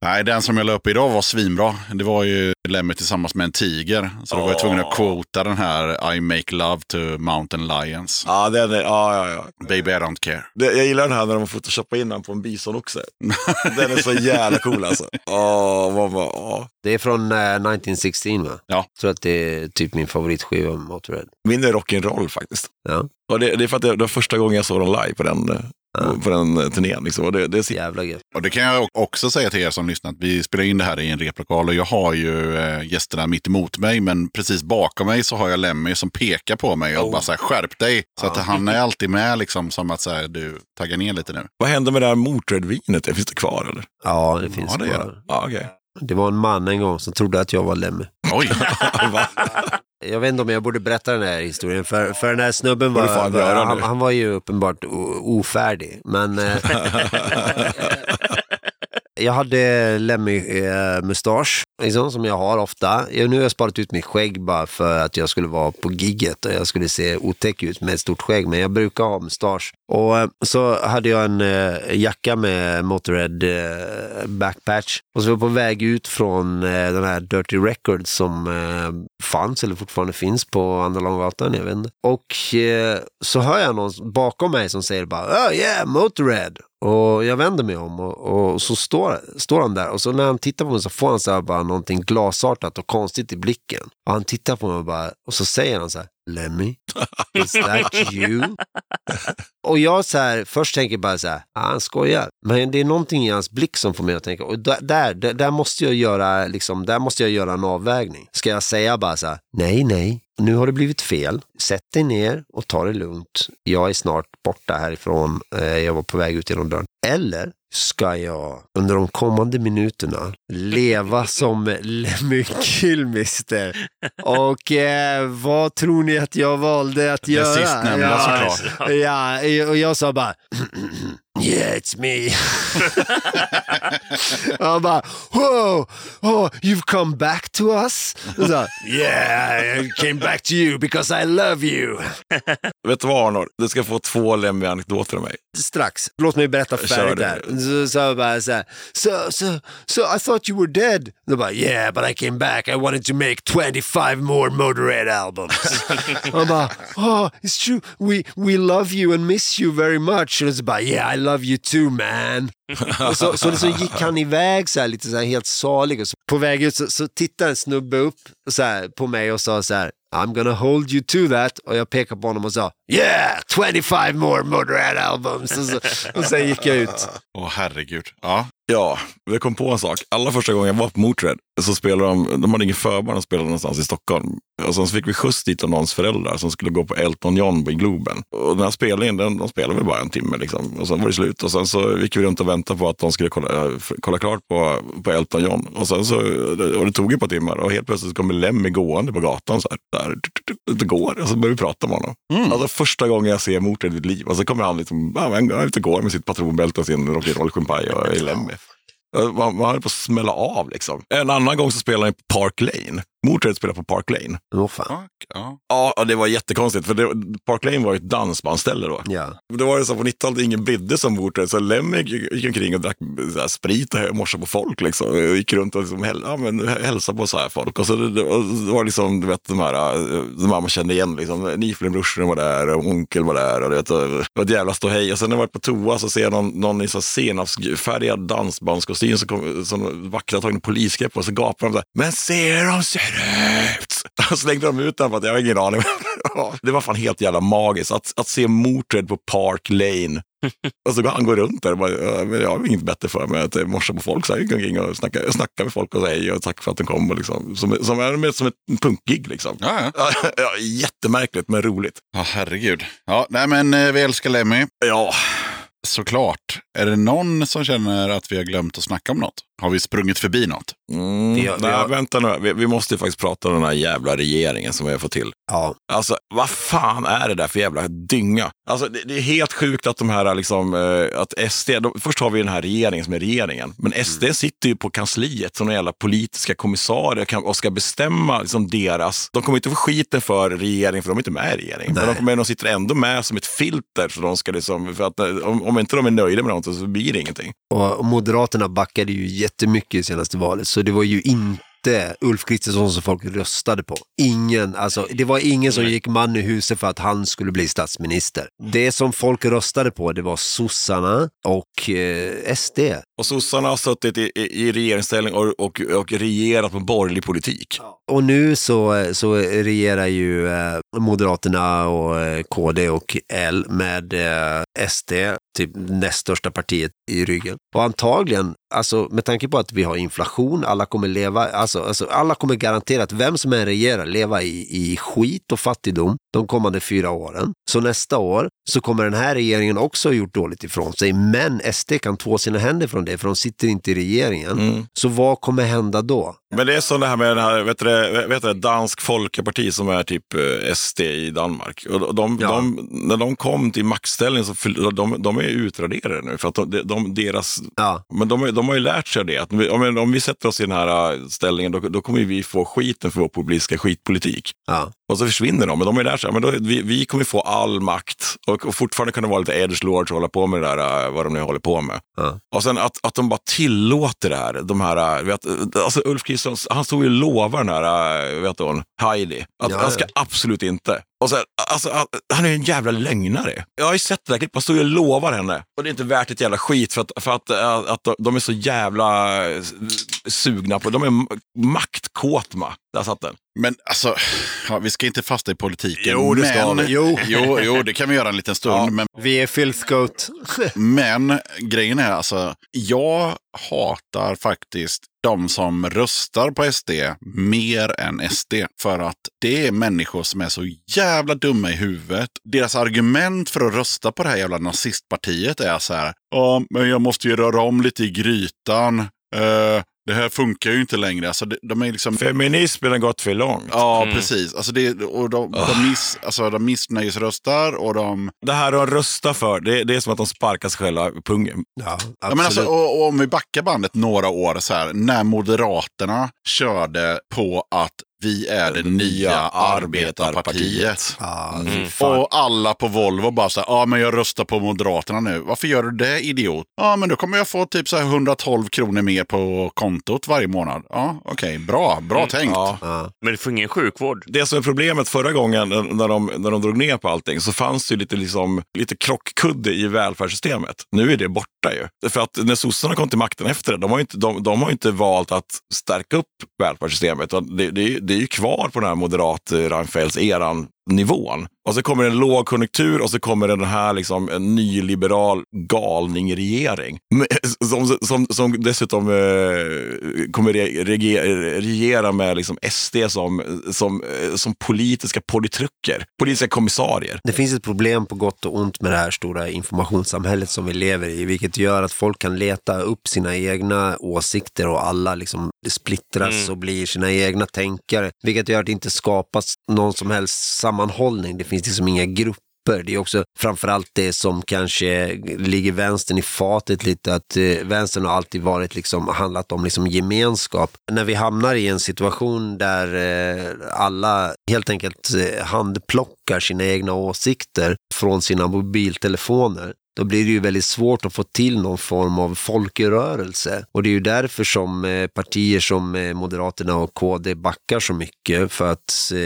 Speaker 1: Nej, den som jag la upp idag var svinbra. Det var ju Lemmy tillsammans med en tiger. Så då var jag tvungen att
Speaker 4: Åh.
Speaker 1: quota den här I make love to mountain lions.
Speaker 4: Ja, den är, ja, ja, ja.
Speaker 1: Baby I don't care.
Speaker 4: Det, jag gillar den här när de photoshoppar in han på en bisonoxe. Den är så jävla cool alltså. Åh, vad vad- åh.
Speaker 2: Det är från eh, 1916 va?
Speaker 1: Ja.
Speaker 2: Jag tror att det är typ min favoritskiva med Motörhead.
Speaker 4: Min är rock'n'roll faktiskt.
Speaker 2: Ja.
Speaker 4: Och det, det är för att det, det var första gången jag såg dem live på den, eh,
Speaker 2: Ja.
Speaker 4: på den eh, turnén. Liksom. Och det, det sitter
Speaker 2: Jävla gött.
Speaker 1: Och det kan jag också säga till er som lyssnar att vi spelar in det här i en replokal och jag har ju eh, gästerna mitt emot mig men precis bakom mig så har jag Lemmy som pekar på mig och bara så här skärp dig. Så att han är alltid med liksom som att så här, du taggar ner lite nu.
Speaker 4: Vad hände med det här Motörhead-vinet? Finns det kvar eller?
Speaker 2: Ja, det finns
Speaker 1: Ja, det är
Speaker 2: kvar.
Speaker 4: Ja, okej.
Speaker 2: Det var en man en gång som trodde att jag var Lemmy.
Speaker 1: Oj,
Speaker 4: Va?
Speaker 2: Jag vet inte om jag borde berätta den här historien, för, för den här snubben
Speaker 4: Får
Speaker 2: var,
Speaker 4: du fan göra
Speaker 2: var han,
Speaker 4: nu.
Speaker 2: han var ju uppenbart o- ofärdig. Men eh, jag hade Lemmy-mustasch liksom, som jag har ofta. Jag, nu har jag sparat ut mitt skägg bara för att jag skulle vara på gigget och jag skulle se otäck ut med ett stort skägg, men jag brukar ha mustasch. Och eh, så hade jag en eh, jacka med Motorhead eh, backpatch och så var jag på väg ut från eh, den här Dirty Records som eh, fanns eller fortfarande finns på Andra Långgatan, jag vet inte. Och eh, så hör jag någon bakom mig som säger bara oh yeah, Motorhead. Och jag vänder mig om och, och så står, står han där och så när han tittar på mig så får han så här bara någonting glasartat och konstigt i blicken. Och han tittar på mig och, bara, och så säger han så här, Lemmy, is that you? Och jag så här, först tänker bara så här, ah, han skojar. Men det är någonting i hans blick som får mig att tänka, och där, där, där- där, måste jag göra, liksom, där måste jag göra en avvägning. Ska jag säga bara så här, nej, nej, nu har det blivit fel. Sätt dig ner och ta det lugnt. Jag är snart borta härifrån. Eh, Jag var på väg ut genom dörren. Eller ska jag under de kommande minuterna leva som Lemmy Kilmister? Och eh, vad tror ni att jag valde att
Speaker 1: Det
Speaker 2: göra?
Speaker 1: sistnämnda
Speaker 2: Ja,
Speaker 1: såklart.
Speaker 2: Ja, och jag sa bara Yeah, it's me. och han bara, whoa, oh, you've come back to us? Och Så, yeah, I came back to you because I love you.
Speaker 4: Vet du vad Arnor? Du ska få två Lemmy-anekdoter av mig.
Speaker 2: Strax, låt mig berätta
Speaker 4: Kör
Speaker 2: färdigt
Speaker 4: det.
Speaker 2: där. Så sa jag bara så här, so, so, so I thought you were dead. De bara, yeah, but I came back. I wanted to make 25 more Motorhead albums. Han bara, oh, it's true. We, we love you and miss you very much. Och så bara, yeah, I love you too man. Och så, så, så gick han iväg så här, lite så här helt salig. Och så, på väg ut så, så tittade en snubbe upp så här, på mig och sa så här, I'm gonna hold you to that. Och jag pekade på honom och sa, yeah, 25 more Motorhead albums. Och, så, och sen gick jag ut.
Speaker 1: Åh herregud. Ja,
Speaker 4: Ja, jag kom på en sak. Alla första gången jag var på Motörhead så spelade de, de hade ingen förband och spelade någonstans i Stockholm. Och sen så fick vi skjuts dit av någons föräldrar som skulle gå på Elton John i Globen. Och den här spelningen, den, de spelade väl bara en timme liksom. Och sen var det slut. Och sen så gick vi runt och väntade på att de skulle kolla, eh, kolla klart på, på Elton John. Och sen så, och det tog ett par timmar och helt plötsligt kommer Lemmy gående på gatan så här. Där, det går. Och så började vi prata med honom. Alltså första gången jag ser Motörhead i mitt liv. Och så kommer han liksom, ja, men han är ute och går med sitt patronbälte och sin rock'n'roll-champagne och är Lemmy. Man, man höll på att smälla av liksom. En annan gång så spelade han på Park Lane. Motörhead spelade på Park Lane.
Speaker 2: Åh fan.
Speaker 1: fuck, ja.
Speaker 4: Ja, och det var jättekonstigt. För det, Park Lane var ju ett dansbandsställe då.
Speaker 2: Ja.
Speaker 4: Det var ju så på 90-talet ingen bidde som Motörhead. Så Lemmy gick, gick omkring och drack så här, sprit och morsade på folk. Liksom. Och Gick runt och liksom, häl, ja, men, hälsade på så här folk. Och så det, det, och det var liksom, du vet, de här, eh, de här man kände igen. Liksom. Nifelbrorsorna var där och onkel var där. Och, du vet, och, det var ett jävla ståhej. Och sen när jag var på toa så ser jag någon, någon i så här senapsfärgad dansbandskostym som, kom, som vakterna tagit en polisgrepp på. Och så gapade de så här, men ser de ser ut? Och så slängde de ut den för att jag har ingen aning. det var fan helt jävla magiskt. Att, att se Motörhead på Park Lane. Och så går han går runt där och bara, "Ja, men jag har inget bättre för mig än att eh, morsa på folk. Så här, jag gick omkring och snackade, snackade med folk och sa hej och tack för att de kom. Och liksom, som, som, som, som ett punkgig liksom.
Speaker 1: Ja, ja.
Speaker 4: Ja, ja, jättemärkligt men roligt.
Speaker 1: ja herregud. Ja, nej men eh, vi älskar Lemmy.
Speaker 4: Ja,
Speaker 1: Såklart. Är det någon som känner att vi har glömt att snacka om något? Har vi sprungit förbi något?
Speaker 4: mm,
Speaker 2: Vi har- vi
Speaker 4: nej,
Speaker 2: har-
Speaker 4: vänta nu. Vi, vi måste ju faktiskt prata om den här jävla regeringen som vi har fått till.
Speaker 2: Ja.
Speaker 4: Alltså, vad fan är det där för jävla dynga? Alltså, det, det är helt sjukt att de här, liksom, eh, att SD, de, först har vi den här regeringen som är regeringen, men SD sitter ju på kansliet som några jävla politiska kommissarier kan, och ska bestämma liksom, deras, de kommer inte få skiten för regering, för de är inte med i regeringen, men de, kommer, de sitter ändå med som ett filter, för, de ska liksom, för att, eh, om, om inte de är nöjda med någonting så blir det ingenting.
Speaker 2: Och Moderaterna backade ju jättemycket i senaste valet, så det var ju inte Ulf Kristersson som folk röstade på. Ingen, alltså, det var ingen som gick man i huset för att han skulle bli statsminister. Det som folk röstade på, det var sossarna och eh, SD.
Speaker 4: Och sossarna har suttit i, i, i regeringsställning och, och, och regerat med borgerlig politik.
Speaker 2: Och nu så, så regerar ju eh, Moderaterna och eh, KD och L med eh, SD, typ näst största partiet i ryggen. Och antagligen, alltså med tanke på att vi har inflation, alla kommer leva, alltså, alltså alla kommer garanterat, vem som än regerar, leva i, i skit och fattigdom de kommande fyra åren. Så nästa år så kommer den här regeringen också ha gjort dåligt ifrån sig, men SD kan två sina händer från igenom det, för de sitter inte i regeringen.
Speaker 4: Mm.
Speaker 2: Så vad kommer hända då?
Speaker 4: Men det är som det här med den här, vet du, det- vet du, det, Dansk Folkeparti som är typ eh, SD i Danmark. Och de,
Speaker 2: Ja.
Speaker 4: de, när de kom till maktställning så förl- de, de är utraderade nu. För att de, de, deras,
Speaker 2: Ja,
Speaker 4: men de, har- de har ju lärt sig det. Att om, vi, om vi- om vi sätter oss i den här eh, ställningen då, då kommer ju vi få skiten för vår politiska skitpolitik.
Speaker 2: ja.
Speaker 4: Och så försvinner de, men de har ju lärt sig. Men då, vi, vi kommer få all makt och, och fortfarande kunna vara lite edge lords och hålla på med det där, eh, vad de nu håller på med.
Speaker 2: Ja.
Speaker 4: Och sen att, att de bara tillåter det här. De här eh, vet, alltså Ulf Kristersson, han stod ju och lovade den här, eh, vet hon, Heidi, att
Speaker 2: Ja,
Speaker 4: han ska
Speaker 2: ja.
Speaker 4: absolut inte. Och sen, alltså, att- han är ju en jävla lögnare. Jag har ju sett det där klippet, han stod ju och lovar henne. Och det är inte värt ett jävla skit för att, för att, eh, att de- de är så jävla eh, sugna på, de är m- maktkåtma. Där satt den.
Speaker 1: Men alltså, ja, vi ska inte fastna i politiken.
Speaker 4: Jo, det ska
Speaker 1: men,
Speaker 4: vi.
Speaker 1: Jo. jo, jo, det kan vi göra en liten stund.
Speaker 4: Ja.
Speaker 1: Men,
Speaker 2: Vi är filthgoat.
Speaker 1: men grejen är alltså, jag hatar faktiskt de som röstar på SD mer än SD. För att det är människor som är så jävla dumma i huvudet. Deras argument för att rösta på det här jävla nazistpartiet är så här. Ja, men jag måste ju röra om lite i grytan. Eh, det här funkar ju inte längre. Alltså, de- de är liksom...
Speaker 4: Feminismen har gått för långt.
Speaker 1: Ja,
Speaker 3: Mm.
Speaker 1: precis. Alltså det, och de, de, miss, alltså de missnöjesröstar och de...
Speaker 4: Det här de röstar för, det, det är som att de sparkar sig själva i pungen.
Speaker 2: Ja,
Speaker 1: Ja,
Speaker 2: absolut.
Speaker 1: men alltså, och, och om vi backar bandet några år så här, när Moderaterna körde på att vi är det nya arbetarpartiet.
Speaker 2: ja,
Speaker 4: Mm.
Speaker 2: fy fan.
Speaker 1: Och alla på Volvo bara så här, ja men jag röstar på Moderaterna nu. Varför gör du det idiot? Ja men då kommer jag få typ så här 112 kronor mer på kontot varje månad. Ja okej, bra, bra
Speaker 3: Mm.
Speaker 1: tänkt.
Speaker 4: Ja.
Speaker 2: Ja,
Speaker 3: Men det får ingen sjukvård.
Speaker 4: Det som är problemet förra gången när- när de, när de drog ner på allting så fanns det ju lite, liksom, lite krockkudde i välfärdssystemet. Nu är det borta ju. För att när sossarna kom till makten efter det, de har ju inte, de, de har ju inte valt att stärka upp välfärdssystemet. Och Det, det, är ju- det är ju kvar på den här moderat eh, Reinfeldts eran nivån. Och så kommer en lågkonjunktur och så kommer den här liksom, en nyliberal galningregering. Men- eh, Som, som, som dessutom eh, kommer re, rege- regera med liksom SD som, som, eh, som politiska politrucker, politiska kommissarier.
Speaker 2: Det finns ett problem på gott och ont med det här stora informationssamhället som vi lever i, vilket gör att folk kan leta upp sina egna åsikter och alla liksom splittras
Speaker 3: Mm.
Speaker 2: och blir sina egna tänkare, vilket gör att det inte skapas någon som helst sammanhållning. Det finns liksom inga grupper. Det är också framförallt det som kanske ligger vänstern i fatet lite, att eh, vänstern har alltid varit liksom, handlat om liksom gemenskap. När vi hamnar i en situation där eh, alla helt enkelt eh, handplockar sina egna åsikter från sina mobiltelefoner, då blir det ju väldigt svårt att få till någon form av folkrörelse. Och det är ju därför som eh, partier som eh, Moderaterna och KD backar så mycket för att, eh,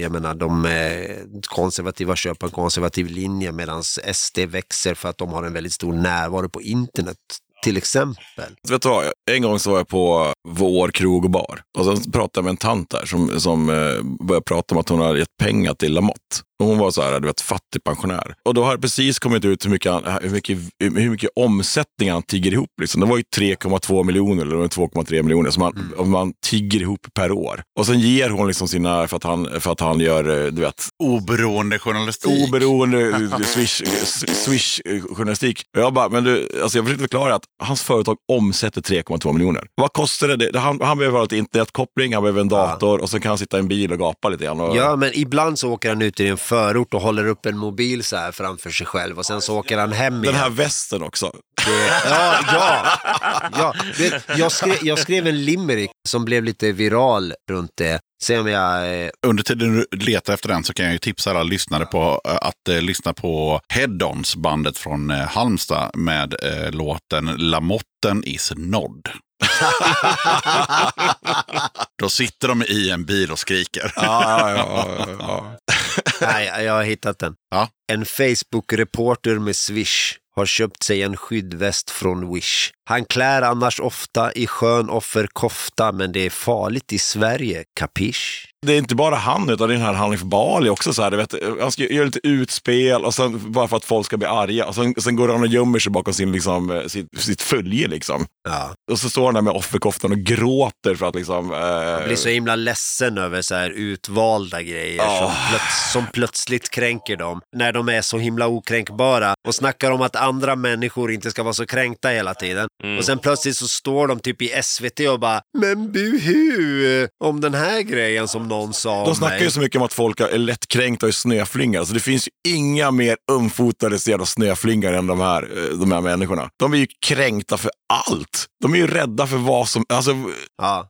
Speaker 2: jag menar, de eh, konservativa köper en konservativ linje medan SD växer för att de har en väldigt stor närvaro på internet, till exempel.
Speaker 4: Vet du vad? En gång så var jag på vår krog och bar och sen pratade jag med en tant där som, som eh, började prata om att hon hade gett pengar till Lamotte. Och hon var så här, du vet, fattigpensionär. Och då har det precis kommit ut hur mycket, han- hur mycket, hur mycket omsättning han tigger ihop. Liksom. Det var ju 3,2 miljoner eller 2,3 miljoner som han, om man tigger ihop per år. Och sen ger hon liksom sina, för att han, för att han gör, eh, du vet,
Speaker 1: Oberoende journalistik.
Speaker 4: oberoende swish- swish-journalistik. Och jag bara, men du, alltså jag försökte förklara att hans företag omsätter 3,2 miljoner. Vad kostar det? det? Han, han behöver ha lite internetkoppling, han behöver en dator och så kan han sitta i en bil och gapa lite grann. Och,
Speaker 2: Ja, men ibland så åker han ut i en förort och håller upp en mobil så här framför sig själv och sen så åker han hem
Speaker 4: Den
Speaker 2: igen.
Speaker 4: här västen också.
Speaker 2: Ja, ja. ja. Du Vet, jag, skrev, jag skrev en limerick som blev lite viral runt det. Se om jag... eh,
Speaker 1: Under tiden du letar efter den så kan jag ju tipsa alla lyssnare på eh, att eh, lyssna på Head-Ons, bandet från eh, Halmstad med eh, låten Lamotten is nådd. Då sitter de i en bil och skriker.
Speaker 4: Ja, ja, ja, ja, ja.
Speaker 2: Nej, jag har hittat den.
Speaker 1: Ja.
Speaker 2: En Facebook-reporter med Swish har köpt sig en skyddväst från Wish. Han klär annars ofta i skön offerkofta, men det är farligt i Sverige, kapisch?
Speaker 4: Det är inte bara han, utan det är den här Hanif Bali också. Så här, du vet, han ska göra lite utspel, och sen, bara för att folk ska bli arga. Och sen, sen går han och gömmer sig bakom sin, liksom, eh, sitt, sitt följe. Liksom.
Speaker 2: Ja.
Speaker 4: Och så står han där med offerkoftan och gråter för att liksom... Eh,
Speaker 2: Jag blir så himla ledsen över så här utvalda grejer som,
Speaker 4: Ja.
Speaker 2: plöts- som plötsligt kränker dem. När de är så himla okränkbara och snackar om att andra människor inte ska vara så kränkta hela tiden.
Speaker 3: Mm.
Speaker 2: Och sen plötsligt så står de typ i SVT och bara “Men buhu!” om den här grejen som någon sa
Speaker 4: De
Speaker 2: om
Speaker 4: snackar
Speaker 2: mig.
Speaker 4: ju så mycket om att folk är lättkränkta och är snöflingar, så det finns ju inga mer ömfotade jävla snöflingar än de här, eh, de här människorna. De är ju kränkta för allt. De är ju rädda för vad som... Alltså,
Speaker 2: Ja,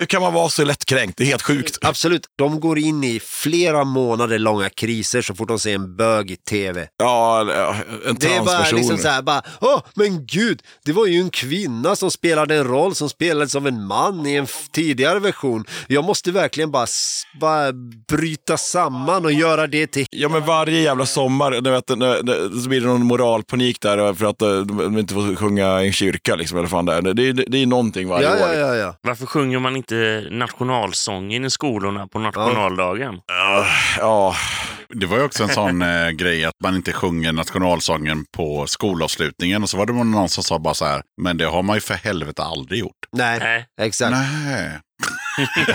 Speaker 4: hur kan man vara så lättkränkt? Det är helt sjukt.
Speaker 2: absolut. De går in i flera månader långa kriser så fort de ser en bög i tv.
Speaker 4: Ja, eller, ja, en
Speaker 2: Det är bara
Speaker 4: transperson.
Speaker 2: liksom så här, bara, åh, men gud, det var ju en kvinna som spelade en roll som spelades av en man i en f- tidigare version. Jag måste verkligen bara, s- bara bryta samman och göra det till...
Speaker 4: Ja, men varje jävla sommar du vet, när- när- så blir det någon moralpanik där för att eh, de de inte får sjunga i en kyrka. Liksom, eller fan det, är. Det, det, det är någonting
Speaker 2: Ja,
Speaker 4: varje år.
Speaker 2: ja, ja, ja.
Speaker 3: Varför sjunger man inte nationalsången i skolorna på nationaldagen?
Speaker 4: Ja,
Speaker 1: Det var ju också en sån eh, grej att man inte sjunger nationalsången på skolavslutningen. Och så var det någon som sa bara så här, men det har man ju för helvete aldrig gjort.
Speaker 2: Nej,
Speaker 3: Nej.
Speaker 2: exakt.
Speaker 1: Nej.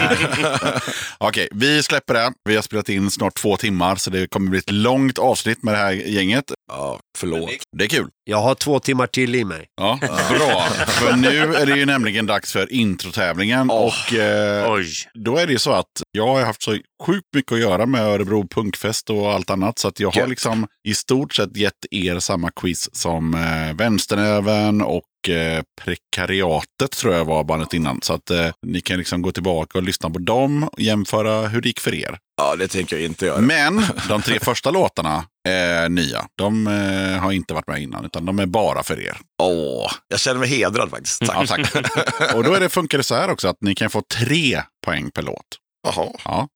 Speaker 1: Okej, vi släpper det. Vi har spelat in snart två timmar, så det kommer bli ett långt avsnitt med det här gänget.
Speaker 4: ja, förlåt.
Speaker 1: Det är kul.
Speaker 2: Jag har två timmar till i mig.
Speaker 1: Ja, bra. För nu är det ju nämligen dags för introtävlingen. Och eh,
Speaker 3: Oj.
Speaker 1: då är det ju så att jag har haft så sjukt mycket att göra med Örebro punkfest och allt annat. Så att jag har
Speaker 4: Gött.
Speaker 1: liksom i stort sett gett er samma quiz som eh, Vänsternäven och eh, Prekariatet tror jag var bandet innan. Så att eh, ni kan liksom gå tillbaka och lyssna på dem och jämföra hur det gick för er.
Speaker 4: Ja, det tänker jag inte göra.
Speaker 1: Men de tre första låtarna är nya. De eh, har inte varit med innan, utan de är bara för er.
Speaker 4: Åh, jag känner mig hedrad faktiskt. Tack.
Speaker 1: Ja, tack. Och då är det, funkar det så här också att ni kan få tre poäng per låt.
Speaker 4: Jaha.
Speaker 1: Ja.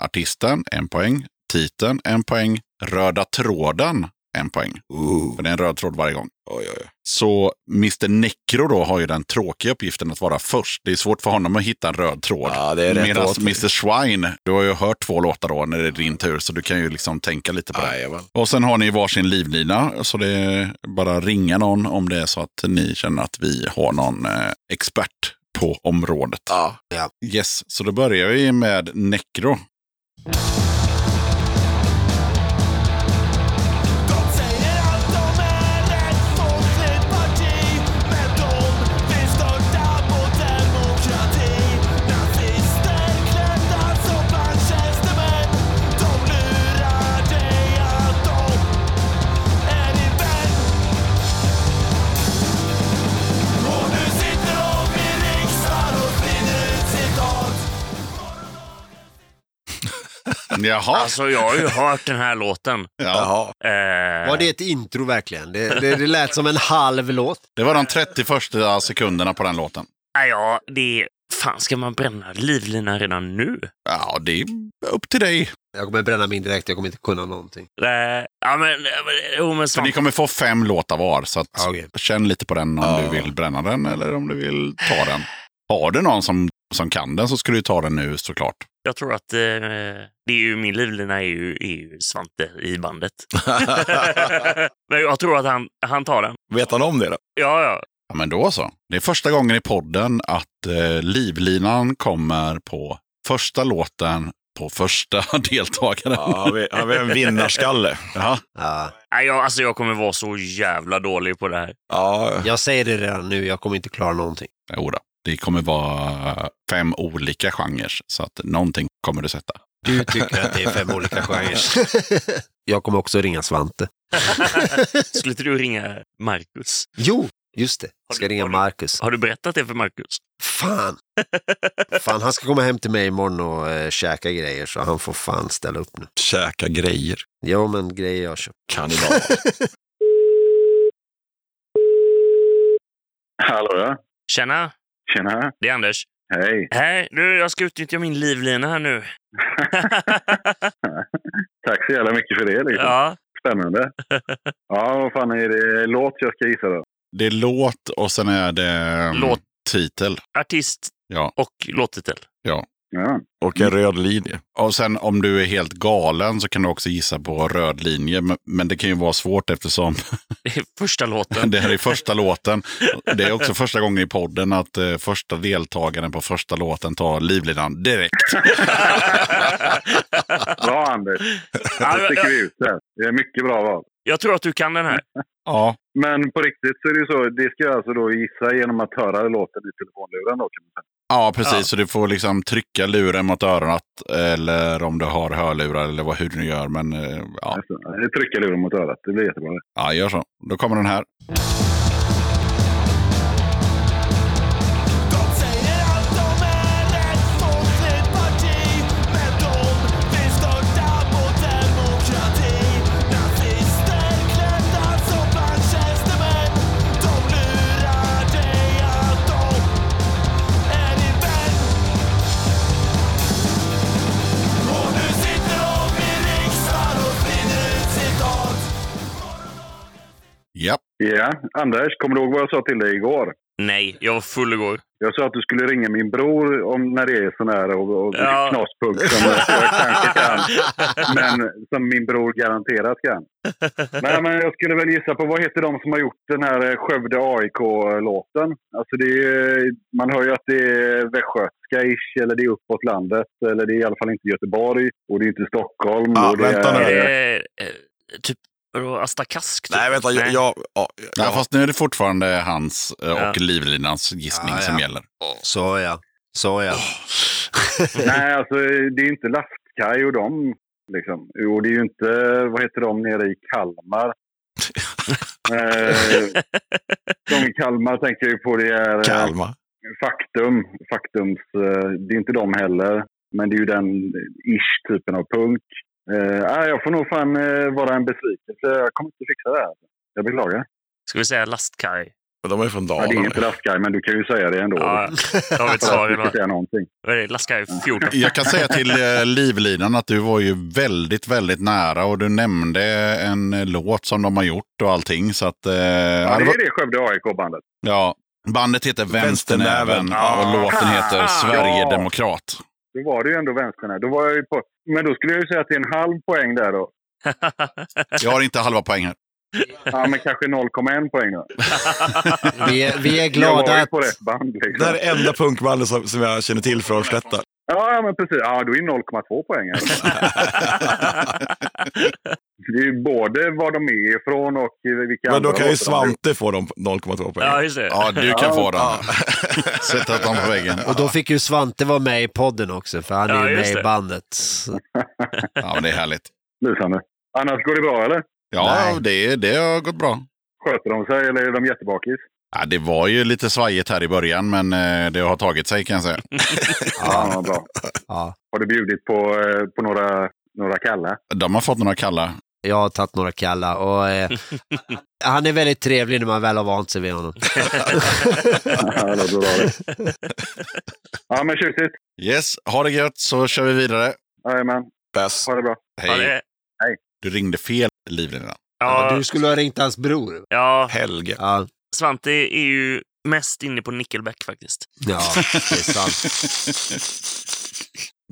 Speaker 1: Artisten, en poäng. Titeln, en poäng. Röda tråden, en poäng.
Speaker 4: Ooh.
Speaker 1: För det är en röd tråd varje gång.
Speaker 4: Oj, oj, oj.
Speaker 1: Så Mr Necro då har ju den tråkiga uppgiften att vara först. Det är svårt för honom att hitta en röd tråd.
Speaker 4: Ja, det är rätt
Speaker 1: Medan
Speaker 4: åt.
Speaker 1: Mr Swine, du har ju hört två låtar då när det är din tur, så du kan ju liksom tänka lite på det.
Speaker 4: Jajamän.
Speaker 1: Och sen har ni varsin livlina, så det är bara att ringa någon om det är så att ni känner att vi har någon eh, expert på området.
Speaker 4: Ja.
Speaker 1: Yes, så då börjar vi med Necro. Jaha.
Speaker 3: Alltså, jag har ju hört den här låten.
Speaker 1: ja.
Speaker 4: Jaha.
Speaker 3: Eh,
Speaker 2: Var det ett intro verkligen? Det, det, det lät som en halv låt.
Speaker 1: Det var de 30 sekunderna på den låten.
Speaker 3: nej, Ja, det... Fan, ska man bränna livlinan redan nu?
Speaker 1: Ja, det är upp till dig.
Speaker 2: Jag kommer bränna min direkt, jag kommer inte kunna någonting.
Speaker 3: Nej, ja, men... eh, men- Jo, men
Speaker 1: För ni
Speaker 3: svamp.
Speaker 1: kommer få fem låtar var, så att
Speaker 2: Okej.
Speaker 1: känn lite på den om
Speaker 4: Ja.
Speaker 1: du vill bränna den eller om du vill ta den. Har du någon som, som kan den så ska du ta den nu såklart.
Speaker 3: Jag tror att eh, det är ju, min livlina är ju, är ju Svante i bandet. men jag tror att han, han tar den.
Speaker 4: Vet han om det då?
Speaker 3: Ja, ja.
Speaker 1: Ja, men då så. Det är första gången i podden att eh, livlinan kommer på första låten på första deltagaren.
Speaker 4: Ja, har, vi, har vi en vinnarskalle?
Speaker 1: Ja.
Speaker 2: Ja,
Speaker 3: Nej, jag, alltså, jag kommer vara så jävla dålig på det här.
Speaker 4: Ja.
Speaker 2: jag säger det redan nu, jag kommer inte klara någonting.
Speaker 1: Jo då. Det kommer vara fem olika genrer, så att någonting kommer du sätta.
Speaker 2: Du tycker att det är fem olika genrer. jag kommer också ringa Svante.
Speaker 3: Skulle inte du ringa Marcus?
Speaker 2: Jo, just det.
Speaker 3: Har
Speaker 2: Jag ska
Speaker 3: du-
Speaker 2: ringa
Speaker 3: har du-
Speaker 2: Marcus.
Speaker 3: Har du berättat det för Marcus?
Speaker 2: Fan! Fan, han ska komma hem till mig imorgon och eh, käka grejer så han får fan ställa upp nu.
Speaker 4: Käka grejer.
Speaker 2: Ja, men grejer jag köpt.
Speaker 4: Kannibal.
Speaker 7: Hallå ja.
Speaker 3: Tjena,
Speaker 7: Tjena.
Speaker 3: det är Anders.
Speaker 7: Hej.
Speaker 3: Hej, du, jag ska utnyttja min livlina här nu.
Speaker 7: Tack så jävla mycket för det. Liksom.
Speaker 3: ja,
Speaker 7: Spännande. Ja, vad fan är det låt jag ska gissa då?
Speaker 1: Det är låt och sen är det mm,
Speaker 3: Låt.
Speaker 1: titel.
Speaker 3: artist
Speaker 1: Ja.
Speaker 3: och låttitel.
Speaker 7: Ja.
Speaker 4: Och en röd linje.
Speaker 1: Och sen om du är helt galen så kan du också gissa på röd linje. Men- Men det kan ju vara svårt eftersom
Speaker 3: Det är första låten.
Speaker 1: det här är första låten. Det är också första gången i podden att eh, första deltagaren på första låten tar livlinan direkt.
Speaker 7: Bra Anders.
Speaker 3: Ja,
Speaker 7: Nu
Speaker 3: jag,
Speaker 7: sticker vi ut det. Det är mycket bra val.
Speaker 3: jag tror att du kan den här.
Speaker 1: Ja,
Speaker 7: Men på riktigt så är det ju så, det ska jag alltså då gissa genom att höra låten i telefonluren då kan man säga.
Speaker 1: Ja, precis.
Speaker 3: Ja.
Speaker 1: Så du får liksom trycka luren mot örat eller om du har hörlurar eller vad, hur du nu gör. Men eh, ja,
Speaker 7: Alltså, jag trycker luren mot örat, det blir jättebra. det.
Speaker 1: ja, gör så. Då kommer den här.
Speaker 8: De säger allt om en ett folkligt parti Men de vill störta vår demokrati Nazister klädda som banktjänstemän De lurar dig att de är din vän Och nu sitter de i riksdagen och sprider ut citat
Speaker 1: Ja,
Speaker 7: Ja, Anders, kommer du ihåg vad jag sa till dig igår?
Speaker 3: Nej, jag var full igår.
Speaker 7: Jag sa att du skulle ringa min bror om när det är sån här och, och
Speaker 3: Ja.
Speaker 7: knaspunkt som jag kanske kan. Men som min bror garanterat kan. Nej, men jag skulle väl gissa på vad heter de som har gjort den här eh, Skövde AIK-låten? Alltså det är, ju- man hör ju att det är västgötska-ish, eller det är uppåt landet, eller det är i alla fall inte Göteborg, och det är inte Stockholm.
Speaker 4: Ja,
Speaker 7: och det
Speaker 4: vänta nu.
Speaker 7: är,
Speaker 3: Är det eh, typ vadå, Asta Kask? Typ?
Speaker 4: Nej, vänta. Jag, jag, ja,
Speaker 1: Ja,
Speaker 4: ja.
Speaker 1: fast nu är det fortfarande hans eh, och
Speaker 3: Ja.
Speaker 1: livlinans gissning
Speaker 2: Ja, ja.
Speaker 1: som gäller.
Speaker 2: Så ja. Så ja.
Speaker 7: Nej, alltså det är ju inte Lastkaj och dem. Liksom. Och det är ju inte, vad heter de nere i Kalmar? eh, de i Kalmar tänker jag ju på, det är eh,
Speaker 4: Kalmar.
Speaker 7: Faktum. Faktums, eh, det är inte de heller. Men det är ju den ish-typen av punk. Eh, nej, jag får nog fan eh, vara en besvikelse. Jag kommer inte fixa det här. Jag beklagar.
Speaker 3: Ska vi säga Lastkaj?
Speaker 4: Men de är ju från
Speaker 7: Ja, det är
Speaker 4: Dalarna.
Speaker 7: inte Lastkaj, men du kan ju säga det ändå.
Speaker 3: Ja, jag har ett
Speaker 7: För att
Speaker 3: svar.
Speaker 7: du ska
Speaker 3: idag.
Speaker 7: säga någonting.
Speaker 3: Vad är det? Lastkaj 14?
Speaker 1: Jag kan säga till eh, livlinan att du var ju väldigt, väldigt nära och du nämnde en eh, låt som de har gjort och allting. Så att, eh,
Speaker 7: Ja,
Speaker 1: ja,
Speaker 7: det
Speaker 1: det var,
Speaker 7: är det Skövde AIK-bandet.
Speaker 1: ja, bandet heter
Speaker 4: Vänsternäven.
Speaker 1: Vänsternäven och
Speaker 4: Ah.
Speaker 1: låten heter
Speaker 7: Ah.
Speaker 1: Sverigedemokrat.
Speaker 7: Då var det ju ändå vänsterna. Då var jag ju på... Men då skulle jag ju säga att det är en halv poäng där då.
Speaker 1: Jag har inte halva poäng här.
Speaker 7: Ja, men kanske 0,1 poäng då.
Speaker 6: Vi är, vi är
Speaker 7: jag var
Speaker 6: glada
Speaker 7: ju
Speaker 6: att...
Speaker 7: på rätt band liksom.
Speaker 4: Det här är enda punkbandet som, som jag känner till från Slätta.
Speaker 7: Ja, ja, men precis. Ja, då är det 0,2 poäng. Alltså. Det är ju både var de är ifrån och vilka
Speaker 4: Men då
Speaker 7: andra
Speaker 4: kan ju
Speaker 7: låtar de har gjort.
Speaker 4: Svante få de 0,2 poäng.
Speaker 3: ja, just det.
Speaker 1: Ja, du kan få den. Sätta dem på väggen.
Speaker 2: Och då fick ju Svante vara med i podden också, för han
Speaker 3: Ja,
Speaker 2: är ju
Speaker 3: just
Speaker 2: med i
Speaker 3: det.
Speaker 2: bandet. Så-
Speaker 1: Ja, men det är härligt.
Speaker 7: Lysande. Annars går det bra eller?
Speaker 1: Ja,
Speaker 2: Nej.
Speaker 1: det, det har gått bra.
Speaker 7: Sköter de sig eller är de jättebakis?
Speaker 1: Ja, det var ju lite svajigt här i början, men eh, det har tagit sig kan jag säga.
Speaker 7: Ja,
Speaker 2: Ja,
Speaker 7: vad bra.
Speaker 2: ja.
Speaker 7: Har du bjudit på, eh, på några, några kalla?
Speaker 1: De har fått några kalla.
Speaker 2: Jag har tagit några kalla och eh, han är väldigt trevlig när man väl har vant sig vid honom.
Speaker 7: Ja, det låter bra det. Ja, men tjusigt.
Speaker 1: Yes, ha det gött så kör vi vidare.
Speaker 7: Jajamän.
Speaker 4: Bäst.
Speaker 7: Ha det bra.
Speaker 3: Ja,
Speaker 1: Hej.
Speaker 3: det,
Speaker 1: Du ringde fel livlina.
Speaker 3: ja,
Speaker 2: Du skulle ha ringt hans bror.
Speaker 3: ja,
Speaker 4: Helge.
Speaker 2: Ja,
Speaker 3: Svante är ju mest inne på Nickelback faktiskt.
Speaker 2: ja det är sant.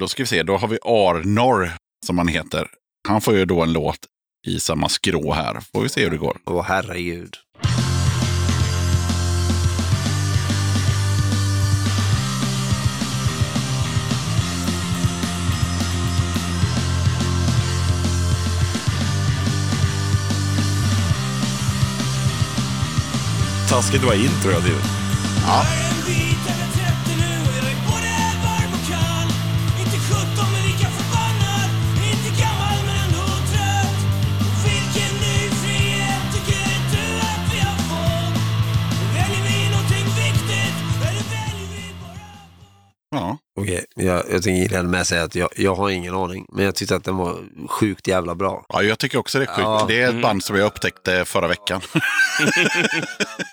Speaker 1: Då ska vi se, då har vi Arnor som han heter. Han får ju då en låt i samma skrå här. Får vi se hur det går.
Speaker 2: Åh herregud.
Speaker 4: Taskigt att vara intro jag till.
Speaker 8: Ja. En bit över 30 nu är det både varm och kall. Inte 17 men lika förbannad. Inte gammal men ändå trött. Vilken ny frihet tycker du att vi har fått? Väljer vi någonting viktigt eller väljer vi bara...
Speaker 1: Ja,
Speaker 2: Okej, jag, jag tänker inleda med att säga att jag, jag har ingen aning, men jag tyckte att den var sjukt jävla bra.
Speaker 1: ja jag tycker också det är sjukt.
Speaker 2: Ja.
Speaker 1: Det är ett band som jag upptäckte förra veckan.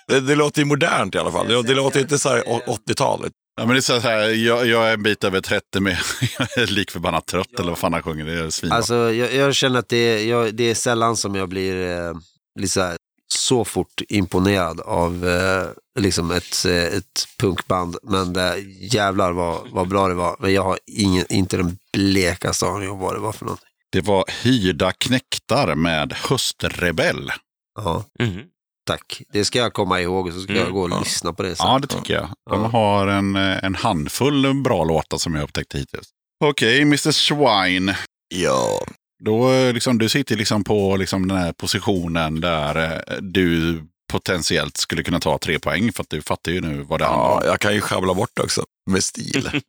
Speaker 4: Det, det låter ju modernt i alla fall. Det, det låter inte så här å- 80-talet.
Speaker 1: Ja, men det är så här, jag, jag är en bit över 30 men jag är likförbannat trött eller vad fan han sjunger. Det är svinbra.
Speaker 2: Alltså, jag, jag känner att det, är- jag, det är sällan som jag blir eh, lite så, här, så fort imponerad av eh, liksom ett, eh, ett punkband. Men det, jävlar vad, vad bra det var. Men jag har ingen, inte den blekaste aning om vad det var för något.
Speaker 1: Det var Hyrda knektar med Höstrebell.
Speaker 2: Ja,
Speaker 3: Mhm.
Speaker 2: tack. Det ska jag komma ihåg och så ska jag
Speaker 3: Mm,
Speaker 2: gå och
Speaker 4: ja.
Speaker 2: lyssna på det sen.
Speaker 1: Ja, det tycker jag. De
Speaker 2: Ja.
Speaker 1: har en, eh, en handfull bra låtar som jag upptäckt hittills. Okej, Mr Swine.
Speaker 4: Ja.
Speaker 1: Då, eh, liksom, du sitter liksom på liksom, den här positionen där eh, du potentiellt skulle kunna ta tre poäng för att du fattar ju nu vad det handlar om.
Speaker 4: Ja, jag kan ju sjabbla bort det också. Med stil.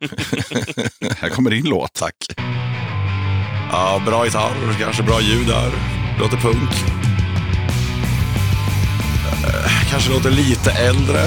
Speaker 1: Här kommer din låt.
Speaker 4: Tack. Ja, bra gitarr, kanske bra ljud där. Låter punk. Eh, Kanske låter lite äldre.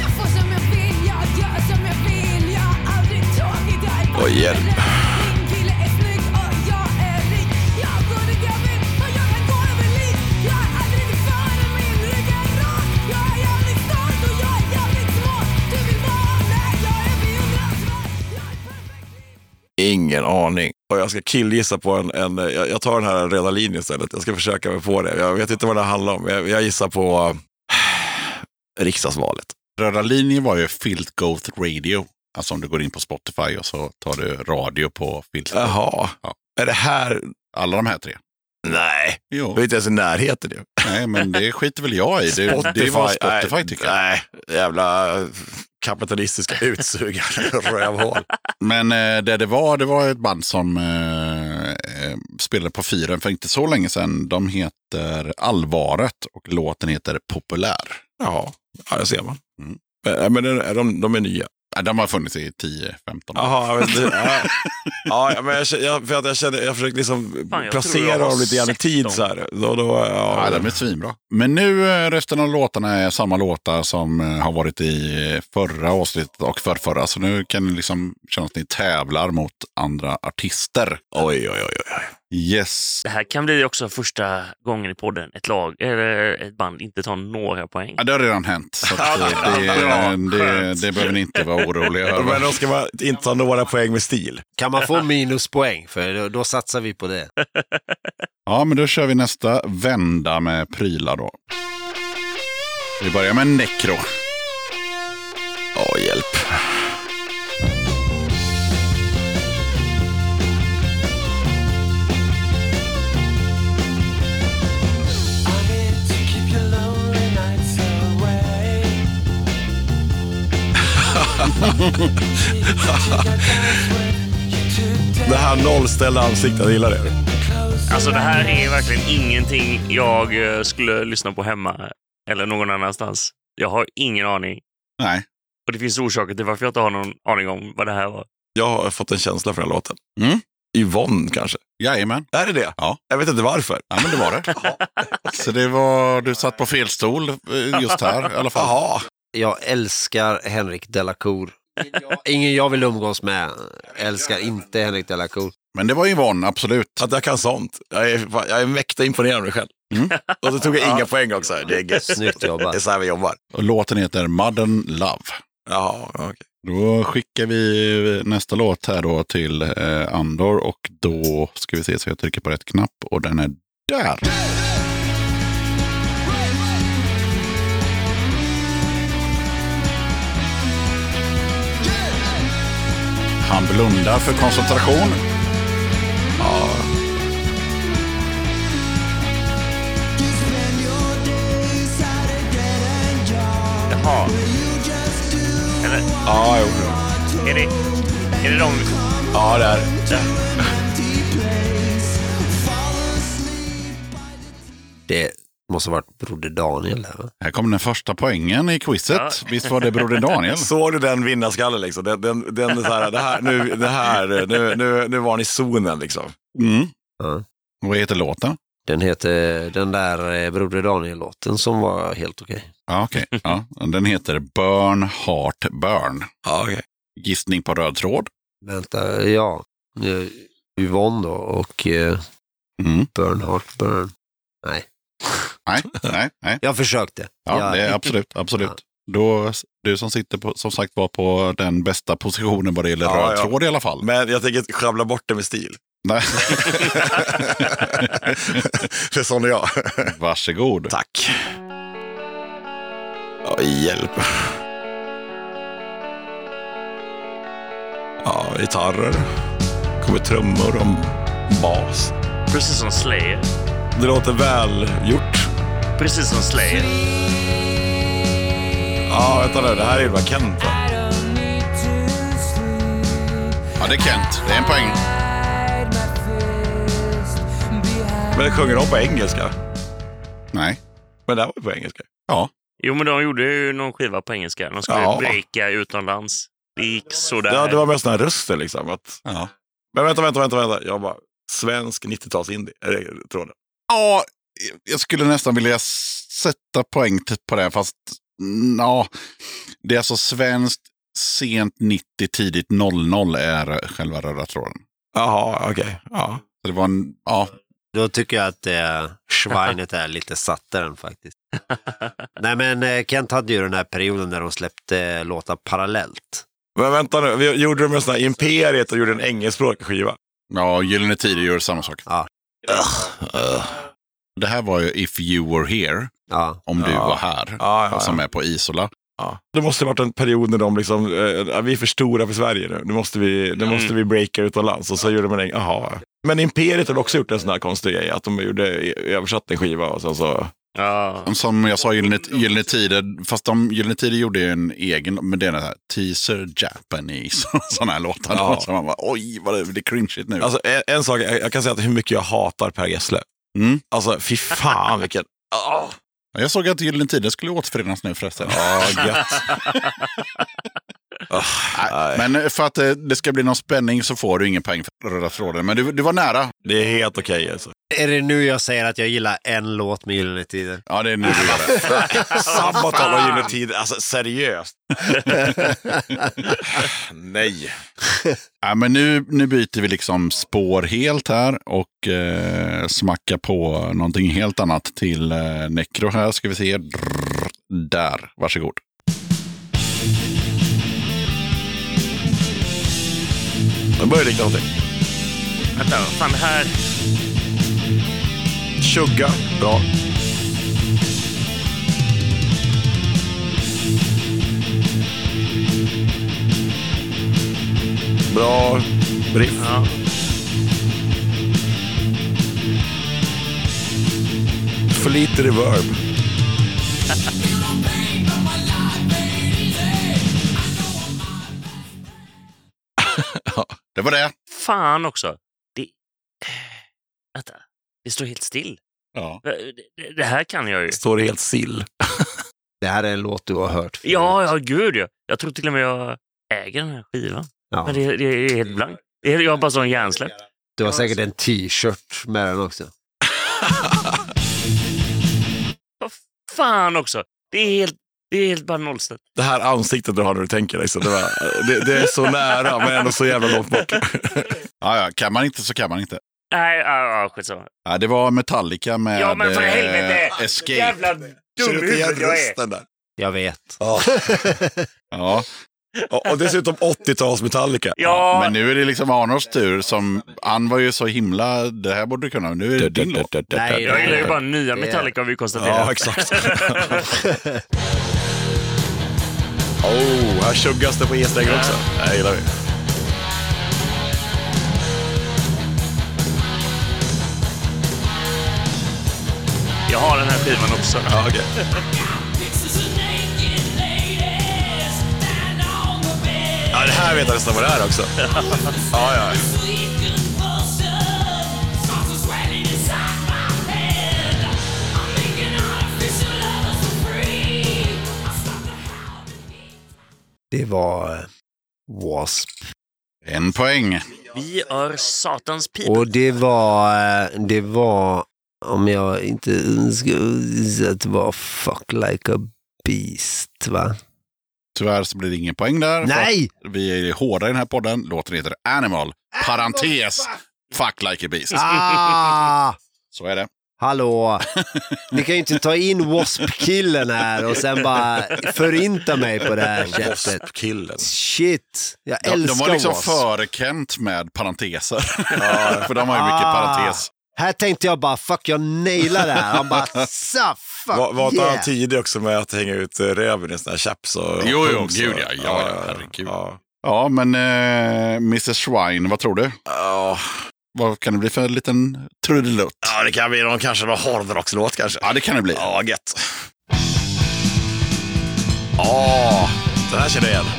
Speaker 8: Jag får som jag vill, jag gör som jag vill Jag har aldrig tagit dig
Speaker 4: Åh, hjälp.
Speaker 8: Min kille är snygg och jag är rik Jag går dit jag vill och jag kan gå över lik Jag är aldrig din före, min rygg är rak Jag är jävligt stolt och jag är jävligt smart Du vill vara med, jag är beundransvärd Jag är perfekt
Speaker 4: Ingen aning. Och jag ska killgissa på en, en jag, jag tar den här röda linjen istället. Jag ska försöka mig på det. Jag vet inte vad det handlar om. Jag, jag gissar på riksdagsvalet.
Speaker 1: Röda linjen var ju Filt Goat Radio. Alltså om du går in på Spotify och så tar du radio på Filt Goat.
Speaker 4: Jaha.
Speaker 1: Ja.
Speaker 4: Är det här?
Speaker 1: Alla de här tre.
Speaker 4: Nej,
Speaker 1: Jo,
Speaker 4: vi är inte ens i närheten nu.
Speaker 1: nej, men det skiter väl jag i. Det, det var Spotify tycker jag.
Speaker 4: Nej, jävla kapitalistiska utsugare rövhål.
Speaker 1: Men eh, det det var, det var ett band som eh, eh, spelade på fyren för inte så länge sedan. De heter Allvaret och låten heter Populär.
Speaker 4: Ja, ja det ser man.
Speaker 1: Mm.
Speaker 4: Eh, Men är är de, de är nya.
Speaker 1: Eh, De har funnits i 10-15 år.
Speaker 4: Jaha, men det, ja. ja, men jag, känner- jag, för att jag, kände, jag försökte liksom
Speaker 3: Fan, jag tror jag
Speaker 4: placera
Speaker 3: har
Speaker 4: dem lite grann i
Speaker 3: sett
Speaker 4: tid.
Speaker 3: dem.
Speaker 4: Så här. Då, då, ja.
Speaker 1: Ja, de är svinbra. Men nu eh, resten av låtarna är samma låtar som eh, har varit i eh, förra avsnittet och förrförra. Så nu kan det liksom kännas att ni tävlar mot andra artister.
Speaker 4: Oj, oj, oj. oj.
Speaker 1: Yes.
Speaker 3: Det här kan bli också första gången i podden ett lag eller ett band inte tar några poäng.
Speaker 1: Ja, det har redan hänt. Så att, eh,
Speaker 4: Ja,
Speaker 1: det,
Speaker 4: bra.
Speaker 1: det, det behöver ni inte vara oroliga
Speaker 4: Men
Speaker 1: över.
Speaker 4: de ska man inte ha några poäng med stil.
Speaker 2: Kan man få minuspoäng? För då, då satsar vi på det.
Speaker 1: Ja, men då kör vi nästa vända med prylar då. Vi börjar med Necro.
Speaker 4: Ja, hjälp. Det här nollställda ansiktet, jag gillar det.
Speaker 3: Alltså det här är verkligen ingenting jag eh, skulle lyssna på hemma eller någon annanstans. Jag har ingen aning.
Speaker 1: Nej.
Speaker 3: Och det finns orsaker till varför jag inte har någon aning om vad det här var.
Speaker 4: Jag har fått en känsla för den här låten.
Speaker 1: Mm.
Speaker 4: Yvonne kanske?
Speaker 1: Jajamän.
Speaker 4: Är det det?
Speaker 1: Ja.
Speaker 4: Jag vet inte varför.
Speaker 1: Ja, men det var det. Så det var, du satt på fel stol eh, just här i alla fall.
Speaker 4: Jaha.
Speaker 2: Jag älskar Henrik Delacour. Ingen jag vill umgås med älskar inte Henrik Delacour.
Speaker 1: Men det var Yvonne, absolut.
Speaker 4: Att jag kan sånt. Jag är, fan- jag är mäkta imponerad av mig själv.
Speaker 1: Mm.
Speaker 4: Och så tog jag inga poäng också. Det är gött.
Speaker 2: Snyggt jobbat.
Speaker 4: Det är så här vi jobbar.
Speaker 1: Och låten heter Modern Love.
Speaker 4: Jaha, okej.
Speaker 1: Då skickar vi nästa låt här då till eh, Andor och då ska vi se så jag trycker på rätt knapp och den är där. Han blundar för koncentration.
Speaker 3: Jaha. Eller?
Speaker 4: Ja, jo. jo.
Speaker 3: Är det, är det de... liksom-
Speaker 4: Ja, det är det.
Speaker 2: Det måste ha varit Broder Daniel här va?
Speaker 1: Här kommer den första poängen i quizet.
Speaker 3: Ja.
Speaker 1: Visst var det Broder Daniel?
Speaker 4: Såg du den vinnarskallen liksom? Den, den, den är så här, det här, nu, det här, nu, nu, nu var ni i zonen liksom.
Speaker 1: Mm.
Speaker 2: Ja.
Speaker 1: Vad heter låten?
Speaker 2: Den heter den där eh, Broder Daniel-låten som var helt okej.
Speaker 1: Ja, okej. Ja. Den heter Burn Heart Burn.
Speaker 4: Ja, okej.
Speaker 1: Gissning på röd tråd.
Speaker 2: Vänta, ja. Eh, Yvonne då och eh,
Speaker 1: Mm.
Speaker 2: Bernhard Bern.
Speaker 1: Nej, nej, nej.
Speaker 2: Jag försökte.
Speaker 1: Ja,
Speaker 2: jag,
Speaker 1: det är absolut, absolut.
Speaker 2: Ja.
Speaker 1: Då, du som sitter på, som sagt var på den bästa positionen vad det gäller
Speaker 4: Ja,
Speaker 1: röd
Speaker 4: ja.
Speaker 1: tråd i alla fall.
Speaker 4: Men jag tänker sjabbla bort det med stil.
Speaker 1: Nej.
Speaker 4: För sån är jag.
Speaker 1: Varsågod.
Speaker 4: Tack. Ja, hjälp. Ja, gitarrer. Kommer trummor och bas.
Speaker 3: Precis som Slayer.
Speaker 4: Det låter väl gjort.
Speaker 3: Precis som Slayer.
Speaker 4: Ja, vänta nu. Det här är ju bara Kent. va?
Speaker 1: Ja, det är Kent. Det är en poäng.
Speaker 4: Men jag sjunger de på engelska?
Speaker 1: Nej.
Speaker 4: Men det här var ju på engelska.
Speaker 3: Jo, men de gjorde ju någon skiva på engelska. De skulle
Speaker 4: Ja.
Speaker 3: breaka utomlands. Det gick sådär.
Speaker 4: Ja, det var mest den här rösten liksom. Att, Men vänta, vänta, vänta, vänta. Jag bara, svensk 90-tals-indie. Är det tråden?
Speaker 1: Ja, jag skulle nästan vilja s- sätta poäng t- på det, fast mm, ja, det är alltså svenskt sent 90, tidigt 00 är själva röda tråden.
Speaker 4: Jaha, okej. Ja.
Speaker 1: Så det var en, ja,
Speaker 2: Då tycker jag att eh, Schweinet är lite satt den faktiskt. Nej men eh, Kent hade ju den här perioden när de släppte eh, låtar parallellt.
Speaker 4: Men vänta nu, vi gjorde de en sån här Imperiet och gjorde en engelskspråkig skiva.
Speaker 1: ja Gyllene Tider gör samma sak. Det här var ju If You Were Here,
Speaker 2: Ja,
Speaker 1: om du
Speaker 4: Ja.
Speaker 1: var här,
Speaker 4: Ja, ja,
Speaker 1: som är på Isola.
Speaker 4: ja. Det måste ha varit en period när de liksom, eh, vi är för stora för Sverige nu. Nu måste vi, nu måste vi breaka utomlands. Och så gjorde de en egen, aha. Men Imperiet har också gjort en sån här konstig grej, att de gjorde, översatt en skiva och sen så...
Speaker 3: Ja.
Speaker 1: Som jag sa, Gyllene, gyllene Tider, fast de Gyllene Tider gjorde ju en egen, men det är den här Teaser Japanese, sådana här låtar.
Speaker 4: Ja.
Speaker 1: Så man bara, oj, vad det, det är cringeigt nu.
Speaker 4: Alltså en, en sak, jag, jag kan säga att hur mycket jag hatar Per Gessle.
Speaker 1: Mm.
Speaker 4: Alltså fy fan vilken... Ah.
Speaker 1: Jag såg att Gyllene Tider skulle återförenas nu förresten.
Speaker 4: Ja, gött. Ah, nej.
Speaker 1: Men för att eh, det ska bli någon spänning så får du ingen poäng för röda tråden. Men du, du var nära.
Speaker 4: det är helt okej alltså.
Speaker 2: Är det nu jag säger att jag gillar en låt med Gyllene Tider?
Speaker 1: Ja, det är nu du gör det.
Speaker 4: Sabaton och Gyllene Tider, alltså seriöst. Nej.
Speaker 1: Ja, men nu, nu byter vi liksom spår helt här och eh, smackar på någonting helt annat till eh, Necro här. Ska vi se. Drrr, där, varsågod.
Speaker 4: Det börjar likna någonting.
Speaker 3: Vänta, vad fan det här?
Speaker 4: Tjugga, bra. Bra riff.
Speaker 3: Ja.
Speaker 4: För lite reverb.
Speaker 1: Det var det.
Speaker 3: Fan också. Det... Vänta. Det står helt still.
Speaker 1: Ja.
Speaker 3: Det- Det här kan jag ju.
Speaker 4: Står helt sill.
Speaker 2: Det här är en låt du har hört förut.
Speaker 3: Ja, ja, gud ja. Jag tror till och med jag äger den här skivan.
Speaker 2: Ja.
Speaker 3: Men det, det är helt blankt. Det är- Jag har bara sån hjärnsläpp.
Speaker 2: Du har säkert en t-shirt med den också.
Speaker 3: Vad fan också. Det är helt, det är helt bara nollställt.
Speaker 4: Det här ansiktet du har när du tänker. Liksom. Det, var, det, det är så nära men ändå så jävla långt bort.
Speaker 1: Ja, ja, kan man inte så kan man inte.
Speaker 3: Nej, ja, ja, skitsamma.
Speaker 1: Ja, det var Metallica med
Speaker 3: Ja, men för
Speaker 1: eh,
Speaker 3: helvete!
Speaker 1: Escape.
Speaker 3: Jävla dumhuvud jag är.
Speaker 4: där?
Speaker 2: Jag vet.
Speaker 1: Ja.
Speaker 4: Och, och dessutom 80-tals Metallica.
Speaker 1: Ja,
Speaker 3: Ja,
Speaker 1: Men nu är det liksom Arnors tur. Som, han var ju så himla... Det här borde du kunna. Nu är det din låt.
Speaker 2: Nej,
Speaker 3: jag gillar ju
Speaker 2: det-
Speaker 3: bara nya Metallica har vi
Speaker 4: Ja,
Speaker 3: konstaterat.
Speaker 4: exakt. oh, här tjuggas det på E-strängen också. Det här gillar vi.
Speaker 3: Jag har den här skivan också.
Speaker 4: Ja, okej. ja, det här vet jag nästan vad det är också. Ja, ja.
Speaker 2: Det var eh, Wasp.
Speaker 1: En poäng.
Speaker 3: Vi är satans pip.
Speaker 2: Och det var, eh, det var, om jag inte ska säga att det var Fuck Like a Beast va?
Speaker 1: Tyvärr så blir det ingen poäng där. för
Speaker 2: Nej!
Speaker 1: att Vi är hårda i den här podden. Låten heter Animal. Parentes. Fuck like a beast.
Speaker 2: Ah!
Speaker 1: Så är det.
Speaker 2: Hallå! Ni kan ju inte ta in Wasp-killen här och sen bara förinta mig på det här sättet.
Speaker 4: Wasp-killen.
Speaker 2: Shit! Jag
Speaker 1: De,
Speaker 2: älskar
Speaker 1: de var liksom
Speaker 2: Wasp.
Speaker 1: före Kent med parenteser. ja, för de har ju mycket
Speaker 2: Ah.
Speaker 1: parentes.
Speaker 2: Här tänkte jag bara, fuck jag nailar det här. Han bara, sa, fuck
Speaker 4: Var, var inte
Speaker 2: yeah!
Speaker 4: han tidig också med att hänga ut eh, röven i såna här chaps? Och, och
Speaker 1: Jo, jo,
Speaker 4: pumps
Speaker 1: gud,
Speaker 4: och-
Speaker 1: ja, ja, ja, herregud.
Speaker 4: Ja.
Speaker 1: Ja, men eh, Mrs. Schwein, vad tror du?
Speaker 4: Ja.
Speaker 1: Vad kan det bli för en liten trudelutt?
Speaker 4: ja, det kan bli någon, kanske någon hårdrockslåt kanske.
Speaker 1: Ja, det kan det bli.
Speaker 4: Ja, gött. Ja, den här känner jag igen.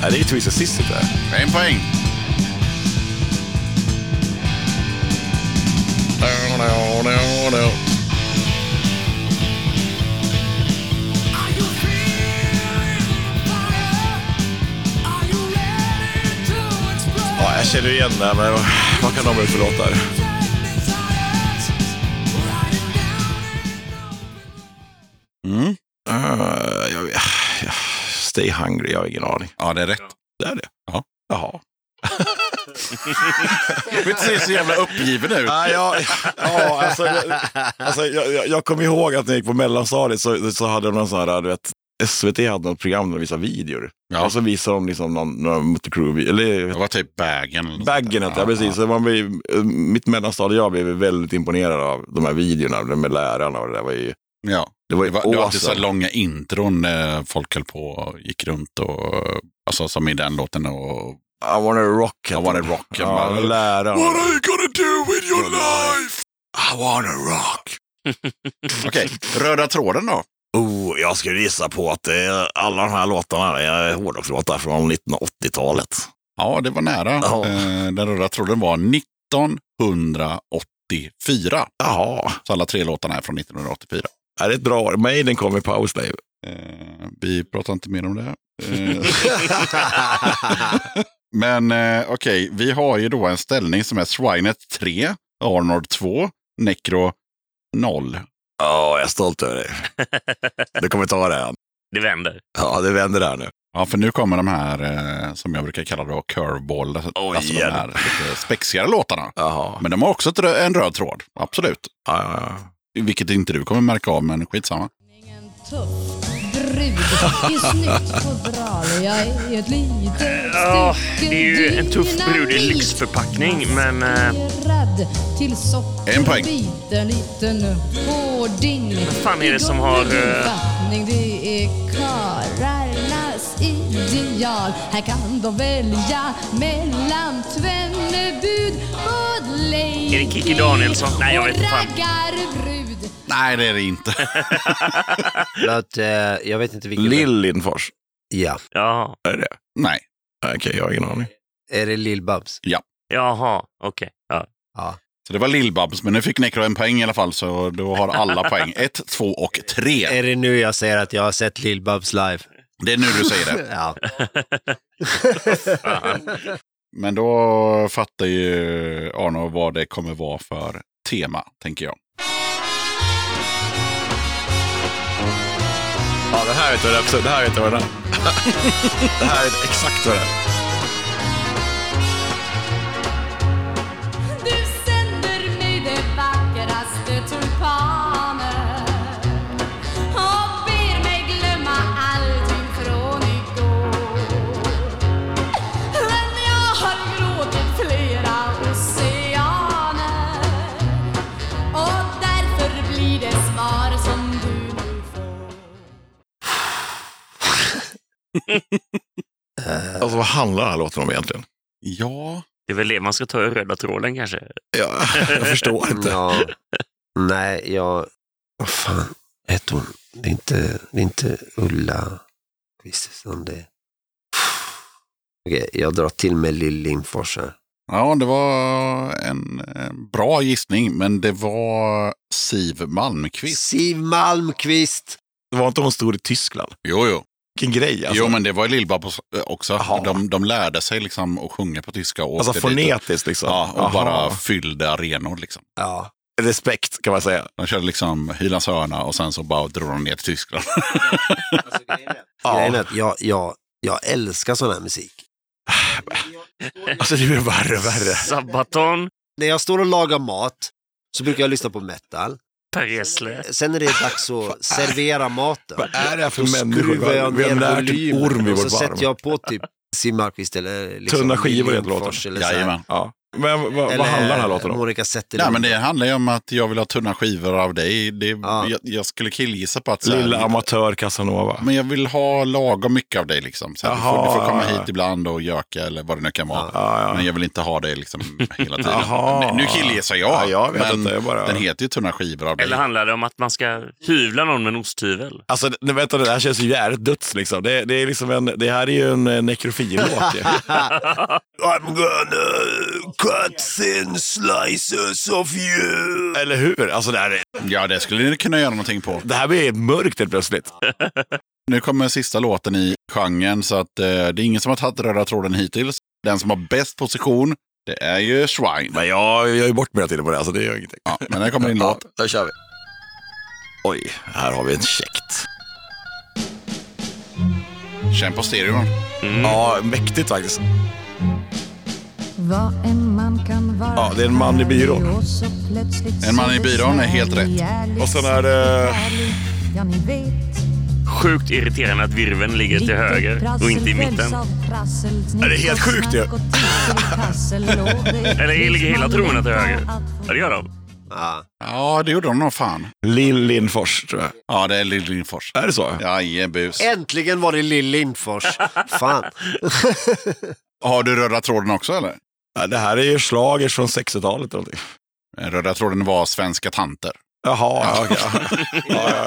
Speaker 4: Nej, det är ju Twisted Sister det här.
Speaker 1: En poäng.
Speaker 4: känner igen det här, men vad, vad kan de vara för låtar? Mm. Eh, jag, vet- jag, stay hungry, jag har ingen aning.
Speaker 1: Ja, det är rätt.
Speaker 4: Det är det? Ja. Jaha.
Speaker 1: Du ser så jävla uppgiven ut.
Speaker 4: Ja, ja, ja, alltså, det- alltså, jag, jag, jag kommer ihåg att när jag gick på mellanstadiet så, så hade de någon sån här, du vet, SVT hade något program där de visade videor.
Speaker 1: Ja.
Speaker 4: Och så visade de liksom någon, någon motorcrew, eller
Speaker 1: Det var typ Bagen. eller något sånt där.
Speaker 4: Baggen hette jag, precis. Så man blev, mitt mellanstadiet jag blev väldigt imponerad av de här videorna med lärarna och det där var ju...
Speaker 1: Ja.
Speaker 4: Det var
Speaker 1: Det
Speaker 4: ju
Speaker 1: var, det var alltid så här
Speaker 4: awesome.
Speaker 1: långa intron när folk höll på och gick runt och alltså som i den låten och
Speaker 4: I wanna rock.
Speaker 1: I wanna rock. Jag
Speaker 4: Ja,
Speaker 1: bara,
Speaker 4: lärarna.
Speaker 1: What are you gonna do with your life?
Speaker 4: I wanna rock.
Speaker 1: Okej, röda tråden då?
Speaker 4: Oh, jag skulle gissa på att det är alla de här låtarna är hårdrockslåtar från 1980-talet.
Speaker 1: Ja, det var nära.
Speaker 4: Ja.
Speaker 1: Eh, Den röda tråden var 1984.
Speaker 4: Jaha,
Speaker 1: Så alla tre låtarna är från 1984.
Speaker 4: är det ett bra år? Maiden kom i Powerslave.
Speaker 1: Eh, vi pratar inte mer om det. Eh, Men eh, okej, vi har ju då en ställning som är Swinet 3, Arnold 2, Necro 0.
Speaker 4: Ja, jag är stolt över dig. Du kommer ta det här.
Speaker 3: Det vänder.
Speaker 4: Ja, det vänder där nu.
Speaker 1: Ja, för nu kommer de här eh, som jag brukar kalla då curveball,
Speaker 4: Oj,
Speaker 1: alltså de
Speaker 4: jävlar.
Speaker 1: här lite spexigare låtarna.
Speaker 4: Jaha.
Speaker 1: Men de har också ett rö- en röd tråd, absolut.
Speaker 4: Ja, ja, ja.
Speaker 1: Vilket inte du kommer märka av, men skitsamma.
Speaker 9: En tuff brud i snyggt fodral. Jag är ett litet
Speaker 3: Ja,
Speaker 9: stycke
Speaker 3: det är ju en tuff brud i
Speaker 9: dynamit.
Speaker 3: lyxförpackning, men... Eh,
Speaker 9: Rädd till sockerbit,
Speaker 1: En poäng.
Speaker 9: En liten hårding. Vad
Speaker 3: fan är det som har, eh,
Speaker 9: Det är karlarnas ideal. Här kan de välja mellan tvenne bud. Både
Speaker 3: Är det Kikki Danielsson? Nej, jag vet inte fan.
Speaker 9: Raggarbrud.
Speaker 1: Nej, det är det inte.
Speaker 2: Så att, eh, jag vet inte vilken...
Speaker 4: Lill Lindfors.
Speaker 2: Ja.
Speaker 3: ja,
Speaker 4: Är det det?
Speaker 1: Nej,
Speaker 4: Okej, jag har ingen aning.
Speaker 2: Är det Lill-Babs?
Speaker 3: jaha, okej. Ja.
Speaker 1: så det var Lill-Babs, men nu fick Necro en poäng i alla fall, så då har alla poäng. Ett, två och tre.
Speaker 2: Är det nu jag säger att jag har sett Lill-Babs live?
Speaker 1: Det är nu du säger det.
Speaker 2: Ja.
Speaker 1: Men då fattar ju Arno vad det kommer vara för tema, tänker jag.
Speaker 4: Ja, det här vet jag absolut. Det här vet jag vad det är. det här vet jag exakt vad det är.
Speaker 9: Du sänder mig det vackraste tulpaner och ber mig glömma allting från igår. Men jag har gråtit flera oceaner och därför blir det svar som du nu får.
Speaker 2: Eh,
Speaker 4: Alltså vad handlar den här låten om egentligen?
Speaker 1: Ja,
Speaker 3: Det är väl det man ska ta i röda tråden kanske.
Speaker 4: Ja, jag förstår
Speaker 1: Mm.
Speaker 4: inte.
Speaker 2: ja. Nej, jag... Vad fan hette hon? Det är inte, det är inte Ulla Kristersson det. Okej, jag drar till med Lill Lindfors här.
Speaker 1: ja det var en eh, bra gissning, men det var Siv Malmkvist.
Speaker 2: Siv Malmqvist!
Speaker 4: Det var inte hon stor i Tyskland?
Speaker 1: Jo, jo.
Speaker 4: Vilken grej alltså.
Speaker 1: jo, men det var ju Lill-Babs eh, också.
Speaker 4: Jaha.
Speaker 1: De, de lärde sig liksom att sjunga på tyska. Och
Speaker 4: alltså
Speaker 1: åkte dit och-
Speaker 4: fonetiskt liksom.
Speaker 1: Ja, och
Speaker 4: Aha.
Speaker 1: bara fyllde arenor liksom.
Speaker 2: Ja.
Speaker 4: Respekt kan man säga.
Speaker 1: De körde liksom Hylands hörna och sen så bara drog de ner till Tyskland.
Speaker 2: Alltså, Grejen är att jag, jag, jag älskar sån här musik.
Speaker 4: Alltså det blir värre och värre.
Speaker 3: Sabaton,
Speaker 2: När jag står och lagar mat så brukar jag lyssna på metal.
Speaker 3: Per Gessle.
Speaker 2: Sen när det är dags att servera maten.
Speaker 4: Vad är det här för
Speaker 2: Då
Speaker 4: människor?
Speaker 2: skruvar jag
Speaker 4: Vi har
Speaker 2: ner
Speaker 4: närt en orm
Speaker 2: volymen
Speaker 4: i
Speaker 2: och
Speaker 4: vårt
Speaker 2: så sätter
Speaker 4: barm.
Speaker 2: jag på typ Siw Malmkvist eller liksom
Speaker 4: Tunna skivor heter
Speaker 2: Lindfors
Speaker 4: låten.
Speaker 2: eller så här.
Speaker 1: Jajamän.
Speaker 4: Ja. Men vad, vad
Speaker 2: Eller
Speaker 4: handlar den här låten om?
Speaker 2: Monica
Speaker 1: Nej,
Speaker 2: Zetterlund.
Speaker 1: men det handlar ju om att jag vill ha tunna skivor av dig. Det,
Speaker 2: Ja.
Speaker 1: jag, jag skulle killgissa på att... så här-
Speaker 4: Lilla amatör Casanova.
Speaker 1: Men jag vill ha lagom mycket av dig liksom. Så här, du, får,
Speaker 4: Jaha.
Speaker 1: du får komma hit ibland och göka eller vad det nu kan vara.
Speaker 4: Ja,
Speaker 1: Men
Speaker 4: ja.
Speaker 1: jag vill inte ha dig liksom hela tiden.
Speaker 4: Jaha.
Speaker 1: Nu killgissar jag.
Speaker 4: Ja, jag vet
Speaker 1: men
Speaker 4: inte, jag bara-
Speaker 1: Den heter ju Tunna skivor av dig.
Speaker 3: Eller handlar det om att man ska hyvla någon med en osthyvel?
Speaker 4: Alltså det- vänta, det här känns ju jävligt döds liksom. Det, det, är liksom en, det här är ju en eh, nekrofil-låt ju. I'm gonna cut thin slices of you. Eller hur? Alltså det här, är-
Speaker 1: Ja, det skulle ni kunna göra någonting på.
Speaker 4: det här blir helt mörkt helt plötsligt.
Speaker 1: Nu kommer sista låten i genren, så att eh, det är ingen som har tagit röda tråden hittills. Den som har bäst position Det är ju Swine.
Speaker 4: Men jag, jag är bort mig hela tiden på det, så det gör ingenting.
Speaker 1: Ja, men här kommer din låt.
Speaker 4: Ja, där kör vi. Oj, här har vi en käckt.
Speaker 1: Känn på stereon.
Speaker 4: Ja, mäktigt faktiskt.
Speaker 8: Vad en man kan vara
Speaker 4: Ja, det är en man i byrån.
Speaker 8: och så plötsligt
Speaker 1: En man i byrån är helt rätt.
Speaker 8: ärlig,
Speaker 4: Och sen är det...
Speaker 8: ja ni vet.
Speaker 3: Sjukt irriterande att virveln ligger till höger och inte i mitten.
Speaker 8: Ja,
Speaker 4: det är helt sjukt ju.
Speaker 3: Eller ligger hela tronen till höger? Ja, det gör de.
Speaker 2: Ja.
Speaker 1: Ja, det gjorde de nog fan.
Speaker 4: Lill Lindfors, tror jag.
Speaker 1: Ja, det är Lill Lindfors.
Speaker 4: Är det så?
Speaker 1: Jajebus.
Speaker 2: Äntligen var det Lill Lindfors. Fan.
Speaker 1: Har du röda tråden också eller?
Speaker 4: Ja, det här är ju schlagers från 60-talet eller någonting.
Speaker 1: Röda tråden var svenska tanter.
Speaker 4: Jaha, ja, okej. Ja, ja,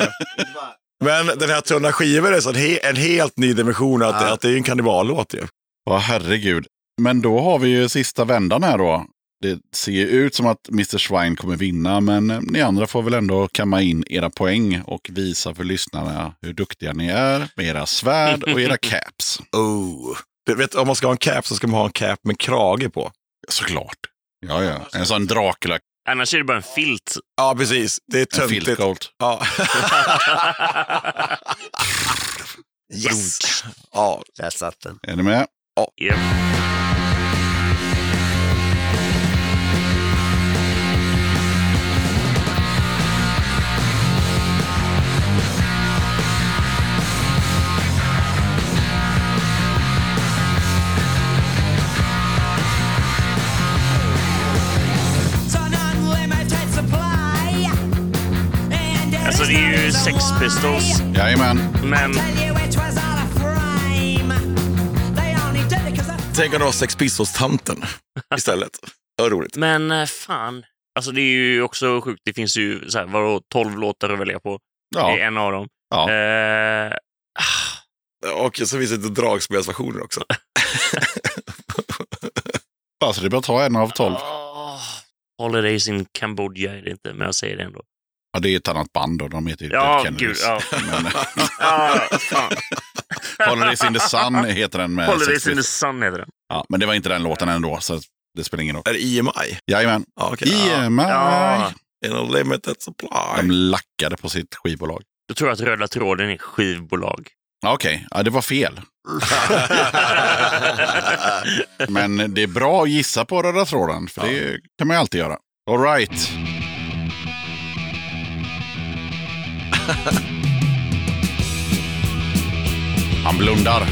Speaker 4: ja. Men den här tunna skivor är så en, he- en helt ny dimension. Att,
Speaker 2: Ja.
Speaker 4: att det är en kanniballåt ju.
Speaker 1: Ja, herregud. Men då har vi ju sista vändan här då. Det ser ju ut som att Mr. Swine kommer vinna, men eh, ni andra får väl ändå kamma in era poäng och visa för lyssnarna hur duktiga ni är med era svärd och era caps.
Speaker 4: Oh. Du vet, om man ska ha en cap så ska man ha en cap med krage på.
Speaker 1: Såklart. Ja, ja. En sån Dracula,
Speaker 3: Annars är det bara en filt.
Speaker 4: Ja, precis. Det är
Speaker 1: en
Speaker 4: töntigt.
Speaker 1: filtcoat.
Speaker 4: Ja.
Speaker 2: Yes!
Speaker 4: ja.
Speaker 2: Där satt den.
Speaker 1: Är ni med?
Speaker 3: Japp. Alltså det är ju Sex Pistols,
Speaker 1: Jajamän.
Speaker 3: men
Speaker 4: Tänk om det var Sex Pistols-tanten istället. Det var roligt.
Speaker 3: Men eh, fan. Alltså det är ju också sjukt. Det finns ju så här, vadå, 12 låtar att välja på. Det är
Speaker 1: Ja,
Speaker 3: en av dem.
Speaker 1: ja.
Speaker 3: Eh,
Speaker 4: Och så finns det dragspelsversioner också.
Speaker 1: Alltså, det är bara att ta en av tolv.
Speaker 3: åh, Holidays in Cambodia är det inte, men jag säger det ändå.
Speaker 1: Ja, det är ett annat band och de heter ju
Speaker 3: Ja,
Speaker 1: Dead
Speaker 3: gud.
Speaker 1: Kennedys.
Speaker 3: Ja.
Speaker 1: Men,
Speaker 3: Ah, fan.
Speaker 1: Holidays in the Sun heter den med
Speaker 3: Holidays
Speaker 1: Sex
Speaker 3: in the
Speaker 1: Pistols.
Speaker 3: Sun heter den.
Speaker 1: Ja, men det var inte den låten ändå, så det spelar ingen roll.
Speaker 4: Är det EMI?
Speaker 1: Jajamän.
Speaker 4: Ja, okej. Ja.
Speaker 1: EMI.
Speaker 3: Ja.
Speaker 4: In a limited supply.
Speaker 1: De lackade på sitt skivbolag.
Speaker 3: Då tror jag att Röda Tråden är skivbolag.
Speaker 1: Ja, Okej, ja, det var fel. Men det är bra att gissa på röda tråden, för det kan man ju alltid göra. All right. Han blundar.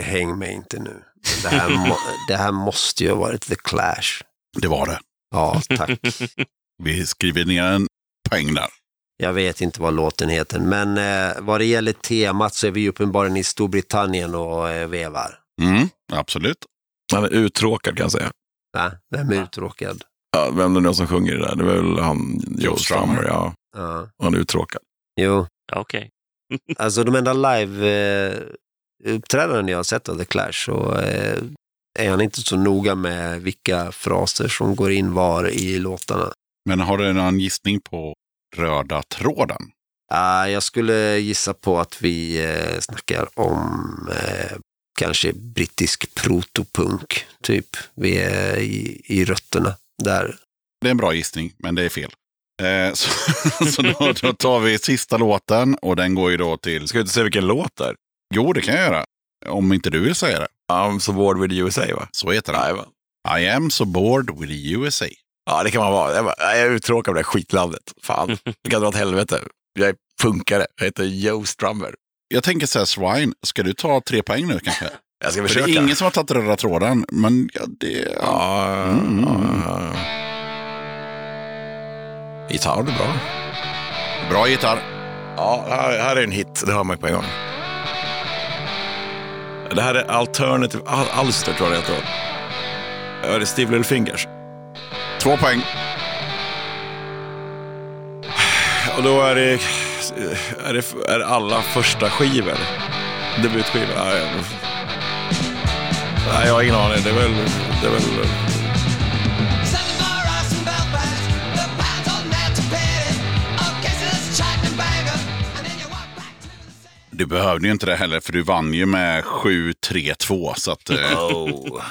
Speaker 2: Häng mig inte nu. Det här, må, det här måste ju ha varit The Clash.
Speaker 1: Det var det.
Speaker 2: Ja, tack.
Speaker 1: Vi skriver ner en poäng där.
Speaker 2: Jag vet inte vad låten heter, men eh, vad det gäller temat så är vi ju uppenbarligen i Storbritannien och eh, vevar.
Speaker 1: Mm, absolut.
Speaker 4: Han är uttråkad kan jag säga.
Speaker 2: Va? Vem är uttråkad?
Speaker 4: Ja, vem det nu är som sjunger det där? Det är väl han, Joe Strummer. Ja,
Speaker 2: Ja.
Speaker 4: han är uttråkad.
Speaker 2: Jo,
Speaker 3: Ja, Okej.
Speaker 2: alltså de enda live-uppträdanden jag har sett av The Clash så eh, är han inte så noga med vilka fraser som går in var i låtarna.
Speaker 1: Men har du någon gissning på röda tråden?
Speaker 2: Ah, jag skulle gissa på att vi eh, snackar om eh, kanske brittisk protopunk, typ. Vi är i, i rötterna där.
Speaker 1: Det är en bra gissning, men det är fel. Eh, så så då, då tar vi sista låten och den går ju då till...
Speaker 4: Ska vi inte säga vilken låt det är?
Speaker 1: Jo, det kan jag göra. Om inte du vill säga det.
Speaker 4: I'm so bored with the USA va?
Speaker 1: Så heter den.
Speaker 4: Nej, va?
Speaker 1: I am so bored with the USA.
Speaker 4: Ja, det kan man vara. Jag, bara, nej, jag är uttråkad av det här skitlandet. Fan, det kan dra åt helvete. Jag är punkare. Jag heter Joe Strummer.
Speaker 1: Jag tänker så här, Swine, ska du ta tre poäng nu kanske?
Speaker 4: Jag ska
Speaker 1: För det
Speaker 4: försöka.
Speaker 1: är ingen som har tagit röda tråden, men ja, det... Ja.
Speaker 4: Ja,
Speaker 1: Mm.
Speaker 4: ja, ja, ja. Gitarr, det är bra.
Speaker 1: Bra gitarr.
Speaker 4: Ja, här, här är en hit. Det hör man ju på en gång. Det här är Alternative Al Alster, tror jag det heter. Ja, det är Steve Little Fingers.
Speaker 1: Två poäng.
Speaker 4: Och då är det, är det, är det alla första skivor. Debutskivor. Ja, jag, nej, jag har ingen aning. Det är väl... Det är väl
Speaker 1: Du behövde ju inte det heller, för du vann ju med 7-3-2. Så att, eh,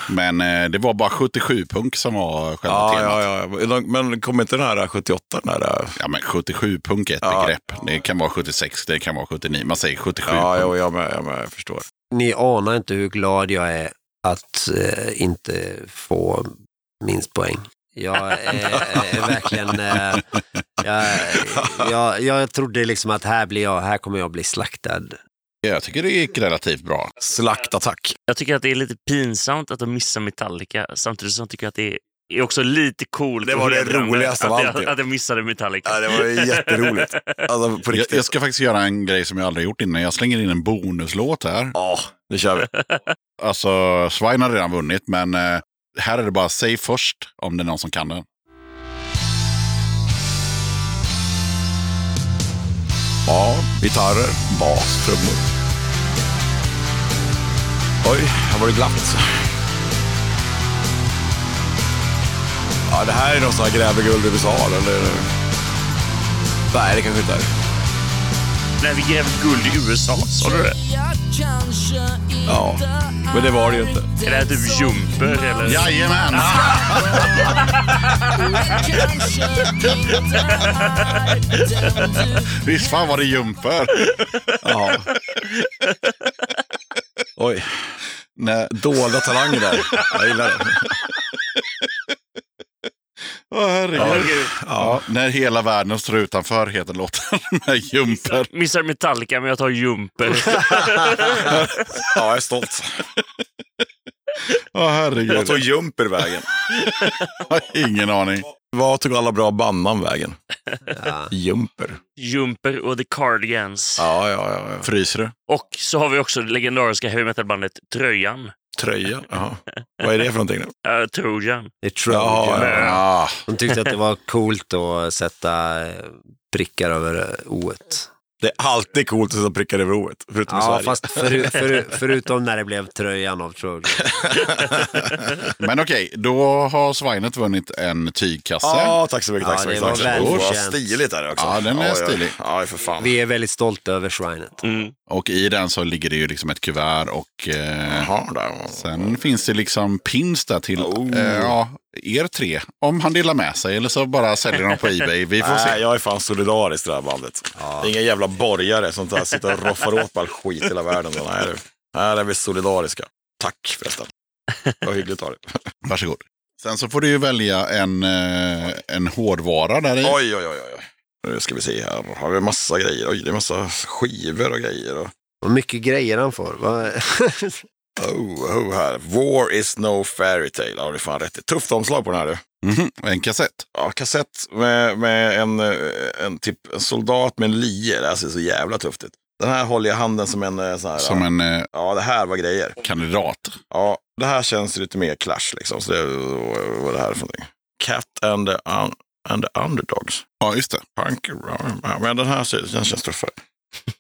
Speaker 1: Men eh, det var bara 77 punk som var själva
Speaker 4: ja,
Speaker 1: temat.
Speaker 4: ja, ja, ja. Men kommer inte den här 78? Den här, äh,
Speaker 1: Ja, men 77 punk är ett
Speaker 4: Ja.
Speaker 1: begrepp. Det kan vara 76, det kan vara 79. Man säger 77.
Speaker 4: ja,
Speaker 1: punk.
Speaker 4: jag, jag med. Jag, med, jag förstår.
Speaker 2: Ni anar inte hur glad jag är att eh, inte få minst poäng. Jag är, är verkligen... Eh, jag, jag, jag trodde liksom att här blir jag, här kommer jag bli slaktad.
Speaker 1: jag tycker det gick relativt bra.
Speaker 4: Slaktattack.
Speaker 3: Jag tycker att det är lite pinsamt att de missar Metallica, samtidigt som jag tycker att det är också lite coolt.
Speaker 4: Det
Speaker 3: och
Speaker 4: var det
Speaker 3: hedrande
Speaker 4: roligaste av
Speaker 3: att
Speaker 4: allt
Speaker 3: jag,
Speaker 4: ju.
Speaker 3: att jag missade Metallica.
Speaker 4: Ja, det var ju jätteroligt. Alltså, på
Speaker 1: Jag,
Speaker 4: riktigt.
Speaker 1: jag ska faktiskt göra en grej som jag aldrig gjort innan. Jag slänger in en bonuslåt här.
Speaker 4: Ja, det kör vi.
Speaker 1: Alltså, Swine har redan vunnit, men eh, här är det bara säg först om det är någon som kan den.
Speaker 4: Ja, gitarrer, bas, trummor. Oj, här var det alltså. glatt. Ja, det här är någon sån här gräver guld i USA, eller? Nej, det kanske inte är.
Speaker 3: När vi grävde guld i USA, sa du det?
Speaker 4: Ja, men det var det ju inte.
Speaker 3: Är det här typ Jumper eller?
Speaker 1: Jajamän! Visst fan var det jumper?
Speaker 4: Ja. Oj,
Speaker 1: Nej.
Speaker 4: dolda talanger där. Jag gillar det.
Speaker 1: Åh, herregud.
Speaker 3: Herregud.
Speaker 1: Ja, när hela världen står utanför heter låten med jumper.
Speaker 3: Missar Metallica, men jag tar Jumper.
Speaker 4: Ja, jag är stolt.
Speaker 1: Åh herregud.
Speaker 4: Vad tog Jumper vägen?
Speaker 1: Jag har ingen aning.
Speaker 4: Vad tog alla bra bandnamn vägen?
Speaker 2: Ja.
Speaker 4: Jumper.
Speaker 3: Jumper och The Cardigans.
Speaker 4: Ja, ja, ja. ja.
Speaker 1: Fryser du?
Speaker 3: Och så har vi också det legendariska heavy metal-bandet Tröjan.
Speaker 4: Tröja. Jaha. Vad är det för någonting? Då?
Speaker 3: Äh, Trojan.
Speaker 2: Det är Trojan.
Speaker 4: ja.
Speaker 2: De tyckte att det var coolt att sätta eh, prickar över eh, oet.
Speaker 4: Det är alltid coolt att sätta prickar över oet, förutom i
Speaker 2: Ja,
Speaker 4: Sverige.
Speaker 2: fast föru, föru, förutom när det blev tröjan av Trojan.
Speaker 1: Men okej, då har Svinet vunnit en tygkasse.
Speaker 4: Ja, tack så mycket. Tack
Speaker 2: Ja,
Speaker 4: så
Speaker 2: det
Speaker 4: mycket.
Speaker 2: var
Speaker 4: tack så mycket.
Speaker 2: välförtjänt.
Speaker 4: Åh, vad stiligt är det också.
Speaker 1: Ja, den är
Speaker 4: ja,
Speaker 1: stilig.
Speaker 4: Ja, ja, för fan.
Speaker 2: Vi är väldigt stolta över shrinet.
Speaker 4: Mm.
Speaker 1: Och i den så ligger det ju liksom ett kuvert och eh,
Speaker 4: Jaha, där.
Speaker 1: sen finns det liksom pins där till
Speaker 4: Oh.
Speaker 1: eh, ja, er tre. Om han delar med sig eller så bara säljer de på Ebay. Vi får
Speaker 4: Nej,
Speaker 1: se.
Speaker 4: jag är fan solidarisk till det här bandet. Inga jävla borgare som där sitter och roffar åt all skit i hela världen. Nej, du. Nej, det är vi solidariska. Tack förresten. Vad hyggligt av dig.
Speaker 1: Varsågod. Sen så får du ju välja en, eh, en hårdvara där i.
Speaker 4: Oj, oj, oj, oj. Nu ska vi se här. Har vi massa grejer? Oj, det är massa skivor och grejer. Och...
Speaker 2: Vad mycket grejer han får. Vad-
Speaker 4: Oh, oh, här. War is no fairy tale. Ja, det är fan rätt i. Tufft omslag på den här du.
Speaker 1: Mhm, En kassett.
Speaker 4: Ja, kassett med, med en, eh, en, typ, en soldat med en lie. Det här ser så jävla tufft ut. Den här håller jag i handen som en eh, sån här.
Speaker 1: Som en eh,
Speaker 4: Ja, det här var grejer.
Speaker 1: kandidat.
Speaker 4: Ja, det här känns lite mer clash liksom. Så det, vad är det här för någonting? Cat and the, un, and the underdogs.
Speaker 1: Ja, just det.
Speaker 4: Punk around. Ja, Men den här ser, den känns tuffare.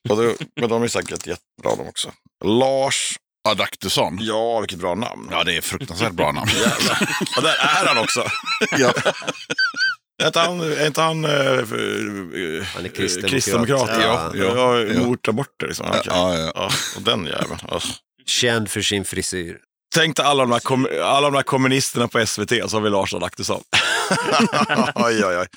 Speaker 4: Och då, men de är säkert jättebra de också. Lars.
Speaker 1: Adaktusson.
Speaker 4: Ja, vilket bra namn.
Speaker 1: Ja, det är fruktansvärt bra namn.
Speaker 4: Jävlar. Och där är han också.
Speaker 1: Ja.
Speaker 4: Är inte han, är inte han, eh, för- eh,
Speaker 2: Han är kristdemokrat.
Speaker 4: kristdemokrat?
Speaker 2: Ja.
Speaker 4: Ja, ja,
Speaker 1: Ja.
Speaker 4: mot aborter liksom. Ja, okej.
Speaker 1: Ja, ja.
Speaker 4: Ja, och den jäveln. Ja.
Speaker 2: Känd för sin frisyr.
Speaker 4: Tänk dig alla de, här kom, alla de här kommunisterna på SVT, så har vi Lars Adaktusson. oj, oj, oj.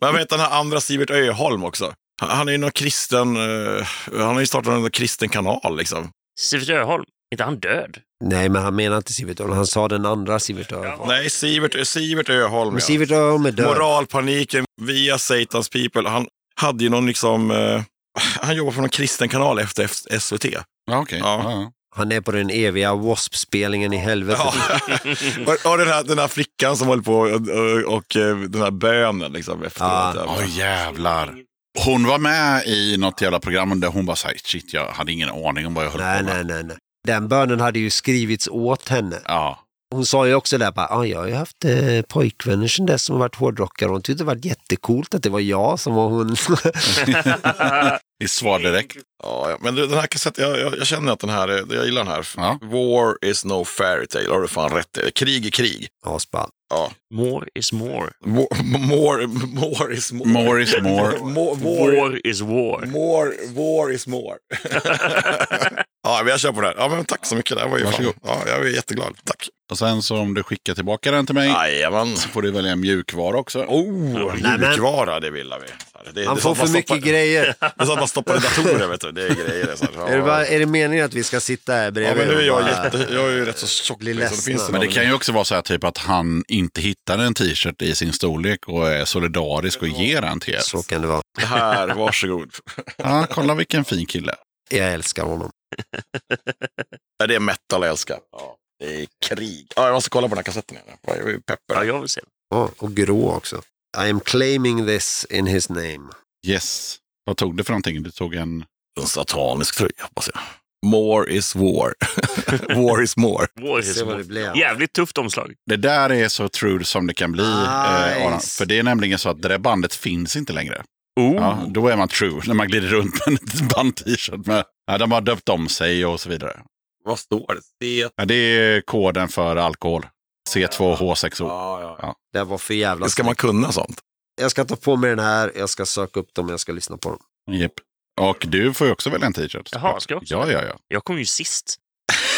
Speaker 4: Men vet den här andra Sivert Öholm också. Han, han är ju någon kristen, eh, han har ju startat en kristen kanal liksom.
Speaker 3: Sivert Öholm, inte han död?
Speaker 2: Nej, men han menar inte Sivert Öholm. Han sa den andra Sivert Öholm.
Speaker 4: Nej, Sivert, Sivert Öholm.
Speaker 2: Men
Speaker 4: Ja.
Speaker 2: Sivert Öholm är död.
Speaker 4: Moralpaniken via Satans people. Han hade ju någon liksom, eh, han jobbar på någon kristen kanal efter F- SVT.
Speaker 1: Ja, okej.
Speaker 4: Ja.
Speaker 1: Ja, ja.
Speaker 2: Han är på den eviga W.A.S.P-spelningen i helvetet.
Speaker 4: Ja. och och den, här, den här flickan som håller på och, och, och eh, den här bönen liksom efteråt.
Speaker 1: Åh jävlar. Hon var med i något jävla program där hon bara så här, shit jag hade ingen aning om vad jag höll
Speaker 2: Nej,
Speaker 1: på med.
Speaker 2: nej, nej, nej. Den bönen hade ju skrivits åt henne.
Speaker 1: Ja.
Speaker 2: Hon sa ju också där bara, ah, jag har ju haft eh, pojkvänner sedan dess som har varit hårdrockare. Hon tyckte det var jättecoolt att det var jag som var hon.
Speaker 1: I
Speaker 3: Äh,
Speaker 1: svardräkt.
Speaker 4: Ja, ja, men du, den här kassetten, jag, jag, jag känner att den här, är- jag gillar den här.
Speaker 1: Ja.
Speaker 4: War is no fairy tale, har du fan rätt i. Krig är krig.
Speaker 2: Asball.
Speaker 4: Ja.
Speaker 3: More is more.
Speaker 4: War, more, more is more.
Speaker 1: More is more.
Speaker 4: More, war,
Speaker 3: War is war.
Speaker 4: more, war is more. ja, men jag kör på det här. Ja, men tack så mycket. Det här var ju fan.
Speaker 1: Varsågod.
Speaker 4: Ja, jag är jätteglad. Tack.
Speaker 1: Och sen så om du skickar tillbaka den till mig
Speaker 4: Jajamän.
Speaker 1: så får du välja en mjukvara också.
Speaker 4: Oh, mjukvara, det vill vi. Det, det är
Speaker 2: Han
Speaker 4: sånt
Speaker 2: får
Speaker 4: man
Speaker 2: för mycket
Speaker 4: stoppar-
Speaker 2: grejer.
Speaker 4: Det är sånt man stoppar i datorer, vet du. Det är grejer. Det är så här.
Speaker 2: Är det, bara, är det meningen att vi ska sitta här
Speaker 4: Ja,
Speaker 2: bredvid?
Speaker 4: men nu är
Speaker 2: och
Speaker 4: jag,
Speaker 2: bara-
Speaker 4: jätte, jag är ju rätt så tjock.
Speaker 2: Blir
Speaker 4: liksom.
Speaker 2: ledsen.
Speaker 4: finns
Speaker 1: Men det
Speaker 4: någon-
Speaker 1: kan ju också vara så här typ att han inte hittar en t-shirt i sin storlek och är solidarisk och ger den till er.
Speaker 2: Så kan det vara.
Speaker 4: Här, varsågod.
Speaker 1: Ja, kolla vilken fin kille.
Speaker 2: Jag älskar honom.
Speaker 4: Ja, Det är metal jag älskar. Ja. Det är krig. Ja, jag måste kolla på den här kassetten igen. Jag är ju peppad.
Speaker 3: Ja, jag vill se.
Speaker 2: Ja, och grå också. I am claiming this in his name.
Speaker 1: Yes. Vad tog du för någonting? Du tog en...
Speaker 4: En satanisk tröja, hoppas jag. More is war. war is more.
Speaker 3: War is
Speaker 2: Se vad det
Speaker 3: war.
Speaker 2: blev.
Speaker 3: Jävligt tufft omslag.
Speaker 1: Det där är så true som det kan bli, eh,
Speaker 2: Nice.
Speaker 1: Aron. För det är nämligen så att det där bandet finns inte längre.
Speaker 3: Oh.
Speaker 1: Ja, då är man true, när man glider runt med en band-t-shirt. Med, ja, de har döpt om sig och så vidare.
Speaker 4: Vad står det? C.
Speaker 1: Ja, det är koden för alkohol. C2H6O.
Speaker 4: Ja, ja, ja.
Speaker 2: Det här var för jävla...
Speaker 4: Ska man kunna sånt?
Speaker 2: Jag ska ta på mig den här, jag ska söka upp dem, jag ska lyssna på dem.
Speaker 1: Japp. Och du får ju också välja en t-shirt.
Speaker 3: Jaha, ska jag också?
Speaker 1: Ja, ja, ja.
Speaker 3: Jag kom ju sist.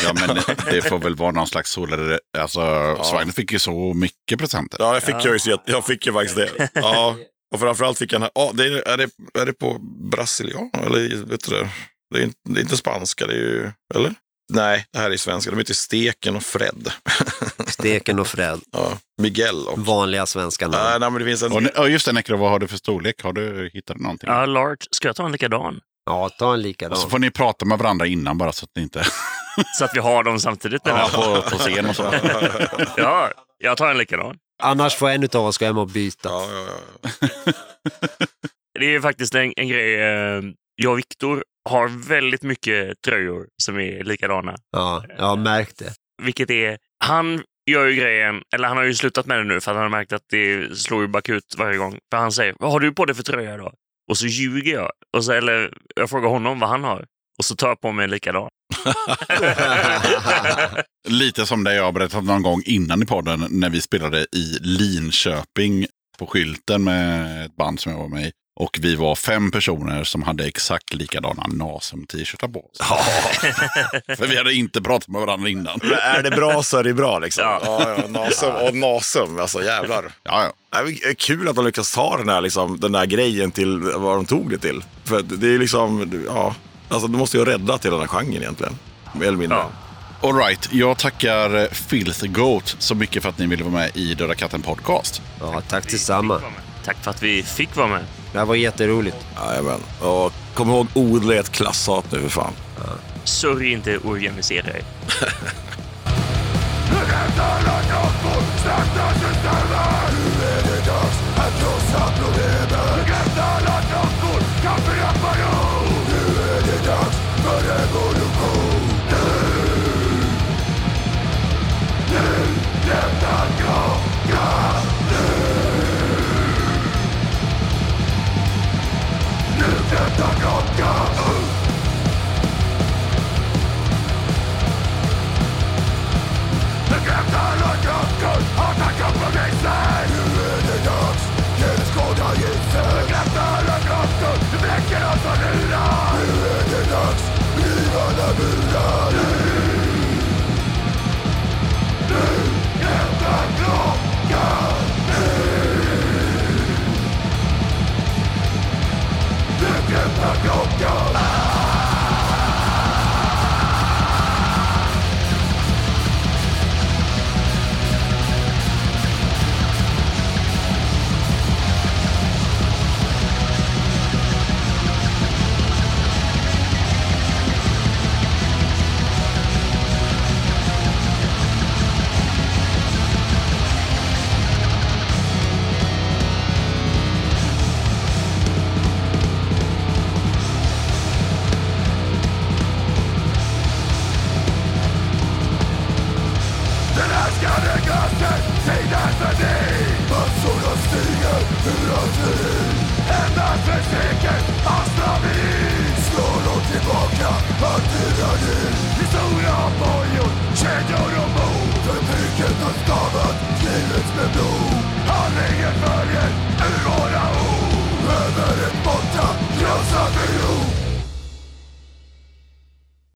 Speaker 1: Ja, men det får väl vara någon slags solidaritet. Alltså, Svagner fick ju så mycket presenter.
Speaker 4: Ja, jag fick,
Speaker 3: Ja.
Speaker 4: Ju, så jag, jag fick ju faktiskt det. Ja. Och framförallt fick jag den här. Ja, det är, är, det, är det på brasilian? Eller vet du det? Det är, inte, det är inte spanska, det är ju... Eller? Nej, det här är svenska. De heter Steken och Fred.
Speaker 2: Steken och Fred,
Speaker 4: Ja. Miguel och...
Speaker 2: vanliga svenska
Speaker 4: Nej,
Speaker 2: namn.
Speaker 4: nej, men det finns en...
Speaker 1: Och, ne- ja, just det, Necro, vad har du för storlek? Har du hittat någonting?
Speaker 3: Ja, large. Ska jag ta en likadan?
Speaker 2: Ja, ta en
Speaker 1: Och så
Speaker 2: likadan.
Speaker 1: får ni prata med varandra innan bara så att ni inte
Speaker 3: Så att vi har dem samtidigt. menar
Speaker 1: är
Speaker 3: jag.
Speaker 1: på, på scen och så.
Speaker 3: Ja, jag tar en likadan.
Speaker 2: Annars får en utav oss gå hem och byta.
Speaker 4: Ja, ja, ja.
Speaker 3: Det är ju faktiskt en, en grej. eh, Jag och Viktor har väldigt mycket tröjor som är likadana.
Speaker 2: Ja, jag har märkt det.
Speaker 3: Vilket är... Han gör ju grejen, eller han har ju slutat med det nu för att han har märkt att det slår ju bakut varje gång. För han säger, vad har du på dig för tröja då? Och så ljuger jag. Och så, eller jag frågar honom vad han har. Och så tar jag på mig en likadan.
Speaker 1: Lite som det jag har berättat någon gång innan i podden när vi spelade i Linköping på skylten med ett band som jag var med i. Och vi var fem personer som hade exakt likadana Nasum-t-shirtar på oss. För vi hade inte pratat med varandra innan.
Speaker 4: Men är det bra så är det bra liksom.
Speaker 3: Ja.
Speaker 4: Ja, ja, nasum och nasum, alltså jävlar.
Speaker 1: Ja, ja.
Speaker 4: Ja, men, eh, Kul att de lyckas ta den här, liksom, den här grejen till vad de tog det till. För att det är liksom, ja, alltså de måste ju ha räddat hela den här genren egentligen. Mer eller mindre.
Speaker 3: Ja.
Speaker 1: Alright, jag tackar eh, Filth Goat så mycket för att ni ville vara med i Döda katten Podcast.
Speaker 2: Ja, tack tillsammans.
Speaker 3: Tack för att vi fick vara med.
Speaker 2: Det här var jätteroligt.
Speaker 4: Jajamän. Och kom ihåg, odla ett klasshat nu för fan.
Speaker 3: Sörj inte, organisera er.
Speaker 8: Get us
Speaker 10: vatten sinar förbi Bussorna stiger ur artilleri Endast förskräcker astronomi Slår de tillbaka all tyranni Historia om bojor, kedjor och mord Förtrycket har stavat livets med blod Handlingen följer ur våra ord Över ett borta krossat jord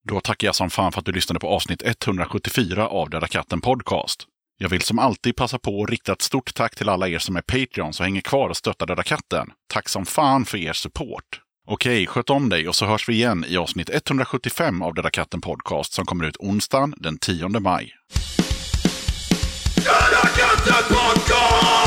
Speaker 1: Då tackar jag som fan för att du lyssnade på avsnitt 174 av Döda katten Podcast. Jag vill som alltid passa på att rikta ett stort tack till alla er som är Patreons och hänger kvar och stöttar Döda katten. Tack som fan för er support! Okej, sköt om dig och så hörs vi igen i avsnitt 175 av Döda katten Podcast som kommer ut onsdagen den 10 maj.
Speaker 10: Döda katten podcast!